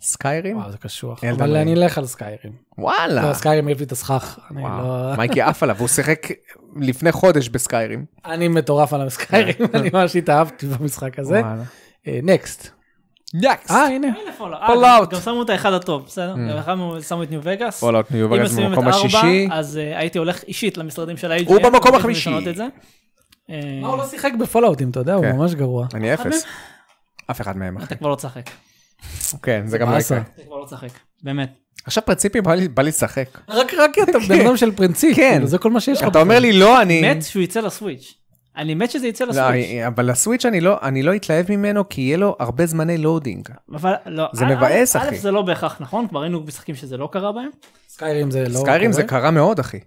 S2: סקיירים?
S1: וואו, זה קשוח.
S2: אלדן
S1: אבל
S2: רינג.
S1: אני אלך על סקיירים.
S2: וואלה.
S1: לא, סקיירים העיף לי את הסכך. אני
S2: אה. וואו.
S1: לא-
S2: מייקי עף עליו, הוא שיחק לפני חודש בסקיירים.
S1: אני מטורף על הסקיירים,
S2: כן.
S1: אני ממש התאהבתי במשחק הזה. אה,
S2: וואלה.
S1: נקסט.
S2: יקס.
S1: אה, הנה.
S3: הנה פולאאוט.
S2: פולאאוט.
S3: אה, גם שמו את האחד הטוב, בסדר?
S2: Mm.
S3: אחד הוא- שמו את ניו וגאס.
S2: פולאאוט ניו
S3: אם
S2: וגאס
S3: מסיימים את
S2: במקום
S3: ארבע,
S2: השישי.
S3: אז אה, הייתי הולך אישית למשרדים של ה-IGN.
S2: הוא במקום
S3: וביקש מהם
S2: החמישי.
S3: לשנות את זה. אה,
S1: מה, הוא לא שיחק בפולאאוטים, אתה יודע, הוא
S2: כן.
S1: ממש גרוע.
S2: אני אפס. אף אחד מהם אחי.
S3: אתה כבר לא תשחק.
S2: כן, זה גם לא
S1: באסה.
S2: יקרה.
S3: אתה כבר לא תשחק. באמת.
S2: עכשיו פרינציפי בא לי- בא לי לשחק.
S1: רק רק כי אתה בן אדם של פרינציפ.
S2: כן.
S1: כאילו, זה כל מה שיש לך.
S2: אתה אומר לי לא, אני...
S3: מת שהוא יצא לסוויץ'. אני מת שזה יצא
S2: לא,
S3: לסוויץ'.
S2: אני- אבל הסוויץ' אני לא- אני לא אתלהב ממנו, כי יהיה לו הרבה זמני לואודינג.
S3: אבל לא.
S2: זה
S3: א',
S2: מבאס,
S3: א',
S2: אחי.
S3: א', זה לא בהכרח נכון, כבר היינו משחקים שזה לא קרה בהם.
S1: סקיירים זה לא...
S2: סקיירים זה
S1: קורה.
S2: קרה מאוד, אחי.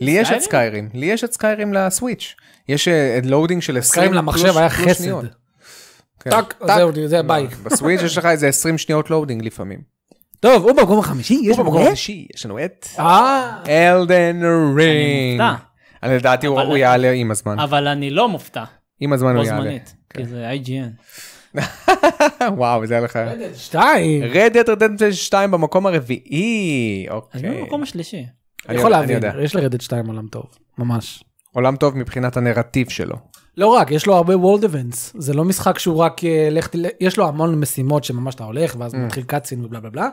S2: לי יש את סקיירים, לי יש את סקיירים לסוויץ'. יש אה, לואודינג של 20
S1: סקיירים למחשב
S2: פלוס-
S1: היה
S2: פלוס שניות.
S1: חסד.
S2: כן.
S1: טאק, זהו, זה
S2: לא,
S1: ביי.
S2: בסוויץ' יש לך איזה 20 שניות לואודינג לפעמים.
S1: טוב, הוא במקום החמישי, יש
S2: הוא במקום
S1: לנו
S2: השישי, יש לנו את
S1: אה,
S2: אלדן רינג.
S3: מופתע.
S2: אני לדעתי הוא
S3: אבל-
S2: הוא יעלה עם הזמן.
S3: אבל אני לא מופתע.
S2: עם הזמן
S3: בו
S2: הוא לא יעלה. כן.
S3: זמנית. כי זה IGN.
S2: וואו, זה היה לך...
S1: שתיים.
S2: Red Dead Redemption 2 במקום הרביעי.
S3: אז
S2: אוקיי.
S3: מי במקום השלישי?
S1: אני יכול
S2: יודע,
S1: להבין,
S2: יודע.
S1: יש לרדת שתיים עולם טוב, ממש.
S2: עולם טוב מבחינת הנרטיב שלו.
S1: לא רק, יש לו הרבה וולד אבנטס, זה לא משחק שהוא רק, אה, לך תל- יש לו המון משימות שממש אתה הולך, ואז מתחיל קאצין ובלה בלה בלה,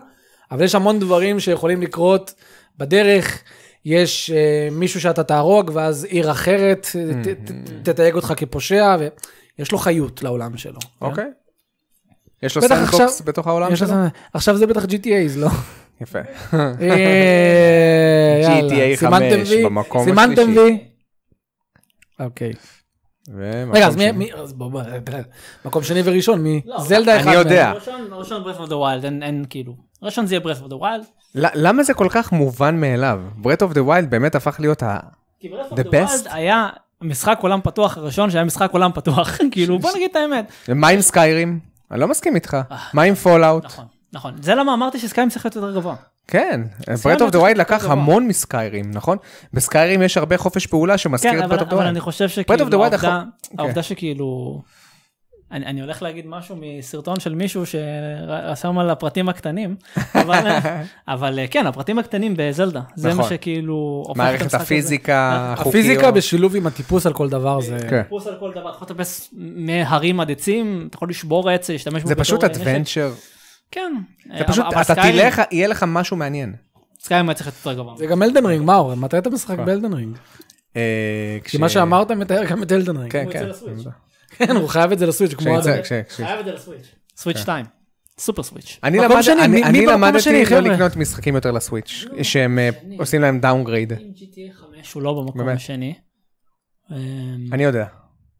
S1: אבל יש המון דברים שיכולים לקרות בדרך, יש אה, מישהו שאתה תהרוג, ואז עיר אחרת אה, ת- ת- תתייג אותך כפושע, ויש לו חיות לעולם שלו. כן?
S2: אוקיי. יש לו
S1: בטח
S2: סנדבוקס
S1: עכשיו-
S2: בתוך העולם
S1: יש לו-
S2: שלו?
S1: עכשיו זה בטח GTA's, לא?
S2: יפה.
S1: אה, יאללה,
S2: GTA
S1: סימנתם
S2: חמש
S1: וי?
S2: במקום
S1: סימנתם
S2: השלישי.
S1: וי? אוקיי.
S2: ומקום
S1: רגע, אז מי,
S2: שני.
S1: מי, אז בוא, בוא, תראה, מקום שני וראשון, מי?
S3: לא,
S1: זלדה
S2: אני
S1: אחד.
S2: יודע.
S1: מהם.
S3: ראשון, ראשון ברף אוף דה ווילד, אין, אין כאילו. ראשון זה יהיה ברף אוף דה ווילד.
S2: ל- למה זה כל כך מובן מאליו? ברט אוף דה ווילד באמת הפך להיות ה...
S3: כי ברף
S2: The
S3: אוף דה ווילד
S2: best?
S3: היה משחק עולם פתוח הראשון שהיה משחק עולם פתוח. כאילו, בוא נגיד את האמת.
S2: מה עם סקיירים? אני לא מסכים איתך. מה עם פולאאוט?
S3: אה, נכון, נכון. זה למה אמרתי שסקיים צריך להיות יותר גבוה.
S2: כן, ברט
S3: סקיירים
S2: אוף דה ווילד
S3: יותר
S2: לקח
S3: גבוה.
S2: המון מסקיירים, נכון? בסקיירים יש הרבה חופש פעולה שמזכיר
S3: כן,
S2: את
S3: אבל
S2: ברט אוף דה
S3: אבל אני
S2: ווילד.
S3: חושב
S2: Breath of the אוקיי. Wild
S3: שכאילו, העובדה-
S2: אחר-
S3: העובדה שכאילו... אני, אני הולך להגיד משהו מסרטון של מישהו ששם על הפרטים הקטנים, אבל, אבל אה, כן, הפרטים הקטנים בזלדה, זה
S2: נכון.
S3: מה שכאילו... הופך את
S2: מערכת
S3: המשחק הזה. אה,
S2: הפיזיקה, החוקיות.
S1: הפיזיקה בשילוב עם הטיפוס על כל דבר זה...
S2: כן.
S3: טיפוס על כל דבר, אתה יכול לטפס מהרים עד עצים, אתה יכול לשבור עץ, להשתמש בו
S2: זה פשוט
S3: בתור נשק.
S2: אדוונצ'ר.
S3: כן.
S2: זה פשוט, אתה תלך, יהיה לך משהו מעניין.
S3: סקיילים היה צריך להיות יותר גבוה.
S1: זה גם אלדן רינג, מאור, מתי אתה משחק באלדן רינג?
S2: אה, כש-
S1: כי מה שאמרת מתאר גם את אלדן רינג.
S2: כן,
S3: הוא
S2: כן.
S3: יוצא לסוויץ'. אה?
S1: כן, הוא חייב את זה לסוויץ' כמו אדם.
S2: כשיצא, כש- כש-
S3: חייב את זה לסוויץ'.
S2: כן.
S3: סוויץ' 2. סופר סוויץ'.
S2: אני
S1: מקום
S2: למד-
S1: שני,
S2: אני-
S1: מי- מי
S2: אני
S1: במקום השני,
S2: למדתי לא
S1: חבר'ה?
S2: לקנות משחקים יותר לסוויץ', שהם אה, עושים להם דאונגרייד.
S3: אם GTA 5 הוא לא במקום
S2: באמת.
S3: השני. אמ,
S2: אני יודע.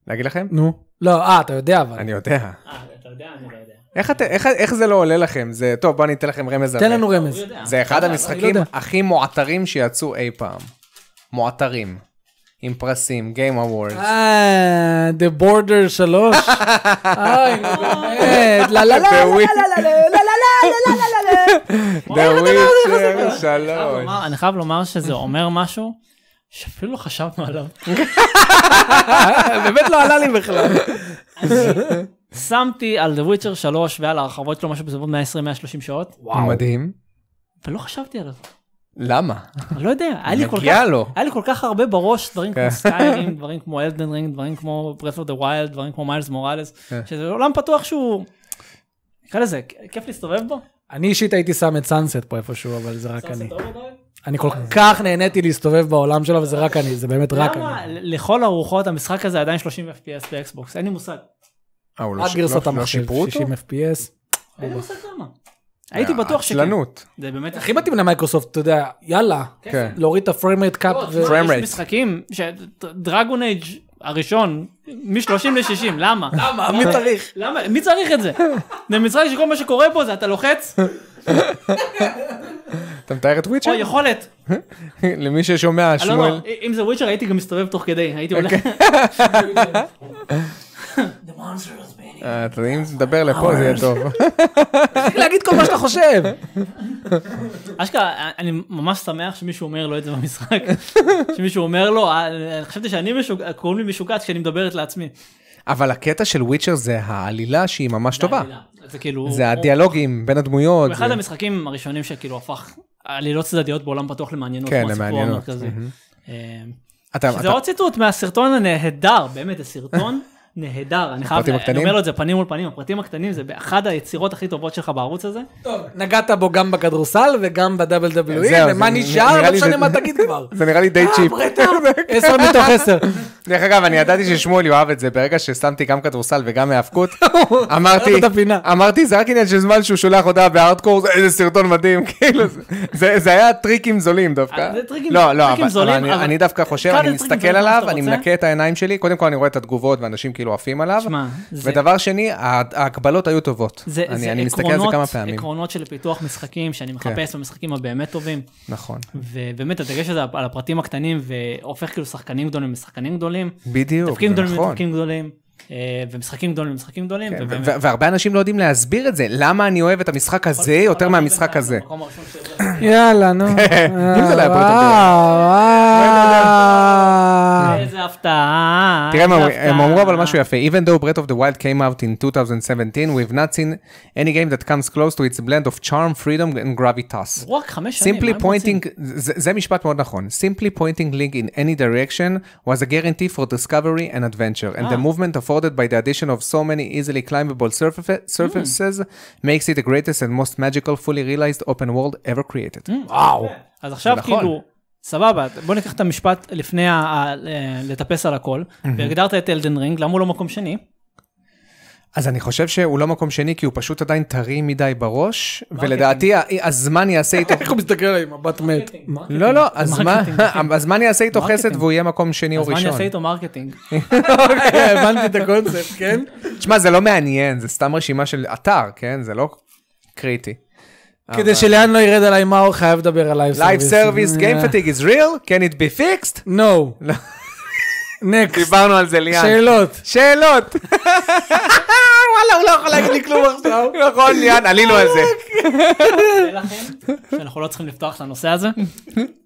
S2: להגיד לכם?
S1: נו. לא, אה, אתה יודע אבל.
S2: אני יודע.
S3: אה, אתה יודע, אני לא יודע.
S2: איך אתם- איך- איך זה לא עולה לכם? זה, טוב, בוא אני אתן לכם רמז.
S1: תן
S2: אבל-
S1: לנו
S3: הוא
S1: רמז.
S3: יודע.
S2: זה אחד
S3: אתה יודע,
S1: לא
S2: המשחקים
S1: יודע.
S2: הכי מועטרים שיצאו אי פעם. מועטרים. עם פרסים, Game Awards.
S1: אה, The Border 3. אוי, נו, באמת. לה לה לה
S2: The
S1: לה
S2: Witcher.
S1: לה לה לה לה לה לה לה לה.
S2: The Witcher
S3: אני חייב
S2: 3.
S3: לומר- אני חייב לומר שזה אומר משהו שאפילו לא חשבנו עליו.
S1: באמת לא עלה לי בכלל.
S3: שמתי על The Witcher 3 ועל ההרחבות שלו משהו בסביבות 120-130 שעות,
S2: מדהים.
S3: ולא חשבתי עליו.
S2: למה?
S3: אני לא יודע, היה לי כל כך... אה,
S2: מגיע לו.
S3: היה לי כל כך הרבה בראש דברים
S2: כן.
S3: כמו סקיירים, דברים כמו אלדן רינג, דברים כמו ברס אוף דה ווילד, דברים כמו מיילס מוראלס,
S2: כן.
S3: שזה עולם פתוח שהוא, נקרא לזה, כ- כיף להסתובב בו.
S1: אני אישית הייתי שם את סאנסט פה איפשהו, אבל זה רק אני. אני כל כך נהניתי להסתובב בעולם שלו, וזה רק אני, זה באמת רק
S3: למה
S1: אני.
S3: ל- לכל הרוחות המשחק הזה עדיין 30 FPS באקסבוקס, אין לי מושג.
S2: אה, הוא לא
S1: עד
S2: ש-
S1: גרסת
S2: לא- לא
S1: המחשב,
S2: שיפרו אותו?
S1: 60 FPS.
S3: אין לי מושג למה. הייתי בטוח שכן.
S2: אה, עצלנות.
S3: זה באמת
S1: הכי מתאים למייקרוסופט, אתה יודע, יאללה,
S2: כן.
S1: להוריד את הפריימרייט קאפ.
S3: לא,
S1: ו-
S3: תשמע,
S2: Frame
S3: יש
S2: rate.
S3: משחקים, דרגון אייג' הראשון, מ-30 ל-60, למה?
S1: למה? מי צריך?
S3: למה? מי צריך את זה? זה משחק שכל מה שקורה פה זה אתה לוחץ,
S2: אתה מתאר את וויצ'ר?
S3: או יכולת.
S2: למי ששומע,
S3: אני לא,
S2: שמואל. אוקיי.
S3: לא, אם זה וויצ'ר הייתי גם מסתובב תוך כדי, הייתי הולך. The monster is many.
S2: אה, אתה- אם תדבר
S3: אה,
S2: לפה זה יהיה טוב.
S1: תפסיק להגיד כל מה שאתה חושב.
S3: אשכרה, אני ממש שמח שמישהו אומר לו את זה במשחק. שמישהו אומר לו, "אה, חשבתי שאני משוגע, קוראים לי משוגעת כשאני מדברת לעצמי.
S2: אבל הקטע של וויצ'ר זה העלילה שהיא ממש טובה.
S3: זה כאילו...
S2: זה
S3: הוא-
S2: הדיאלוגים בין הדמויות.
S3: הוא אחד
S2: זה-
S3: המשחקים הראשונים שכאילו הפך עלילות צדדיות בעולם פתוח למעניינות,
S2: כן,
S3: כמו הסיפור
S2: למעניינות.
S3: המרכזי.
S2: מהמם.
S3: אה,
S2: אתה-
S3: שזה
S2: אתה-
S3: עוד ציטוט מהסרטון הנהדר, באמת, זה סרטון נהדר, אני חייב,
S2: הפרטים
S3: אני
S2: הקטנים?
S3: אומר לו את זה פנים מול פנים, הפרטים הקטנים זה באחד היצירות הכי טובות שלך בערוץ הזה.
S1: נגעת בו גם בכדורסל וגם ב-WWE,
S2: כן, זהו,
S1: ומה
S2: זה-
S1: נשאר?
S2: נראה
S1: לא
S2: לי
S1: משנה
S2: זה-
S1: מה תגיד כבר.
S2: זה נראה לי די
S3: אה,
S2: צ'יפ.
S1: עשר מתוך עשר.
S2: דרך אגב, אני ידעתי ששמואל יאהב את זה, ברגע ששמתי גם כדורסל וגם האבקות, אמרתי,
S1: הרס את הפינה.
S2: אמרתי, זה רק עניין של זמן שהוא שולח הודעה בהארדקור, "זה- איזה סרטון מדהים, כאילו, זה- זה- זה היה טריקים זולים דווקא.
S3: אה, זה טריקים-
S2: לא, לא,
S3: טריקים
S2: אבל- אבל
S3: זולים,
S2: אני-
S3: אבל-
S2: אני דווקא חושב,
S3: כמה
S2: אני
S3: טריקים
S2: מסתכל
S3: זולים
S2: עליו,
S3: שאתה
S2: אני
S3: רוצה?
S2: מנקה את העיניים שלי, קודם כל אני רואה את התגובות, ואנשים כאילו עפים עליו,
S3: תשמע, זה-
S2: ודבר שני, ה- ההגבלות היו טובות.
S3: זה,
S2: אני
S3: זה
S2: אני מסתכל על זה
S3: עקרונות,
S2: כמה פעמים. כן.
S3: עקרונות של פיתוח משחקים שאני מחפש במשחקים הבאמת טובים,
S2: נכון.
S3: ובאמת הדגש הזה על הפרטים הקטנים, והופך כאילו שחקנים גדולים לשחקנים גדולים,
S2: בדיוק,
S3: תפקידים
S2: זה
S3: גדולים
S2: נכון.
S3: לתפקידים גדולים, אה, ומשחקים גדולים למשחקים גדולים,
S2: כן,
S3: ובאמת-
S2: ו- והרבה אנשים לא יודעים להסביר את זה, למה אני אוהב את המשחק הזה יותר מהמשחק הזה.
S3: במקום הראשון ש-
S2: כן.
S1: יאללה, נו.
S3: אה,
S2: אם זה לא היה בריטון
S1: וואו, וואו.
S3: איזה הפתעה.
S2: אה, תראה, הם
S3: איזה
S2: אמרו- הם
S3: הפתעה.
S2: אמרו אבל משהו יפה, even though Breath of the Wild came out in 2017, we've not seen any game that comes close to its blend of charm, freedom and gravitas.
S3: רק חמש שנים,
S2: Simply
S3: מה הם רוצים?
S2: pointing, זה, זה משפט מאוד נכון, Simply pointing link in any direction was a guarantee for discovery and adventure, and the
S3: אה.
S2: movement afforded by the addition of so many easily climbable surface,
S3: Hmm.
S2: surfaces makes it the greatest and most magical fully realized open world ever created.
S3: Hmm.
S1: וואו.
S3: אז עכשיו
S2: נכון.
S3: כאילו, סבבה, בוא ניקח את המשפט לפני ה- ה- אה, לטפס על הכל, והגדרת את אלדן רינג, למה הוא לא מקום שני?
S2: אז אני חושב שהוא לא מקום שני, כי הוא פשוט עדיין טרי מדי בראש, ולדעתי ה- הזמן יעשה איתו...
S1: איך הוא מסתכל עליי, מבט מת. מה? אוקיי,
S2: לא, לא, הזמן- הזמן יעשה איתו
S3: מרקטינג.
S2: חסד והוא יהיה מקום שני או
S3: אז מה אני
S2: ראשון.
S3: אעשה איתו מרקטינג?
S2: אוקיי,
S1: הבנתי את הקונספט, כן?
S2: תשמע, זה לא מעניין, זה סתם רשימה של אתר, כן? זה לא קריטי.
S1: כדי שלאן לא ירד עליי מאור, חייב לדבר על לייב
S2: Live
S1: סרוויס. אה.
S2: service, game fatigue is real, can it be fixed?
S1: נו. נקסט.
S2: דיברנו לא. על זה ליאן.
S1: שאלות.
S2: שאלות. וואלה, הוא לא יכול להגיד לי כלום עכשיו. נכון, ליאן, עלינו על זה.
S3: לכם שאנחנו לא צריכים לפתוח את הנושא הזה.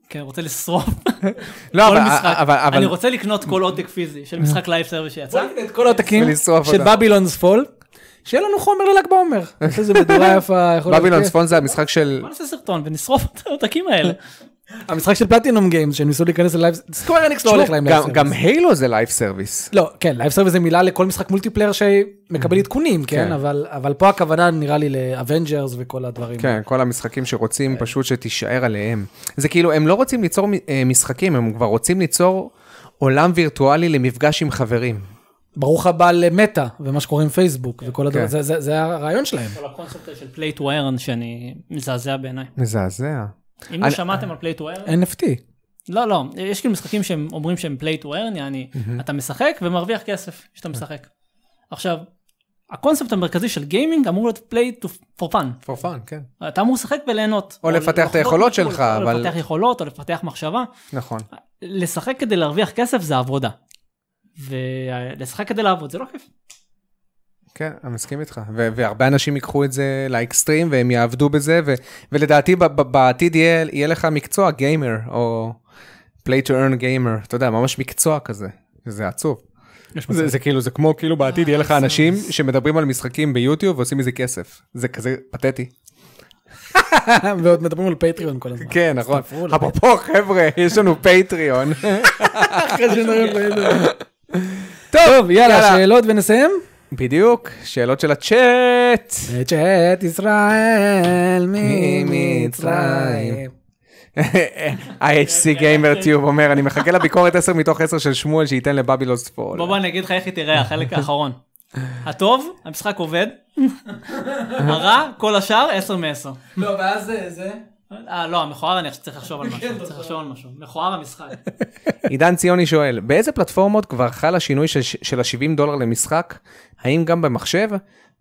S3: כי אני רוצה לשרוף
S2: לא,
S3: כל
S2: אבל-
S3: משחק.
S2: אבל- אבל...
S3: אני רוצה לקנות כל עותק פיזי של משחק לייב סרוויס שיצא.
S1: בוא נקנה את כל העותקים
S2: ולשרוף
S1: של
S2: אותם.
S1: בבילונס פול, שיהיה לנו חומר לל"ג בעומר. נעשה איזה מדורה יפה. יכול להיות כן.
S2: בבילון
S1: כיף.
S2: צפון זה המשחק של...
S3: בוא נעשה סרטון ונשרוף את העותקים האלה.
S1: המשחק של פלטינום גיימס שהם ניסו להיכנס ללייב סקוור אניקס לא הולך להם
S2: גם-
S1: לייב סרוויס.
S2: גם הילו זה לייב סרוויס.
S1: לא כן לייב סרוויס זה מילה לכל משחק מולטיפלייר שמקבל עדכונים כן
S2: כן.
S1: אבל אבל פה הכוונה נראה לי לאבנג'רס וכל הדברים.
S2: כן, כל המשחקים שרוצים פשוט שתישאר עליהם. זה כאילו, הם לא רוצים ליצור מ- אה, משחקים, הם כבר רוצים ליצור עולם וירטואלי למפגש עם חברים.
S1: ברוך הבא למטא ומה שקורה עם פייסבוק וכל הדברים
S2: כן.
S1: זה- זה זה הרעיון שלהם.
S3: כל הקונספט של פליי טו ארן שאני מזעזע בעיניי.
S2: מזעזע.
S3: אם לא
S2: אני-
S3: שמעתם על פליי טו ארן,
S1: NFT.
S3: לא לא, יש כאילו משחקים שהם אומרים שהם פליי טו ארן, יעני אתה משחק ומרוויח כסף
S2: כן.
S3: כשאתה משחק. עכשיו, הקונספט המרכזי של גיימינג אמור להיות פליי טו פור פאן.
S2: for fun, כן.
S3: אתה אמור לשחק וליהנות.
S2: או לפתח את
S3: לחוות
S2: היכולות
S3: משהו,
S2: שלך,
S3: או
S2: אבל-
S3: לפתח יכולות, או לפתח מחשבה.
S2: נכון.
S3: לשחק כדי להרוויח כסף זה עבודה. ולשחק כדי לעבוד זה לא כיף.
S2: כן, אני מסכים איתך. ו- והרבה אנשים ייקחו את זה לאקסטרים והם יעבדו בזה, ו- ולדעתי ב- ב- בעתיד יהיה, יהיה לך מקצוע גיימר, או play to earn gamer, אתה יודע, ממש מקצוע כזה. זה עצוב. זה, זה כאילו, זה כמו, כאילו בעתיד יהיה לך
S1: אה,
S2: אנשים שמדברים על משחקים ביוטיוב ועושים מזה כסף. זה כזה פתטי.
S1: ועוד מדברים על פטריון כל הזמן.
S2: כן, נכון.
S1: הצטרפו ל-
S2: אפרופו, חבר'ה, יש לנו פטריון.
S1: אחרי שנראה פטריון. טוב יאללה
S2: יאללה.
S1: שאלות ונסיים.
S2: בדיוק, שאלות של הצ'אט.
S1: את שאת ישראל ממצרים.
S2: ה-HC גיימר טיוב אומר, אני מחכה לביקורת 10 מתוך 10 של שמואל שייתן לבבילוס פול.
S3: בוא בוא אני אגיד לך איך היא תראה החלק האחרון. הטוב, המשחק עובד. הרע, כל השאר 10 מ-10.
S1: לא ואז זה.
S3: אה לא, המכוער אני צריך לחשוב על משהו, צריך לחשוב על משהו. מכוער המשחק.
S2: עידן ציוני שואל, באיזה פלטפורמות כבר חל השינוי של- של ה-70 דולר למשחק? האם גם במחשב?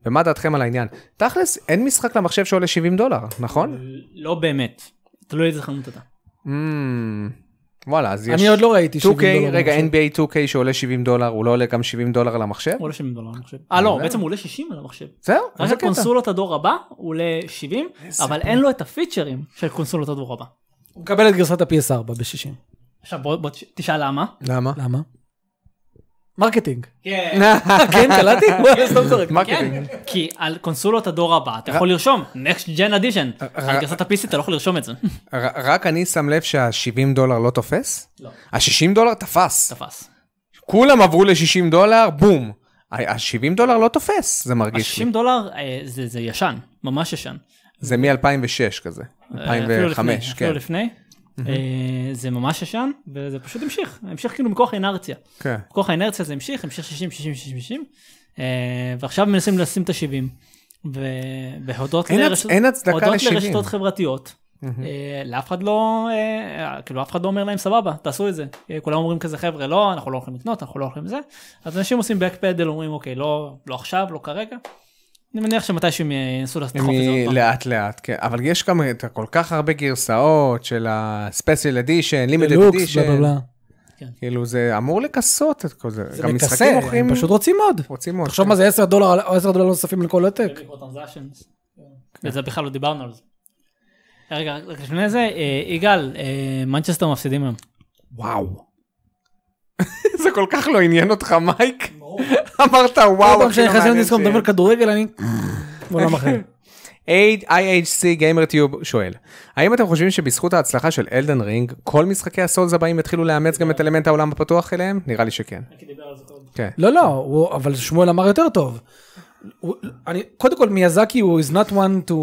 S2: ומה דעתכם על העניין? תכלס, אין משחק למחשב שעולה 70 דולר, נכון?
S3: לא באמת. תלוי איזה חנות אתה.
S2: אמ, וואלה, אז
S1: אה.
S2: יש...
S1: אני עוד לא ראיתי
S2: 2K,
S1: 70 דולר
S2: רגע,
S1: במחשב.
S2: NBA 2K שעולה 70 דולר, הוא לא עולה גם 70 דולר למחשב?
S3: הוא עולה 70 דולר, אני חושב. אה לא, בעצם הוא עולה 60 על המחשב.
S2: זהו,
S3: רק
S1: אה,
S2: איזה קטע.
S3: הקונסולות הדור הבא הוא עולה 70, אבל אין לו את הפיצ'רים של קונסולות הדור הבא.
S1: הוא מקבל את גרסת ה-PS4 ב-60.
S3: עכשיו בוא בוא תש- תשאל למה.
S2: למה?
S1: למה? מרקטינג.
S3: כן.
S1: כן, קלטתי? וואלה, סתם זורק.
S3: כן, כי על קונסולות הדור הבא אתה יכול לרשום next gen edition, על גרסת ה-PC אתה לא יכול לרשום את זה.
S2: ר- רק אני שם לב שה-70 דולר לא תופס?
S3: לא.
S2: ה-60 דולר תפס.
S3: תפס.
S2: כולם עברו ל-60 דולר, בום. ה-70 דולר לא תופס, זה מרגיש לי.
S3: ה-60 דולר אה, זה זה ישן, ממש ישן.
S2: זה מ-2006 כזה.
S3: אה, אפילו
S2: 2005,
S3: לפני,
S2: כן.
S3: אפילו לפני. אה, זה ממש ישן, וזה פשוט המשיך, המשיך כאילו מכוח אינרציה.
S2: כן.
S3: מכוח האינרציה זה המשיך, המשיך 60, 60, 60, 60, אה, ועכשיו מנסים לשים את ה-70. והודות
S2: אין הצ- אין הצדקה
S3: הודות
S2: ל-70.
S3: לרשתות חברתיות, אה, לאף אחד לא, אה, כאילו אף אחד לא אומר להם סבבה, תעשו את זה. אה, כולם אומרים כזה חבר'ה, לא, אנחנו לא הולכים לקנות, אנחנו לא הולכים זה. אז אנשים עושים backpedal, אומרים אוקיי, לא לא עכשיו, לא כרגע. אני מניח שמתישהו הם ינסו לדחוף את זה עוד
S2: מ-
S3: פעם.
S2: לאט לאט, כן. אבל יש גם את כל כך הרבה גרסאות של ה-Special Edition, Limited
S1: לוקס, בלה בלה
S2: Edition.
S1: בלה.
S2: כאילו זה אמור לכסות את כל זה.
S1: זה
S2: גם
S1: מכסה,
S2: משחקים מוכרים.
S1: הם פשוט רוצים עוד.
S2: רוצים עוד.
S1: תחשוב
S2: כן.
S1: מה זה 10 דולר, 10 דולר נוספים לכל עותק.
S2: אוקיי.
S3: Microtransactions.
S2: כן.
S3: וזה בכלל לא דיברנו על זה. רגע, רק לפני זה, אה, יגאל, אה, מנצ'סטר מפסידים היום.
S2: וואו. זה כל כך לא עניין אותך, מייק. אמרת
S1: כל
S2: וואו,
S1: פעם
S2: הכי לא
S1: שאני נכנס
S2: מעניין
S1: לדיסקו מדבר
S2: שיש."
S1: על כדורגל, אני... לא בעולם אחר.
S2: IHC גיימרטיוב שואל, האם אתם חושבים שבזכות ההצלחה של אלדן רינג, כל משחקי הסולס הבאים יתחילו לאמץ גם את אלמנט העולם הפתוח אליהם? נראה לי שכן.
S3: אוקיי,
S2: כן.
S1: לא, לא, הוא- אבל שמואל אמר יותר טוב. הוא- אני, קודם כל מיאזקי הוא is not one to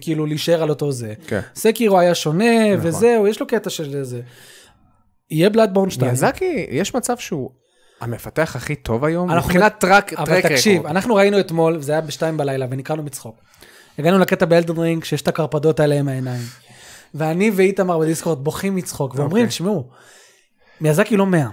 S1: כאילו להישאר על אותו זה.
S2: כן. נכון.
S1: סקירו היה שונה וזהו, יש לו קטע של זה. יהיה בלאדבורן
S2: לא.
S1: 2.
S2: מיאזקי, יש מצב שהוא המפתח הכי טוב היום?
S1: אנחנו-
S2: מבחינת טראק,
S1: אבל
S2: טרק
S1: תקשיב,
S2: רקורד.
S1: אנחנו ראינו אתמול, וזה היה בשתיים בלילה, ונקרענו מצחוק. הגענו לקטע באלדן רינג, שיש את הקרפדות האלה עם העיניים. ואני ואיתמר בדיסקורד בוכים מצחוק, ואומרים,
S2: אוקיי.
S1: תשמעו, מיאזקי לא 100.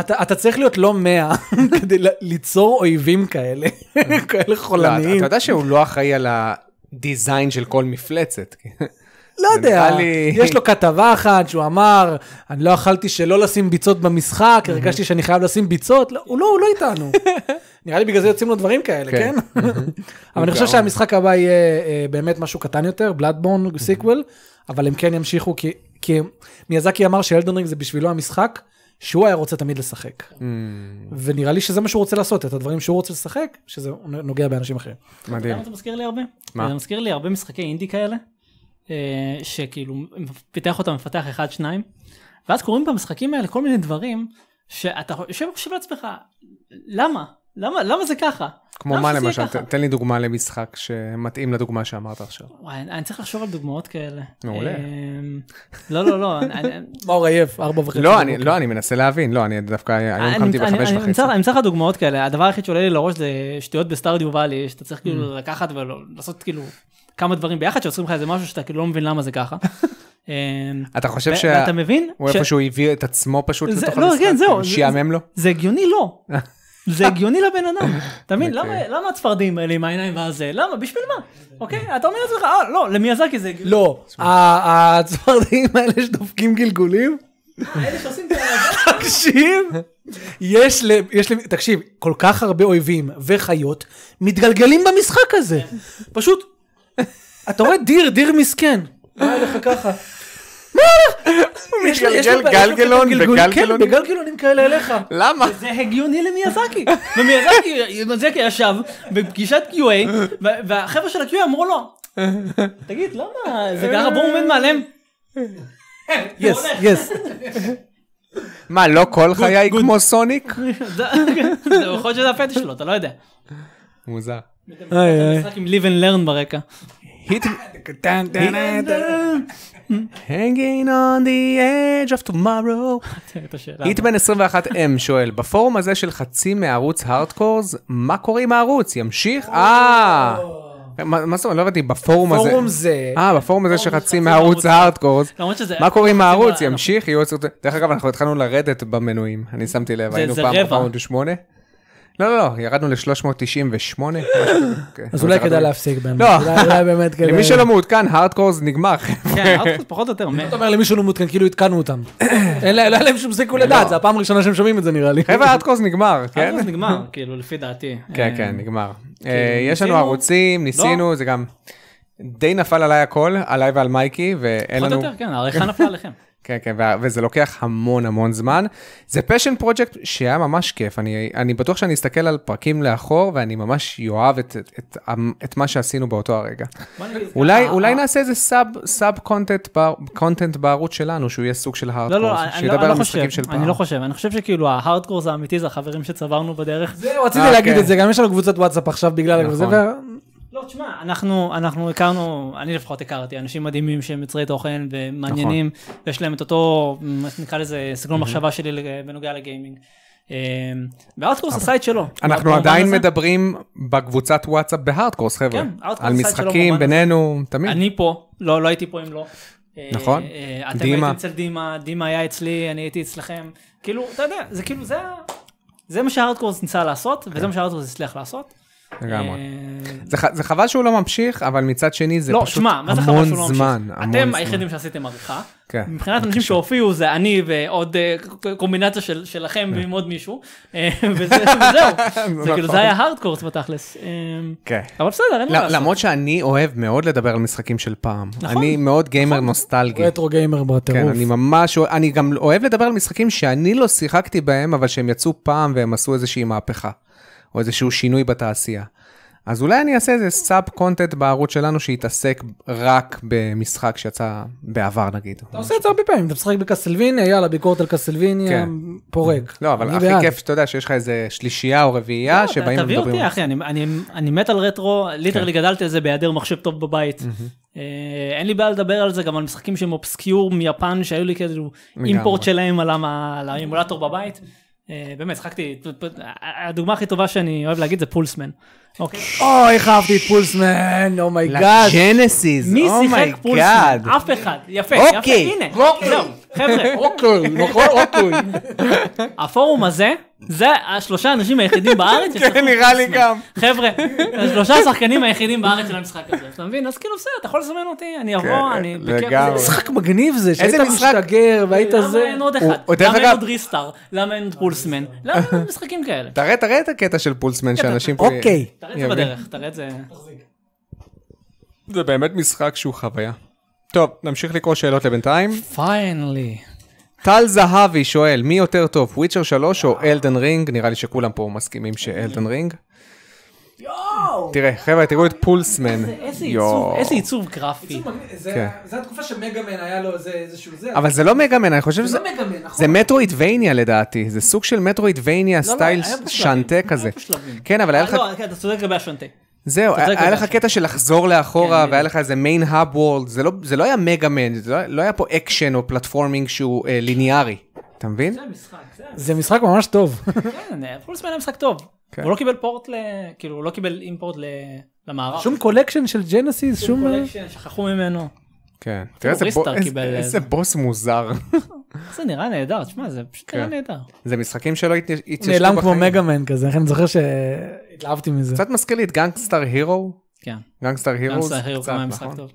S1: אתה, אתה צריך להיות לא 100 כדי ל- ליצור אויבים כאלה, כאלה
S2: לא, אתה-
S1: חולניים.
S2: אתה יודע שהוא לא אחראי על הדיזיין של כל מפלצת. Mm,
S1: לא
S2: זה
S1: יודע,
S2: נראה לי-
S1: יש לו כתבה אחת שהוא אמר, אני לא יכלתי שלא לשים ביצות במשחק, הרגשתי שאני חייב לשים ביצות, לא, הוא לא, הוא לא איתנו. נראה לי בגלל זה יוצאים לו דברים כאלה, כן?
S2: כן.
S1: אבל אני חושב
S2: גאון.
S1: אה, שהמשחק הבא יהיה אה, באמת משהו קטן יותר, בלאדבורן סיקוול, אבל הם כן ימשיכו כי כי מיאזקי אמר שאלדנרינג זה בשבילו המשחק שהוא היה רוצה תמיד לשחק. ונראה לי שזה מה שהוא רוצה לעשות, את הדברים שהוא רוצה לשחק, שזה נוגע באנשים אחרים.
S3: אתה יודע
S2: מדהים.
S3: מה זה מזכיר לי הרבה?
S2: כן. מה?
S3: זה מזכיר לי הרבה משחקי אינדי כאלה, אה, שכאילו פיתח אותם מפתח אחד, שניים, ואז קורים במשחקים האלה כל מיני דברים, שאתה יושב וחושב לעצמך, למה? למה? למה זה ככה?
S2: כמו
S3: למה
S2: מה
S3: שזה יהיה
S2: למשל?
S3: ככה?"
S2: ת- תן לי דוגמה למשחק שמתאים לדוגמה שאמרת עכשיו.
S3: וואי, אני אני צריך לחשוב על דוגמאות כאלה.
S2: מעולה.
S3: אמ, לא, לא, לא, אני- אני-
S1: מאור עייף, ארבע וחצי.
S2: לא, אני-
S1: בבוקר.
S2: לא, אני מנסה להבין. לא, אני דווקא היום
S3: אני-
S2: קמתי
S3: אני-
S2: בחמש
S3: אני- אני
S2: וחצי.
S3: אמצא- אני אמצא לך דוגמאות כאלה, הדבר היחיד שעולה לי לראש זה שטויות בסטארדיו ואלי, שאתה צריך
S2: Mm.
S3: כאילו לקחת ולעשות כאילו כמה דברים ביחד שיוצרים לך איזה משהו שאתה כאילו לא מבין למה זה ככה. אמ,
S2: אתה חושב
S3: ו-
S2: שה-
S3: ואתה מבין?
S2: הוא
S3: ש-
S2: איפשהו הביא את עצמו פשוט
S3: זה-
S2: לתוך
S3: לא,
S2: המשחק?
S3: כן, זהו, זה-
S2: שיעמם לו?
S3: זה הגיוני לא. זה הגיוני לבן אדם, אתה מבין?
S2: אוקיי.
S3: למה- למה הצפרדעים האלה עם העיניים והזה? למה? בשביל מה? אוקיי? אתה אומר לעצמך, אה, לא, למיאזקי זה הגיוני.
S1: לא, ה- הצפרדעים האלה שדופקים גלגולים,
S3: אה, אלה שעושים כאלה,
S1: תקשיב, יש ל... יש ל... תקשיב, כל כך הרבה אויבים וחיות מתגלגלים במשחק הזה. פשוט, אתה רואה דיר, דיר מסכן. מה לך ככה? יש לו- יש לו-
S2: מתגלגל
S1: יש לו כזה
S2: גלגלון
S1: גלגולים,
S2: בגלגלונים?
S1: כן, בגלגלונים כאלה אליך.
S2: למה?
S3: זה הגיוני למיאזקי. ומיאזקי מיאזקי ישב בפגישת QA, ו- והחבר'ה של ה-QA אמרו לו, תגיד, למה זה ככה? בואו עומד מעליהם.
S1: יס, יס.
S2: מה, לא כל חיי כמו סוניק?
S3: זה- יכול להיות שזה הפטיש שלו, אתה לא יודע.
S2: אה. מוזר.
S1: איי, איי.
S3: משחק עם live and learn ברקע.
S2: Hanging on the edge of tomorrow.
S3: את השאלה.
S2: היטמן 21M שואל, בפורום הזה של חצי מערוץ הארדקורס, מה קורה עם הערוץ? ימשיך? אה! מה מה זאת אומרת? לא הבנתי, בפורום הזה...
S1: פורום זה...
S2: אה, בפורום הזה של חצי
S3: חצי
S2: מערוץ
S3: מערוץ.
S2: הארדקורס.
S3: למרות שזה...
S2: מה קורה עם הערוץ?
S3: זה-
S2: ימשיך? יהיו עוד... דרך אגב, אנחנו התחלנו לרדת במנויים, אני שמתי לב,
S3: זה-
S2: היינו
S3: זה
S2: פעם
S3: רבע.
S2: 408. לא, לא, לא, ירדנו ל-398.
S1: אז אולי כדאי להפסיק באמת.
S2: כן. לא.
S1: אולי- אולי באמת כדאי.
S2: למי שלא מעודכן, הארדקורס נגמר.
S3: כן, הארדקורס פחות או יותר. מ-
S1: אתה אומר למישהו לא מעודכן, כאילו עדכנו אותם. אין לה- לא היה להם שום סיכוי לדעת, זו הפעם הראשונה שהם שומעים את זה נראה לי.
S2: חבר'ה, הארדקורס נגמר, כן?
S3: הארדקורס נגמר, כאילו, לפי דעתי.
S2: כן,
S3: אה,
S2: כן, נגמר. אה,
S3: כאילו,
S2: יש לנו
S3: ניסינו?
S2: ערוצים, ניסינו, זה גם... די נפל עליי הכל, עליי ועל מייקי, ואין
S3: פחות או
S2: לנו...
S3: יותר, כן, העריכה נפלה עליכם.
S2: כן, כן, וה- וזה לוקח המון המון זמן. זה פשן פרויקט שהיה ממש כיף, אני, אני בטוח שאני אסתכל על פרקים לאחור ואני ממש יאהב את, את, את, המ- את מה שעשינו באותו הרגע.
S3: בוא נגיד ככה, אה,
S2: אולי, אולי נעשה איזה סאב, סאב קונטנט, ב, קונטנט בערוץ שלנו, שהוא יהיה סוג של
S3: לא, לא,
S2: הארדקורס,
S3: אני לא-
S2: שידבר
S3: אני לא
S2: על משחקים
S3: חושב,
S2: של פעם.
S3: אני לא חושב, אני חושב שכאילו ההארדקורס האמיתי זה החברים שצברנו בדרך.
S1: זהו, רציתי
S2: אה,
S1: להגיד
S2: כן.
S1: את זה, גם יש לנו קבוצת וואטסאפ עכשיו בגלל
S2: נכון.
S1: זה.
S3: לא, תשמע, אנחנו, אנחנו הכרנו, אני לפחות הכרתי, אנשים מדהימים שהם יוצרי תוכן ומעניינים,
S2: נכון.
S3: ויש להם את אותו, מה שנקרא לזה,
S2: Mm-hmm.
S3: סגנון מחשבה שלי לג- בנוגע לגיימינג. אמ, והארדקורס עשה את שלו.
S2: אנחנו
S3: במובן
S2: עדיין
S3: הזה.
S2: מדברים בקבוצת וואטסאפ בהארדקורס, חבר'ה.
S3: כן, הארדקורס
S2: על
S3: סייד שלו
S2: משחקים
S3: במובן
S2: בינינו, תמיד.
S3: אני פה, לא, לא הייתי פה אם לא. אה,
S2: נכון.
S3: אה, אתם
S2: דימה.
S3: הייתם אצל דימה, דימה היה אצלי, אני הייתי אצלכם. כאילו, אתה יודע, זה כאילו, זה ה- זה מה שהארדקורס ניסה לעשות, וזה מה שהארדקורס הצליח לעשות.
S2: כן. לגמרי.
S3: אה,
S2: זה, ח- זה חבל שהוא לא ממשיך, אבל מצד שני זה
S3: לא,
S2: פשוט
S3: שמע, מה זה חבל
S2: המון
S3: שהוא לא
S2: זמן.
S3: ממשיך?
S2: המון
S3: אתם
S2: זמן.
S3: היחידים שעשיתם עריכה.
S2: כן.
S3: מבחינת אנשים שהופיעו זה אני ועוד אה, קומבינציה של- שלכם ועם עוד מישהו. אה, וזה- וזהו. זה כאילו
S2: כן. נכון.
S3: זה היה הארדקורס בתכלס. אה,
S2: כן.
S3: אבל בסדר, אין מה
S2: ל-
S3: לעשות.
S2: למרות שאני אוהב מאוד לדבר על משחקים של פעם.
S3: נכון.
S2: אני מאוד גיימר נוסטלגי.
S1: רטרו גיימר
S2: כן,
S1: בטירוף.
S2: אני ממש, אוה- אני גם אוהב לדבר על משחקים שאני לא שיחקתי בהם, אבל שהם יצאו פעם והם עשו איזושהי מהפכה, או איזשהו שינוי בתעשייה. אז אולי אני אעשה איזה סאב קונטנט בערוץ שלנו שיתעסק רק במשחק שיצא בעבר נגיד.
S1: אתה עושה את זה הרבה פעמים, אתה משחק בקסלוויניה, יאללה, ביקורת על קסלוויניה,
S2: כן.
S1: פורק.
S2: לא, אבל
S1: אני
S2: הכי
S1: בעד.
S2: כיף שאתה יודע שיש לך איזה שלישייה או
S3: לא,
S2: רביעייה
S3: ת-
S2: אה, שבאים
S3: תביא
S2: ומדברים. כן.
S3: אותי אחי, אני- אני- אני מת על רטרו, ליטרלי גדלתי על זה בהיעדר מחשב טוב בבית. אה, אין לי בעיה לדבר על זה גם על משחקים שהם אובסקיור מיפן שהיו לי כאילו
S2: לגמרי.
S3: אימפורט שלהם על המ- על האמולטור בבית. אה, באמת, שחקתי, הדוגמה הכי טובה שאני אוהב להגיד זה פולסמן. אוקיי?
S2: Oh
S1: אוי, איך אהבתי את פולסמן, oh אומייגאד.
S2: לג'נסיס,
S1: oh
S3: מי שיחק פולסמן?
S2: אומייגאד.
S3: אף אחד. יפה, יפה,
S2: אוקיי,
S3: הנה.
S2: אוקיי.
S3: זהו, חבר'ה,
S1: אוקיי,
S3: הפורום הזה, זה השלושה האנשים היחידים בארץ ששיחקו
S2: כן, נראה לי
S3: פולסמן.
S2: גם.
S3: חבר'ה, השלושה השחקנים היחידים בארץ של המשחק הזה, אתה מבין? אז כאילו בסדר, אתה יכול לזמן אותי, אני אבוא,
S2: כן,
S3: אני...
S2: לגמרי.
S3: בכיף.
S2: איזה
S1: משחק מגניב זה, שהיית
S2: משחק?
S1: משתגר והיית
S3: למה
S1: זה.
S3: אין עוד
S2: הוא-
S3: אחד?
S2: הוא- דרך
S3: למה אין
S2: אגב-
S3: עוד ריסטאר? למה אין עוד פולסמן? למה אין עוד משחקים כאלה?
S2: תראה, תראה את הקטע של פולסמן שאנשים פה...
S1: אוקיי.
S3: תראה את זה בדרך, תראה את זה.
S2: זה באמת משחק שהוא חוויה. טוב, נמשיך לקרוא שאלות לבינתיים.
S3: פיינלי.
S2: טל זהבי שואל, מי יותר טוב, וויצ'ר 3 או אלדן רינג? נראה לי שכולם פה מסכימים שאלדן רינג.
S1: יואו!
S2: תראה, חבר'ה, תראו את פולסמן.
S3: איזה
S2: יואו.
S3: עיצוב, איזה עיצוב גרפי. אה,
S1: עיצוב מגניב, זה-
S2: כן.
S1: זה התקופה שמגאמן היה לו איזה איזשהו זה.
S2: אבל זה לא מגאמן, אני חושב שזה...
S1: זה לא מגאמן, נכון?
S2: זה מטרואידבניה לדעתי, זה סוג של מטרואידבניה
S3: לא, לא,
S2: סטייל
S3: היה פה שלבים,
S2: שנטה
S3: היה
S2: כזה.
S3: פה שלבים.
S2: כן, אבל היה
S3: אה,
S2: לך...
S3: לא, כן, אתה צודק לגבי השונטה.
S2: זהו,
S3: אתה צודק
S2: היה לך
S3: במשהו.
S2: קטע של לחזור לאחורה,
S3: כן,
S2: והיה לך איזה מיין האב וורלד, זה לא היה מגאמן, זה לא- לא היה פה אקשן או פלטפורמינג שהוא אה, ליניארי, אתה מבין?
S3: זה המשחק, זה המשחק.
S1: זה משחק ממש טוב.
S3: כן, פולסמן היה משחק טוב.
S2: כן.
S3: הוא לא קיבל פורט ל... כאילו, הוא לא קיבל אימפורט ל- למערב.
S1: שום קולקשן של ג'נסיס, שום...
S3: קולקשן, שכחו ממנו.
S2: כן. תראה
S3: אפילו
S2: איזה בו-
S3: ריסטארט
S2: איזה-
S3: קיבל, אה,
S2: איזה בוס מוזר.
S3: זה נראה נהדר, תשמע, זה פשוט נראה
S2: כן.
S3: נהדר.
S2: זה משחקים שלא הת- התיישבו בחיים.
S1: נעלם כמו מגאמן כזה, לכן אני זוכר שהתלהבתי מזה.
S2: קצת מזכיר לי את גנגסטר הירו.
S3: כן.
S2: גנגסטר הירו. נכון?
S3: Gangster Hero, כמה משחק טוב.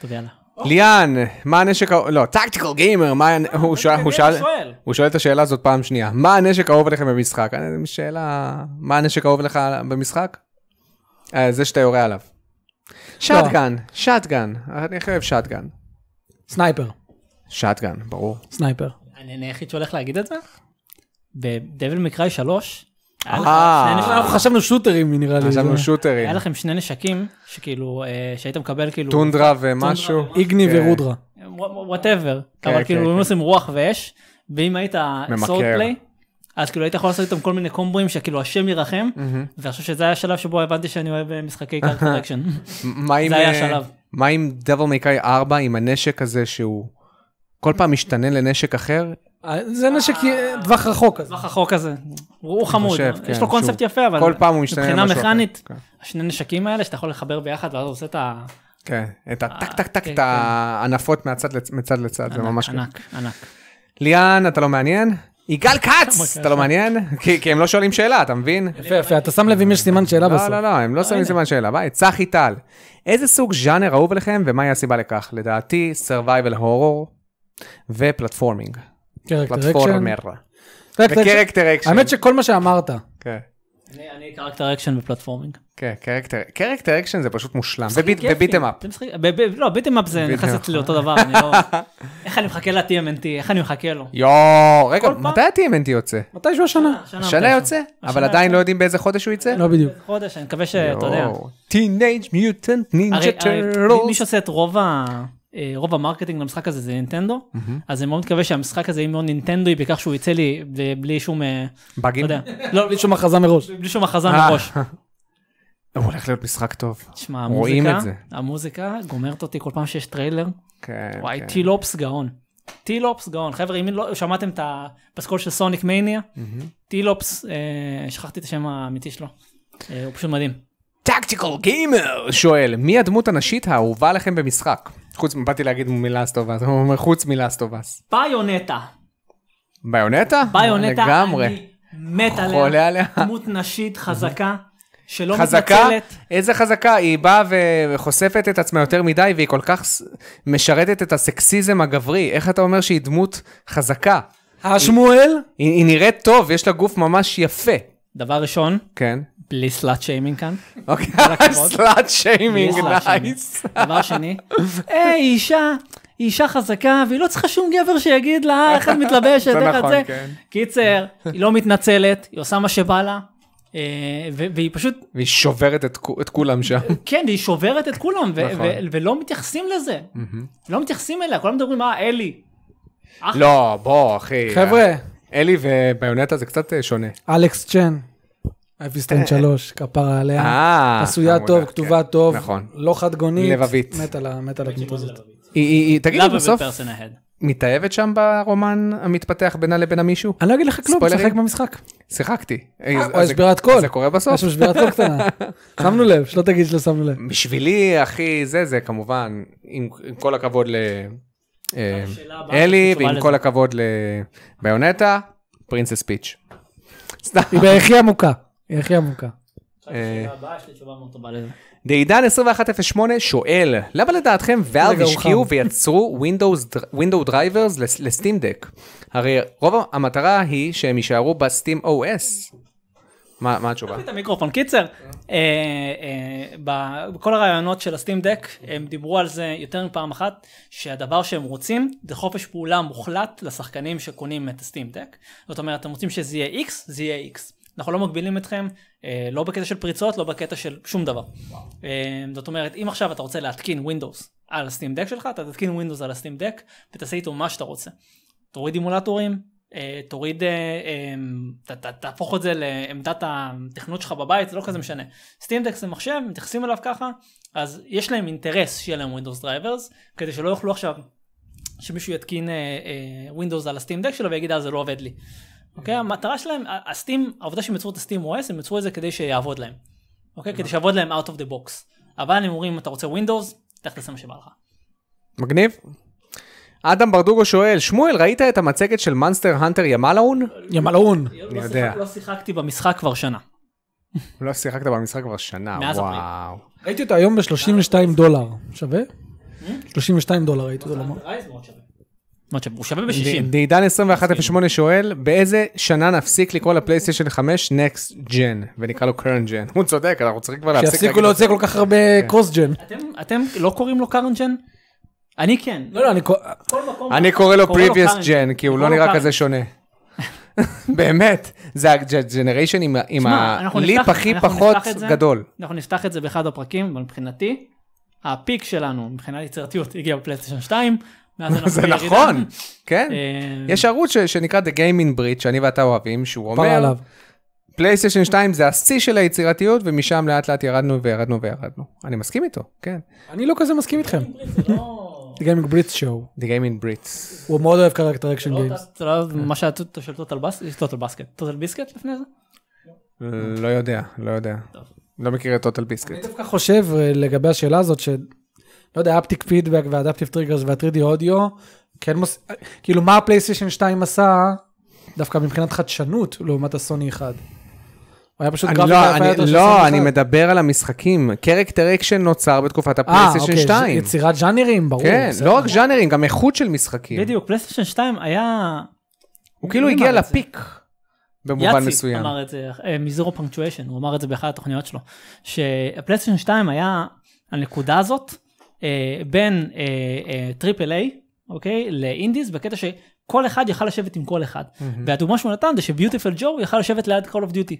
S3: טוב, יאללה.
S2: כן. ליאן, מה הנשק ה... לא, טקטיקל גיימר, מה... הנ- הוא שואל- הוא שאל...
S3: שואל.
S2: הוא שואל את השאלה הזאת פעם שנייה, מה הנשק האהוב עליכם במשחק? אני- שאלה, מה הנשק האהוב לך במשחק? אה, זה שאתה יורה עליו. שטגן, שטגן, אני הכי אוהב שטגן.
S1: סנייפר,
S2: שטגן, ברור.
S1: סנייפר.
S3: אני היחיד שהולך להגיד את זה? בדביל מקראי 3, היה לך
S2: אה.
S3: שני נשקים-
S1: אנחנו חשבנו שוטרים נראה לי.
S2: חשבנו
S1: זה-
S2: שוטרים,
S3: היה לכם שני נשקים, שכאילו, אה, שהיית מקבל כאילו,
S2: טונדרה ומשהו.
S1: איגני
S2: כן.
S1: ורודרה.
S3: וואטאבר,
S2: כן,
S3: אבל
S2: כן,
S3: כאילו הם
S2: כן.
S3: עושים רוח ואש, ואם היית
S2: ממכר.
S3: סורדפליי, אז כאילו היית יכול לעשות איתם כל מיני קומבואים שכאילו השם ירחם, ואני חושב שזה היה השלב שבו הבנתי שאני אוהב אה, משחקי קארט קורקשן.
S2: מה עם...
S3: זה היה
S2: אה,
S3: השלב.
S2: מה עם דבל מייקאי 4, עם הנשק הזה שהוא כל פעם משתנה לנשק אחר?
S1: אה, זה נשק אה, טווח רחוק. אז.
S3: טווח החוק הזה, הוא חמוד,
S2: חושב,
S3: יש
S2: כן,
S3: לו קונספט
S2: שהוא-
S3: יפה, אבל
S2: כל פעם הוא משתנה
S3: מבחינה
S2: למשהו אחר,
S3: מכנית,
S2: כן.
S3: השני נשקים האלה שאתה יכול לחבר ביחד ואז הוא עושה את ה...
S2: כן, את הטק טק טק,
S3: כן,
S2: את
S3: כן.
S2: הענפות מהצד לצ- מצד לצד, זה ממש כן. כיף.
S3: ענק, ענק.
S2: ליאן, אתה לא מעניין? יגאל כץ, אתה לא מעניין? כי כי הם לא שואלים שאלה, אתה מבין?
S1: יפה יפה, אתה שם לב אם יש סימן שאלה
S2: לא, לא,
S1: בסוף.
S2: לא, הם
S3: אה,
S2: לא שמים סימן שאלה. ביי, צחי טל. איזה סוג ז'אנר אהוב עליכם ומהי הסיבה לכך? לדעתי, survival horror ופלטפורמינג. פלטפורמר. וקרקטר אקשן.
S1: האמת שכל מה שאמרת,
S2: כן,
S3: אני- אני קרקטר אקשן בפלטפורמינג.
S2: כן, קרקטר- קרקטר אקשן זה פשוט מושלם.
S3: משחקים כיפיים.
S2: וביטם אפ.
S3: זה משחק- ב- ב- לא, ביטם אפ זה
S2: ביטם
S3: נכנס
S2: אפ.
S3: אצלי לאותו דבר, אני לא... איך אני מחכה ל-TMNT, איך אני מחכה לו.
S2: יואו, רגע,
S3: כל פעם-
S2: מתי ה-TMNT יוצא?
S1: מתישהו השנה.
S3: השנה
S2: השנה
S3: מתישהו.
S2: יוצא, אבל
S3: השנה
S2: עדיין
S3: יוצא.
S2: לא יודעים באיזה חודש הוא יצא?
S1: לא בדיוק.
S3: חודש, אני מקווה שאתה יודע.
S2: טינג' מיוטנט
S3: הרי
S2: נינג'ה
S3: הרי מי- מי
S2: טרלוס.
S3: שעושה את רוב ה... אה, רוב המרקטינג למשחק הזה זה נינטנדו,
S2: Mm-hmm.
S3: אז אני מאוד מקווה שהמשחק הזה יהיה מאוד נינטנדוי בכך שהוא יצא לי ב- בלי שום, אה, לא
S2: באגים?
S3: יודע, לא,
S1: בלי שום הכרזה מראש.
S3: בלי שום הכרזה
S2: אה.
S3: מראש.
S2: הוא הולך להיות משחק טוב.
S3: תשמע,
S2: רואים
S3: המוזיקה,
S2: את זה.
S3: המוזיקה גומרת אותי כל פעם שיש טריילר,
S2: כן.
S3: וואי,
S2: כן.
S3: טילופס גאון. טילופס גאון. חבר'ה, אם לא שמעתם את הפסקול של סוניק מניה, טילופס, אה, שכחתי את השם האמיתי שלו. אה, הוא פשוט מדהים.
S2: טקטיקל גיימר שואל, מי הדמות הנשית האהובה לכם במשחק? חוץ, באתי להגיד מלאסט אובאס, הוא אומר חוץ מלאסט אובאס.
S3: ביונטה.
S2: ביונטה?
S3: ביונטה,
S2: לגמרי.
S3: אני מת
S2: חולה
S3: עליה.
S2: עליה.
S3: דמות נשית חזקה, שלא
S2: חזקה?
S3: לא מתנצלת.
S2: איזה חזקה? היא באה ו- וחושפת את עצמה יותר מדי והיא כל כך ס- משרתת את הסקסיזם הגברי. איך אתה אומר שהיא דמות חזקה? אה.
S1: השמואל?
S2: היא, היא נראית טוב, יש לה גוף ממש יפה.
S3: דבר ראשון,
S2: כן.
S3: בלי סלאט שיימינג כאן.
S2: אוקיי,
S3: הכבוד.
S2: סלאט שיימינג,
S3: בלי slut shaming.
S2: נייס.
S3: דבר שני, היי, אה, היא אישה, היא אישה חזקה, והיא לא צריכה שום גבר שיגיד לה, "אה, איך את מתלבשת,
S2: זה
S3: איך את
S2: נכון,
S3: זה.
S2: כן.
S3: קיצר, היא לא מתנצלת, היא עושה מה שבא לה, אה, ו- והיא פשוט,
S2: והיא שוברת את כו- את כולם שם.
S3: כן, והיא שוברת את כולם, ו-
S2: נכון.
S3: ו- ולא מתייחסים לזה. לא מתייחסים אליה, כולם מדברים, אה, אלי.
S2: לא, בוא, אחי.
S1: חבר'ה,
S2: אלי וביונטה זה קצת אה, שונה.
S1: אלכס צ'ן. אפיסטיין 3, כפרה עליה.
S2: אה,
S1: עשויה
S2: חמודה,
S1: טוב,
S2: כן.
S1: כתובה טוב.
S2: נכון.
S1: לא חד גונית.
S2: לבבית.
S1: מת על ה- מת על הדמות הזאת.
S2: כן. היא- היא- היא- תגידו,
S3: Love
S2: בסוף אה,
S3: every person ahead.
S2: מתאהבת שם ברומן המתפתח בינה לבין המישהו?
S1: אני לא אגיד לך כלום,
S2: ספוילרים?
S1: תשחק במשחק.
S2: שיחקתי.
S1: או יש בירת קול.
S2: זה קורה בסוף?
S1: יש שם שבירת קול קטנה. שמנו לב, שלא תגיד שלא שמנו לב.
S2: בשבילי, אחי, זה, זה כמובן, עם עם כל הכבוד ל... אה,
S3: השאלה הבאה
S2: אלי,
S3: שקשורה
S2: ועם
S3: לזה.
S2: כל הכבוד לביונטה, פרינסס פיץ'. סתם.
S1: היא בהכי עמוקה. היא הכי עמוקה.
S2: אה,
S3: לזה.
S2: דעידן 2108 שואל, למה לדעתכם ואלב
S1: רגע, הוא
S2: השקיעו
S1: חם.
S2: ויצרו Windows דר- Window Drivers לס- לסטים דק? הרי רוב המטרה היא שהם יישארו בסטים OS. מה מה התשובה?
S3: תביא את המיקרופון. קיצר, אה, אה, ב- בכל הרעיונות של הסטים דק, הם דיברו על זה יותר מפעם אחת, שהדבר שהם רוצים זה חופש פעולה מוחלט לשחקנים שקונים את הסטים דק. זאת אומרת, אתם רוצים שזה יהיה X, זה יהיה X. אנחנו לא מגבילים אתכם, אה, לא בקטע של פריצות, לא בקטע של שום דבר. אה, זאת אומרת, אם עכשיו אתה רוצה להתקין Windows על הסטים דק שלך, אתה תתקין Windows על הסטים דק ותעשה איתו מה שאתה רוצה. תוריד אימולטורים, אה, תוריד, אה, אה, ת- ת- תהפוך את זה לעמדת התכנות שלך בבית, זה לא כזה משנה. סטימדקס זה מחשב, מתייחסים אליו ככה, אז יש להם אינטרס שיהיה להם Windows Drivers, כדי שלא יוכלו עכשיו, שמישהו יתקין אה, אה, Windows על הסטימדק שלו ויגיד, אה, זה לא עובד לי. אוקיי, המטרה שלהם, ה- הסטים, העובדה שהם יצרו את הסטים OS, הם יצרו את זה כדי שיעבוד להם. אוקיי, כדי שיעבוד להם out of the box. אבל הם אומרים, אם אתה רוצה Windows, לך תעשה מה שבא לך.
S2: מגניב? אדם ברדוגו שואל, שמואל, ראית את המצגת של מאנסטר הנטר ימלאון?
S1: ימלאון.
S3: לא
S2: יודע.
S3: שיחק- לא שיחקתי במשחק כבר שנה.
S2: לא שיחקת במשחק כבר שנה,
S3: מאז אפריל.
S2: וואו.
S1: ראיתי אותו היום ב-32 דולר. שווה? 32 דולר ראיתי אותו.
S2: אה,
S1: למה?
S3: רייז אה, מאוד שווה. מאוד שווה, הוא שווה ב-60.
S2: דעידן 2108 שואל, באיזה שנה נפסיק לקרוא לפלייסטיישן 5 Next Gen, ונקרא לו current gen? הוא צודק, אנחנו צריכים כבר להפסיק.
S1: שיפסיקו
S2: להגיד- כן.
S1: להוציא כל כך הרבה קרוס ג'ן.
S3: אתם- אתם לא קוראים לו קרנג'ן? אני כן.
S1: לא, לא, אני... כל-
S3: כל מקום-
S2: אני קורא לו previous
S3: current
S2: gen, כי הוא
S3: אני
S2: לא
S3: קורא לו
S2: נראה
S3: current.
S2: כזה שונה. באמת, זה הג'נריישן עם ה- עם
S3: שמע, אנחנו
S2: הליפ
S3: נפתח-
S2: הכי
S3: אנחנו
S2: פחות
S3: נפתח את זה.
S2: גדול.
S3: אנחנו נפתח את זה באחד הפרקים, אבל מבחינתי, הפיק שלנו, מבחינת יצירתיות, הגיע בפלייסטיישן 2. מאז אנחנו
S2: זה
S3: בירידה.
S2: נכון, כן.
S3: אה,
S2: יש ערוץ ש- שנקרא The Gaming Bridge, שאני ואתה אוהבים, שהוא
S1: כפרה
S2: אומר,
S1: עליו.
S2: פלייסטיישן 2 זה השיא של היצירתיות, ומשם לאט לאט ירדנו וירדנו וירדנו. אני מסכים איתו, כן.
S1: אני לא כזה מסכים איתכם.
S3: זה לא-
S1: זה גיימינג בריץ שואו.
S2: The Gaming Bridge.
S1: הוא מאוד אוהב קרקטר אקשן
S3: לא
S1: גיימס.
S3: אותה- זה לא מה שהיה טוטל של טוטל בסקט, טוטל בסקט, טוטל ביסקט לפני זה?
S2: לא יודע, לא יודע. לא מכיר את טוטל ביסקט.
S1: אני דווקא חושב אה, לגבי השאלה הזאת ש... לא יודע, אפטיק פידבק ואדפטיב טריגרס וה-3D אודיו, כן מוס... כאילו מה הפלייסטיישן 2 עשה, דווקא מבחינת חדשנות לעומת הסוני 1. הוא היה פשוט
S2: אני
S1: גרפיקה
S2: לא,
S1: יפה
S2: אני-
S1: יותר של
S2: לא,
S1: סוני
S2: אני
S1: 1.
S2: מדבר על המשחקים. קרקטר אקשן נוצר בתקופת
S1: אה,
S2: הפלייסטיישן
S1: אוקיי,
S2: 2.
S1: יצירת ז'אנרים, ברור.
S2: כן,
S1: בסדר.
S2: לא רק ז'אנרים, גם איכות של משחקים.
S3: בדיוק, פלייסטיישן 2 היה...
S2: הוא כאילו
S3: מי
S2: הגיע
S3: אמר את זה?
S2: לפיק, במובן
S3: יאצי
S2: מסוים.
S3: אמר את זה, אה, מזירו פונקטואשן, הוא אמר את זה באחת התוכניות שלו, שהפלייסטיישן 2 היה הנקודה הזאת אה, בין אה, אה, טריפל איי, אוקיי, לאינדיז, בקטע שכל אחד יכל לשבת עם כל אחד. והדוגמה שהוא נתן זה שביוטיפל ג'ו יכל לשבת ליד Call of Duty.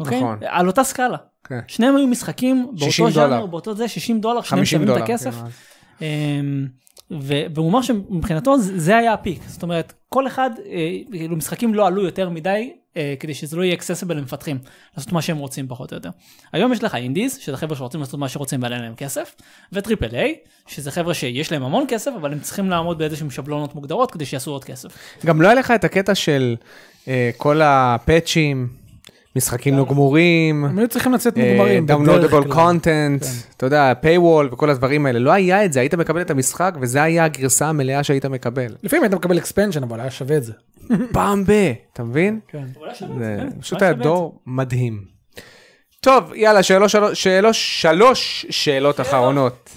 S3: אוקיי?
S2: נכון.
S3: על אותה סקאלה.
S2: כן.
S3: שניהם היו משחקים
S2: 60
S3: באותו
S2: דולר.
S3: ז'אנר, באותו זה, 60 דולר, שניהם
S2: 50
S3: שווים את
S2: דולר.
S3: הכסף.
S2: כן,
S3: אמ, ו- והוא אמר שמבחינתו זה זה היה הפיק, זאת אומרת כל אחד, אה, כאילו משחקים לא עלו יותר מדי אה, כדי שזה לא יהיה אקססיבל למפתחים, לעשות מה שהם רוצים פחות או יותר. היום יש לך אינדיז, שזה חבר'ה שרוצים לעשות מה שרוצים ועליהם להם כסף, וטריפל איי, שזה חבר'ה שיש להם המון כסף אבל הם צריכים לעמוד באיזשהם שבלונות מוגדרות כדי שיעשו עוד כסף.
S2: גם לא היה לך את הקטע של אה, כל הפאצ'ים, משחקים
S3: אה,
S2: לא גמורים,
S1: הם היו צריכים לצאת
S2: אה,
S1: מוגמרים. בדרך
S2: downloadable
S1: כלל. כן.
S2: content, אתה יודע, paywall וכל הדברים האלה. לא היה את זה, היית מקבל את המשחק וזה היה הגרסה המלאה שהיית מקבל.
S1: לפעמים היית מקבל אקספנשן, אבל היה שווה את זה.
S2: פעם ב... אתה מבין?
S1: כן.
S2: זה פשוט היה דור מדהים. טוב, יאללה, שאלות, שלוש- שלוש- שלוש שאלות אחרונות.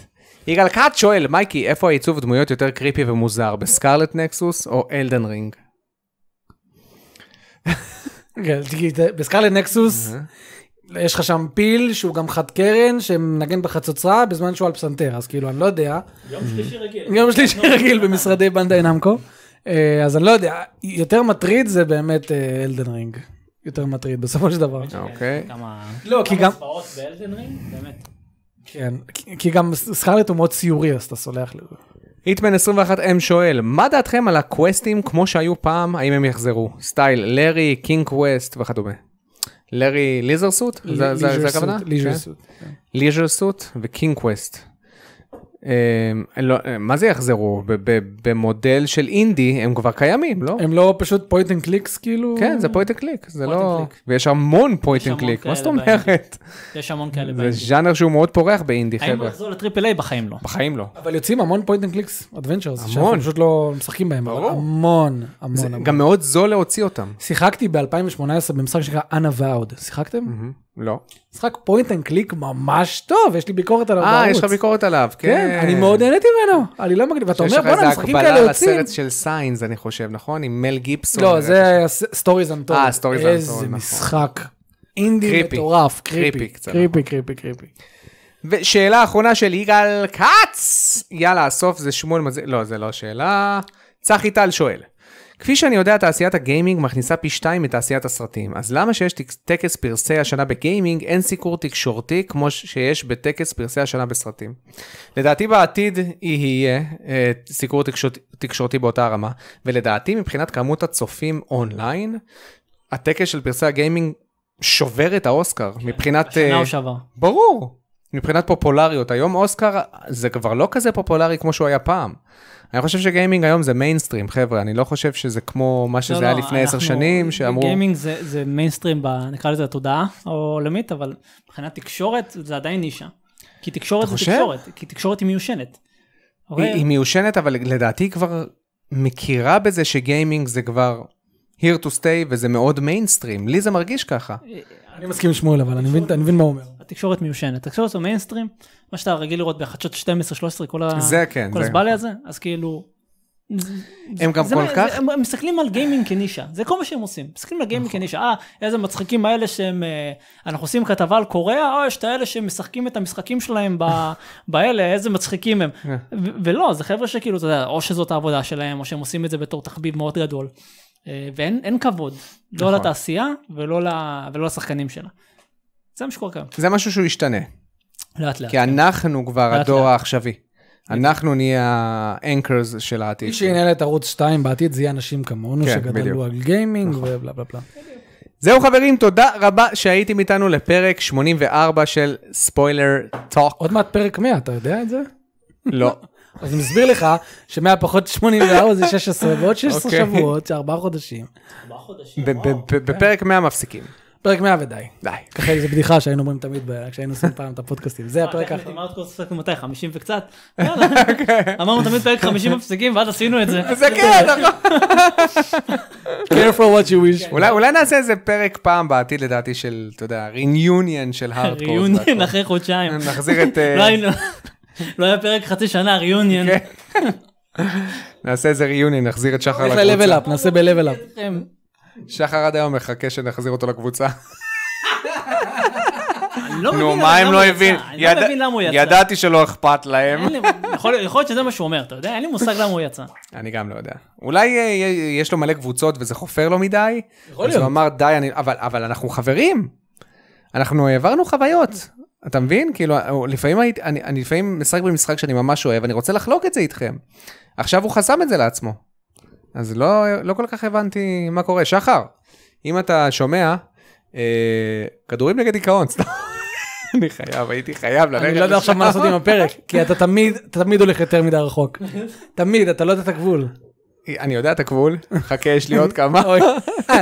S2: יגאל כת שואל, מייקי, איפה העיצוב דמויות יותר קריפי ומוזר, בסקארלט נקסוס או אלדן רינג? אוקיי.
S1: כן, כי זה- בסקאלה נקסוס, יש לך שם פיל שהוא גם חד קרן שמנגן בחצוצרה בזמן שהוא על פסנתר, אז כאילו אני לא יודע.
S3: יום שלישי רגיל.
S1: יום שלישי רגיל במשרדי בנדאי נמקו. אה, אז אני לא יודע, יותר מטריד זה באמת אה, אלדן רינג. יותר מטריד בסופו של דבר.
S2: אוקיי.
S1: לא, כי גם,
S3: הצבעות באלדן רינג, באמת.
S1: כן, כי- כי גם סקארלט הוא מאוד ציורי, אז אתה סולח לזה.
S2: היטמן 21M שואל, מה דעתכם על הקווסטים כמו שהיו פעם, האם הם יחזרו? סטייל לארי, קינג קווסט וכדומה. לארי ליזר סוט? זה זה- זה הכוונה?
S1: ליז'ר סוט. כן.
S2: ליז'ר סוט וקינג קווסט. אה, לא, אה, מה זה יחזרו? ב- ב- במודל של אינדי הם כבר קיימים, לא?
S1: הם לא פשוט פויט אנד קליקס כאילו?
S2: כן, זה פויט אנד קליק, זה
S3: Point and
S2: לא...
S3: click.
S2: ויש המון פויט
S3: יש
S2: אנד
S3: המון
S2: קליק, מה
S3: כאלה
S2: זאת אומרת?
S3: יש המון כאלה
S2: זה
S3: באינדי.
S2: ז'אנר שהוא מאוד פורח באינדי,
S3: האם
S2: חבר'ה.
S3: לחזור לטריפל איי? בחיים לא.
S2: בחיים לא.
S1: אבל יוצאים המון פוינט אנד קליקס אדוונצ'רס,
S2: המון.
S1: שאנחנו פשוט לא משחקים בהם, אבל
S2: ברור.
S1: המון, המון,
S2: זה
S1: המון.
S2: גם מאוד זול להוציא אותם.
S1: שיחקתי ב-2018 במשחק שנקרא Unavowed, שיחקתם?
S2: לא.
S1: משחק פוינט אנד קליק ממש טוב, יש לי ביקורת עליו בערוץ.
S2: אה, יש לך ביקורת עליו, כן.
S1: כן, אני מאוד נהניתי ממנו, אני לא מגניב, ואתה אומר בואנה משחקים כאלה
S2: שיש לך איזה
S1: יוצאים.
S2: הקבלה לסרט של סיינס, אני חושב, נכון? עם מל גיבסון.
S1: לא, זה סטוריז אנטון.
S2: אה, Stories Untold,
S1: איזה
S2: נכון.
S1: משחק אינדי
S2: קריפי.
S1: מטורף,
S2: קריפי
S1: קריפי,
S2: קצת.
S1: קריפי, קריפי, קריפי.
S2: ושאלה אחרונה של יגאל כץ! יאללה, הסוף זה שמואל מזל... לא, זה לא שאלה. צחי טל שואל. כפי שאני יודע, תעשיית הגיימינג מכניסה פי שתיים מתעשיית הסרטים, אז למה שיש טק- טקס פרסי השנה בגיימינג אין סיקור תקשורתי כמו ש- שיש בטקס פרסי השנה בסרטים? לדעתי בעתיד יהיה אה, סיקור תקשורתי, תקשורתי באותה הרמה, ולדעתי מבחינת כמות הצופים אונליין, הטקס של פרסי הגיימינג שובר את האוסקר מבחינת...
S3: השנה
S2: אה,
S3: או שעבר.
S2: ברור. מבחינת פופולריות, היום אוסקר זה כבר לא כזה פופולרי כמו שהוא היה פעם. אני חושב שגיימינג היום זה מיינסטרים, חבר'ה, אני לא חושב שזה כמו מה שזה
S3: לא,
S2: היה
S3: לא,
S2: לפני עשר
S3: אנחנו-
S2: שנים, שאמרו...
S3: גיימינג זה זה מיינסטרים, ב- נקרא לזה התודעה העולמית, אבל מבחינת תקשורת זה עדיין נישה. כי תקשורת
S2: אתה
S3: זה
S2: חושב?
S3: תקשורת, כי תקשורת היא מיושנת. אוקיי?
S2: היא, היא מיושנת, אבל לדעתי היא כבר מכירה בזה שגיימינג זה כבר here to stay וזה מאוד מיינסטרים, לי זה מרגיש ככה.
S1: אני מסכים עם שמואל, אבל אני מבין- אני מבין מה הוא אומר.
S3: התקשורת מיושנת, התקשורת זה מיינסטרים, מה שאתה רגיל לראות בחדשות 12-13, כל ה-
S2: זה כן,
S3: כל
S2: זה-
S3: הזבאלי הזה, אז כאילו... זה-
S2: הם גם
S3: זה
S2: כל
S3: מה-
S2: כך-
S3: זה- הם הם מסתכלים על גיימינג כנישה, זה כל מה שהם עושים, מסתכלים על
S2: נכון.
S3: גיימינג כנישה, אה, איזה מצחיקים האלה שהם, אה, אנחנו עושים כתבה על קוריאה, או יש את האלה שמשחקים את המשחקים שלהם ב- באלה, איזה מצחיקים הם.
S2: אה.
S3: ו- ולא, זה חבר'ה שכאילו, אתה יודע, או שזאת העבודה שלהם, או שהם עושים את זה בתור תחביב מאוד גדול. אה, ואין אין כבוד, לא
S2: נכון.
S3: לתעשייה ולא ל- ולא לשחקנים שלה. זה מה שקורה כאן,
S2: זה משהו שהוא ישתנה,
S3: לאט לאט.
S2: כי אנחנו כבר
S3: לאט,
S2: הדור
S3: לאט.
S2: העכשווי. אנחנו נהיה האנקרס של העתיד.
S1: מי שינהל את ערוץ 2 בעתיד זה יהיה אנשים כמונו
S2: כן, בדיוק. נכון.
S1: שגדלו על גיימינג ובלה בלה בלה.
S2: זהו חברים, תודה רבה שהייתם איתנו לפרק 84 של ספוילר טוק.
S1: עוד מעט פרק 100, אתה יודע את זה?
S2: לא.
S1: אז אני מסביר לך ש100 פחות 84 זה 16 ועוד 16
S2: אוקיי.
S1: שבועות, זה 4 חודשים.
S2: ב- ב- ב- בפרק 100 מפסיקים.
S1: פרק 100 ודי.
S2: די.
S1: ככה זו בדיחה שהיינו אומרים תמיד ב- כשהיינו עושים פעם את הפודקאסטים. זה הפרק
S3: טכנית,
S1: האחרון.
S3: עם הארדקור ספק אה, מתי? 50 וקצת? יאללה. אמרנו תמיד פרק 50 מפסיקים ואז עשינו את זה.
S2: זה כן, נכון.
S1: care for what you wish.
S2: אולי- אולי נעשה איזה פרק פעם בעתיד לדעתי של, אתה יודע, ריוניון של הארדקור.
S3: ריוניון אחרי חודשיים.
S2: נחזיר את... אה,
S3: לא היינו- לא היה פרק חצי שנה, ריוניון.
S2: כן. נעשה איזה ריוניון, נחזיר את שחר
S1: נלך ל-level
S2: לקבוצה.
S1: up, נעשה ב-level up.
S2: כן. שחר עד היום מחכה שנחזיר אותו לקבוצה.
S3: אני
S2: נו,
S3: לא מבין
S2: מה
S3: למה
S2: הם
S3: הוא
S2: לא
S3: יצא.
S2: הבין?
S3: אני לא מבין למה הוא יצא.
S2: ידעתי שלא אכפת להם.
S3: אין לי- יכול להיות- יכול להיות שזה מה שהוא אומר, אתה יודע? אין לי מושג למה הוא יצא.
S2: אני גם לא יודע. אולי אה, יה- יש לו מלא קבוצות וזה חופר לו מדי?
S1: יכול
S2: אז
S1: להיות.
S2: הוא אמר, די, אני... אבל, אבל אנחנו חברים. אנחנו העברנו חוויות. אתה מבין? כאילו, אה, לפעמים הייתי, אני, אני לפעמים משחק במשחק שאני ממש אוהב, אני רוצה לחלוק את זה איתכם. עכשיו הוא חסם את זה לעצמו. אז לא, לא כל כך הבנתי מה קורה. שחר, אם אתה שומע, אה, כדורים נגד דיכאון, סתם. אני חייב, הייתי חייב ללכת.
S1: אני לא יודע עכשיו מה לעשות עם הפרק, כי אתה תמיד, אתה תמיד הולך יותר מדי רחוק. תמיד, אתה לא יודע את הגבול.
S2: אני יודע את הגבול, חכה, יש לי עוד כמה.
S1: אוי.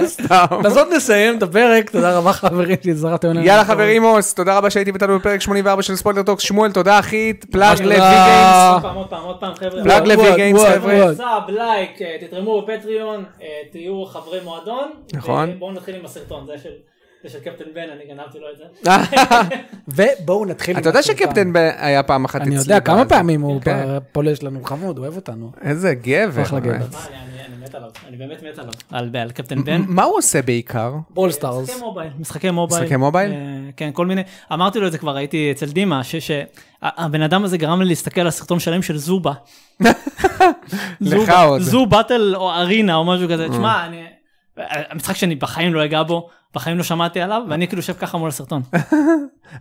S2: סתם.
S1: אז עוד נסיים את הפרק, תודה רבה חברים שהזרחתם אלינו.
S2: יאללה חברים
S1: לא.
S2: עוס, תודה רבה שהייתם איתנו בפרק 84 של ספוילר טוקס, שמואל תודה אחי, פלאג
S1: תודה.
S2: לוי גיימס,
S3: עוד פעם, עוד פעם, עוד פעם, חבר'ה.
S2: פלאג
S1: וואו,
S2: לוי
S1: וואו,
S2: גיימס
S1: וואו,
S2: חבר'ה,
S1: וואו.
S3: סאב, לייק, אה, תתרמו בפטריון, אה, תהיו חברי מועדון.
S2: נכון.
S3: ובואו נתחיל עם הסרטון, זה של- זה של קפטן בן, אני גנבתי לו את זה.
S2: אה.
S1: ובואו נתחיל. עם
S2: אתה יודע
S1: הסרטון.
S2: שקפטן בן היה פעם אחת
S1: אני
S2: אצלי
S1: יודע כמה
S2: בזה.
S1: פעמים הוא
S2: כן.
S1: פ- פולש לנו, הוא חמוד, הוא אוהב אותנו.
S2: איזה גבר,
S1: אחלה גבר.
S2: באמת.
S3: מה, אני- אני אני מת עליו, אני באמת מת עליו. על על קפטן בן.
S2: מה הוא עושה בעיקר?
S1: בול
S3: משחקי
S1: סטארס.
S3: מובייל, משחקי מובייל.
S2: משחקי מובייל?
S3: אה, כן, כל מיני. אמרתי לו את זה כבר, הייתי אצל דימה, שהבן אדם הזה גרם לי להסתכל על הסרטון שלם של זובה.
S2: לך
S3: זובה-
S2: עוד. אה.
S3: זו באטל או ארינה או משהו כזה. תשמע, אני- המשחק שאני בחיים לא אגע בו, בחיים לא שמעתי עליו, ואני כאילו יושב ככה מול הסרטון.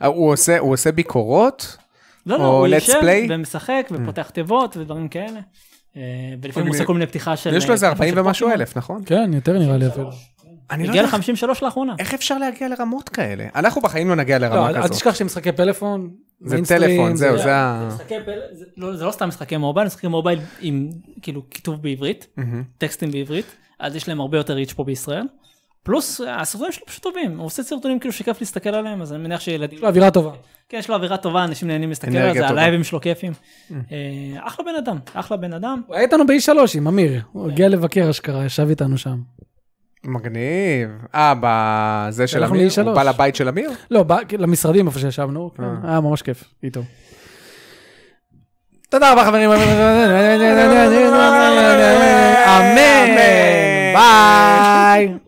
S2: אה, הוא עושה- הוא עושה ביקורות?
S3: לא, לא,
S2: או
S3: הוא
S2: Let's
S3: יושב
S2: Play? אה.
S3: ומשחק ופותח תיבות ודברים כאלה. אה, ולפעמים הוא
S2: מגניב.
S3: עושה כל מיני פתיחה של...
S2: יש לו איזה
S3: אה,
S2: 40
S3: של
S2: ומשהו
S3: פוקימון.
S2: אלף, נכון?
S1: כן, יותר נראה לי אפילו.
S2: אני לא
S3: הגיע
S2: יודע
S3: ל-53 לאחרונה.
S2: איך אפשר להגיע לרמות כאלה? אנחנו בחיים לא נגיע
S1: לא,
S2: לרמה
S1: אל אל
S2: כזאת.
S1: תשכח שמשחקי פלאפון.
S2: זה
S1: מיינסטרים,
S2: טלפון, זהו,
S1: זה-
S2: זה ה...
S3: משחקי פלא- זה לא- זה לא סתם משחקי מובייל, משחקי מובייל עם כאילו כיתוב בעברית, טקסטים בעברית, אז יש להם הרבה יותר ריץ' פה בישראל. פלוס הסרטונים שלו פשוט טובים, הוא עושה סרטונים כאילו שכיף להסתכל עליהם, אז אני מניח שילדים...
S1: יש לו לא, אווירה טובה.
S3: כן, יש לו אווירה טובה, אנשים נהנים להסתכל
S2: לא, אנרגיה
S3: על זה,
S2: טובה.
S3: הלייבים שלו כיפים. אה, אחלה בן אדם, אחלה בן אדם.
S1: הוא היה איתנו ב-E3 עם אמיר, הוא הגיע לבקר אשכרה, ישב איתנו שם.
S2: מגניב. אה, בזה של
S1: הלכנו
S2: אמיר?
S1: ל-
S2: הוא
S1: E3.
S2: בא לבית של אמיר?
S1: לא, בא- כאילו, למשרדים איפה שישבנו, כן,
S2: אה.
S1: היה ממש כיף, איתו. תודה רבה חברים, אמן, ביי.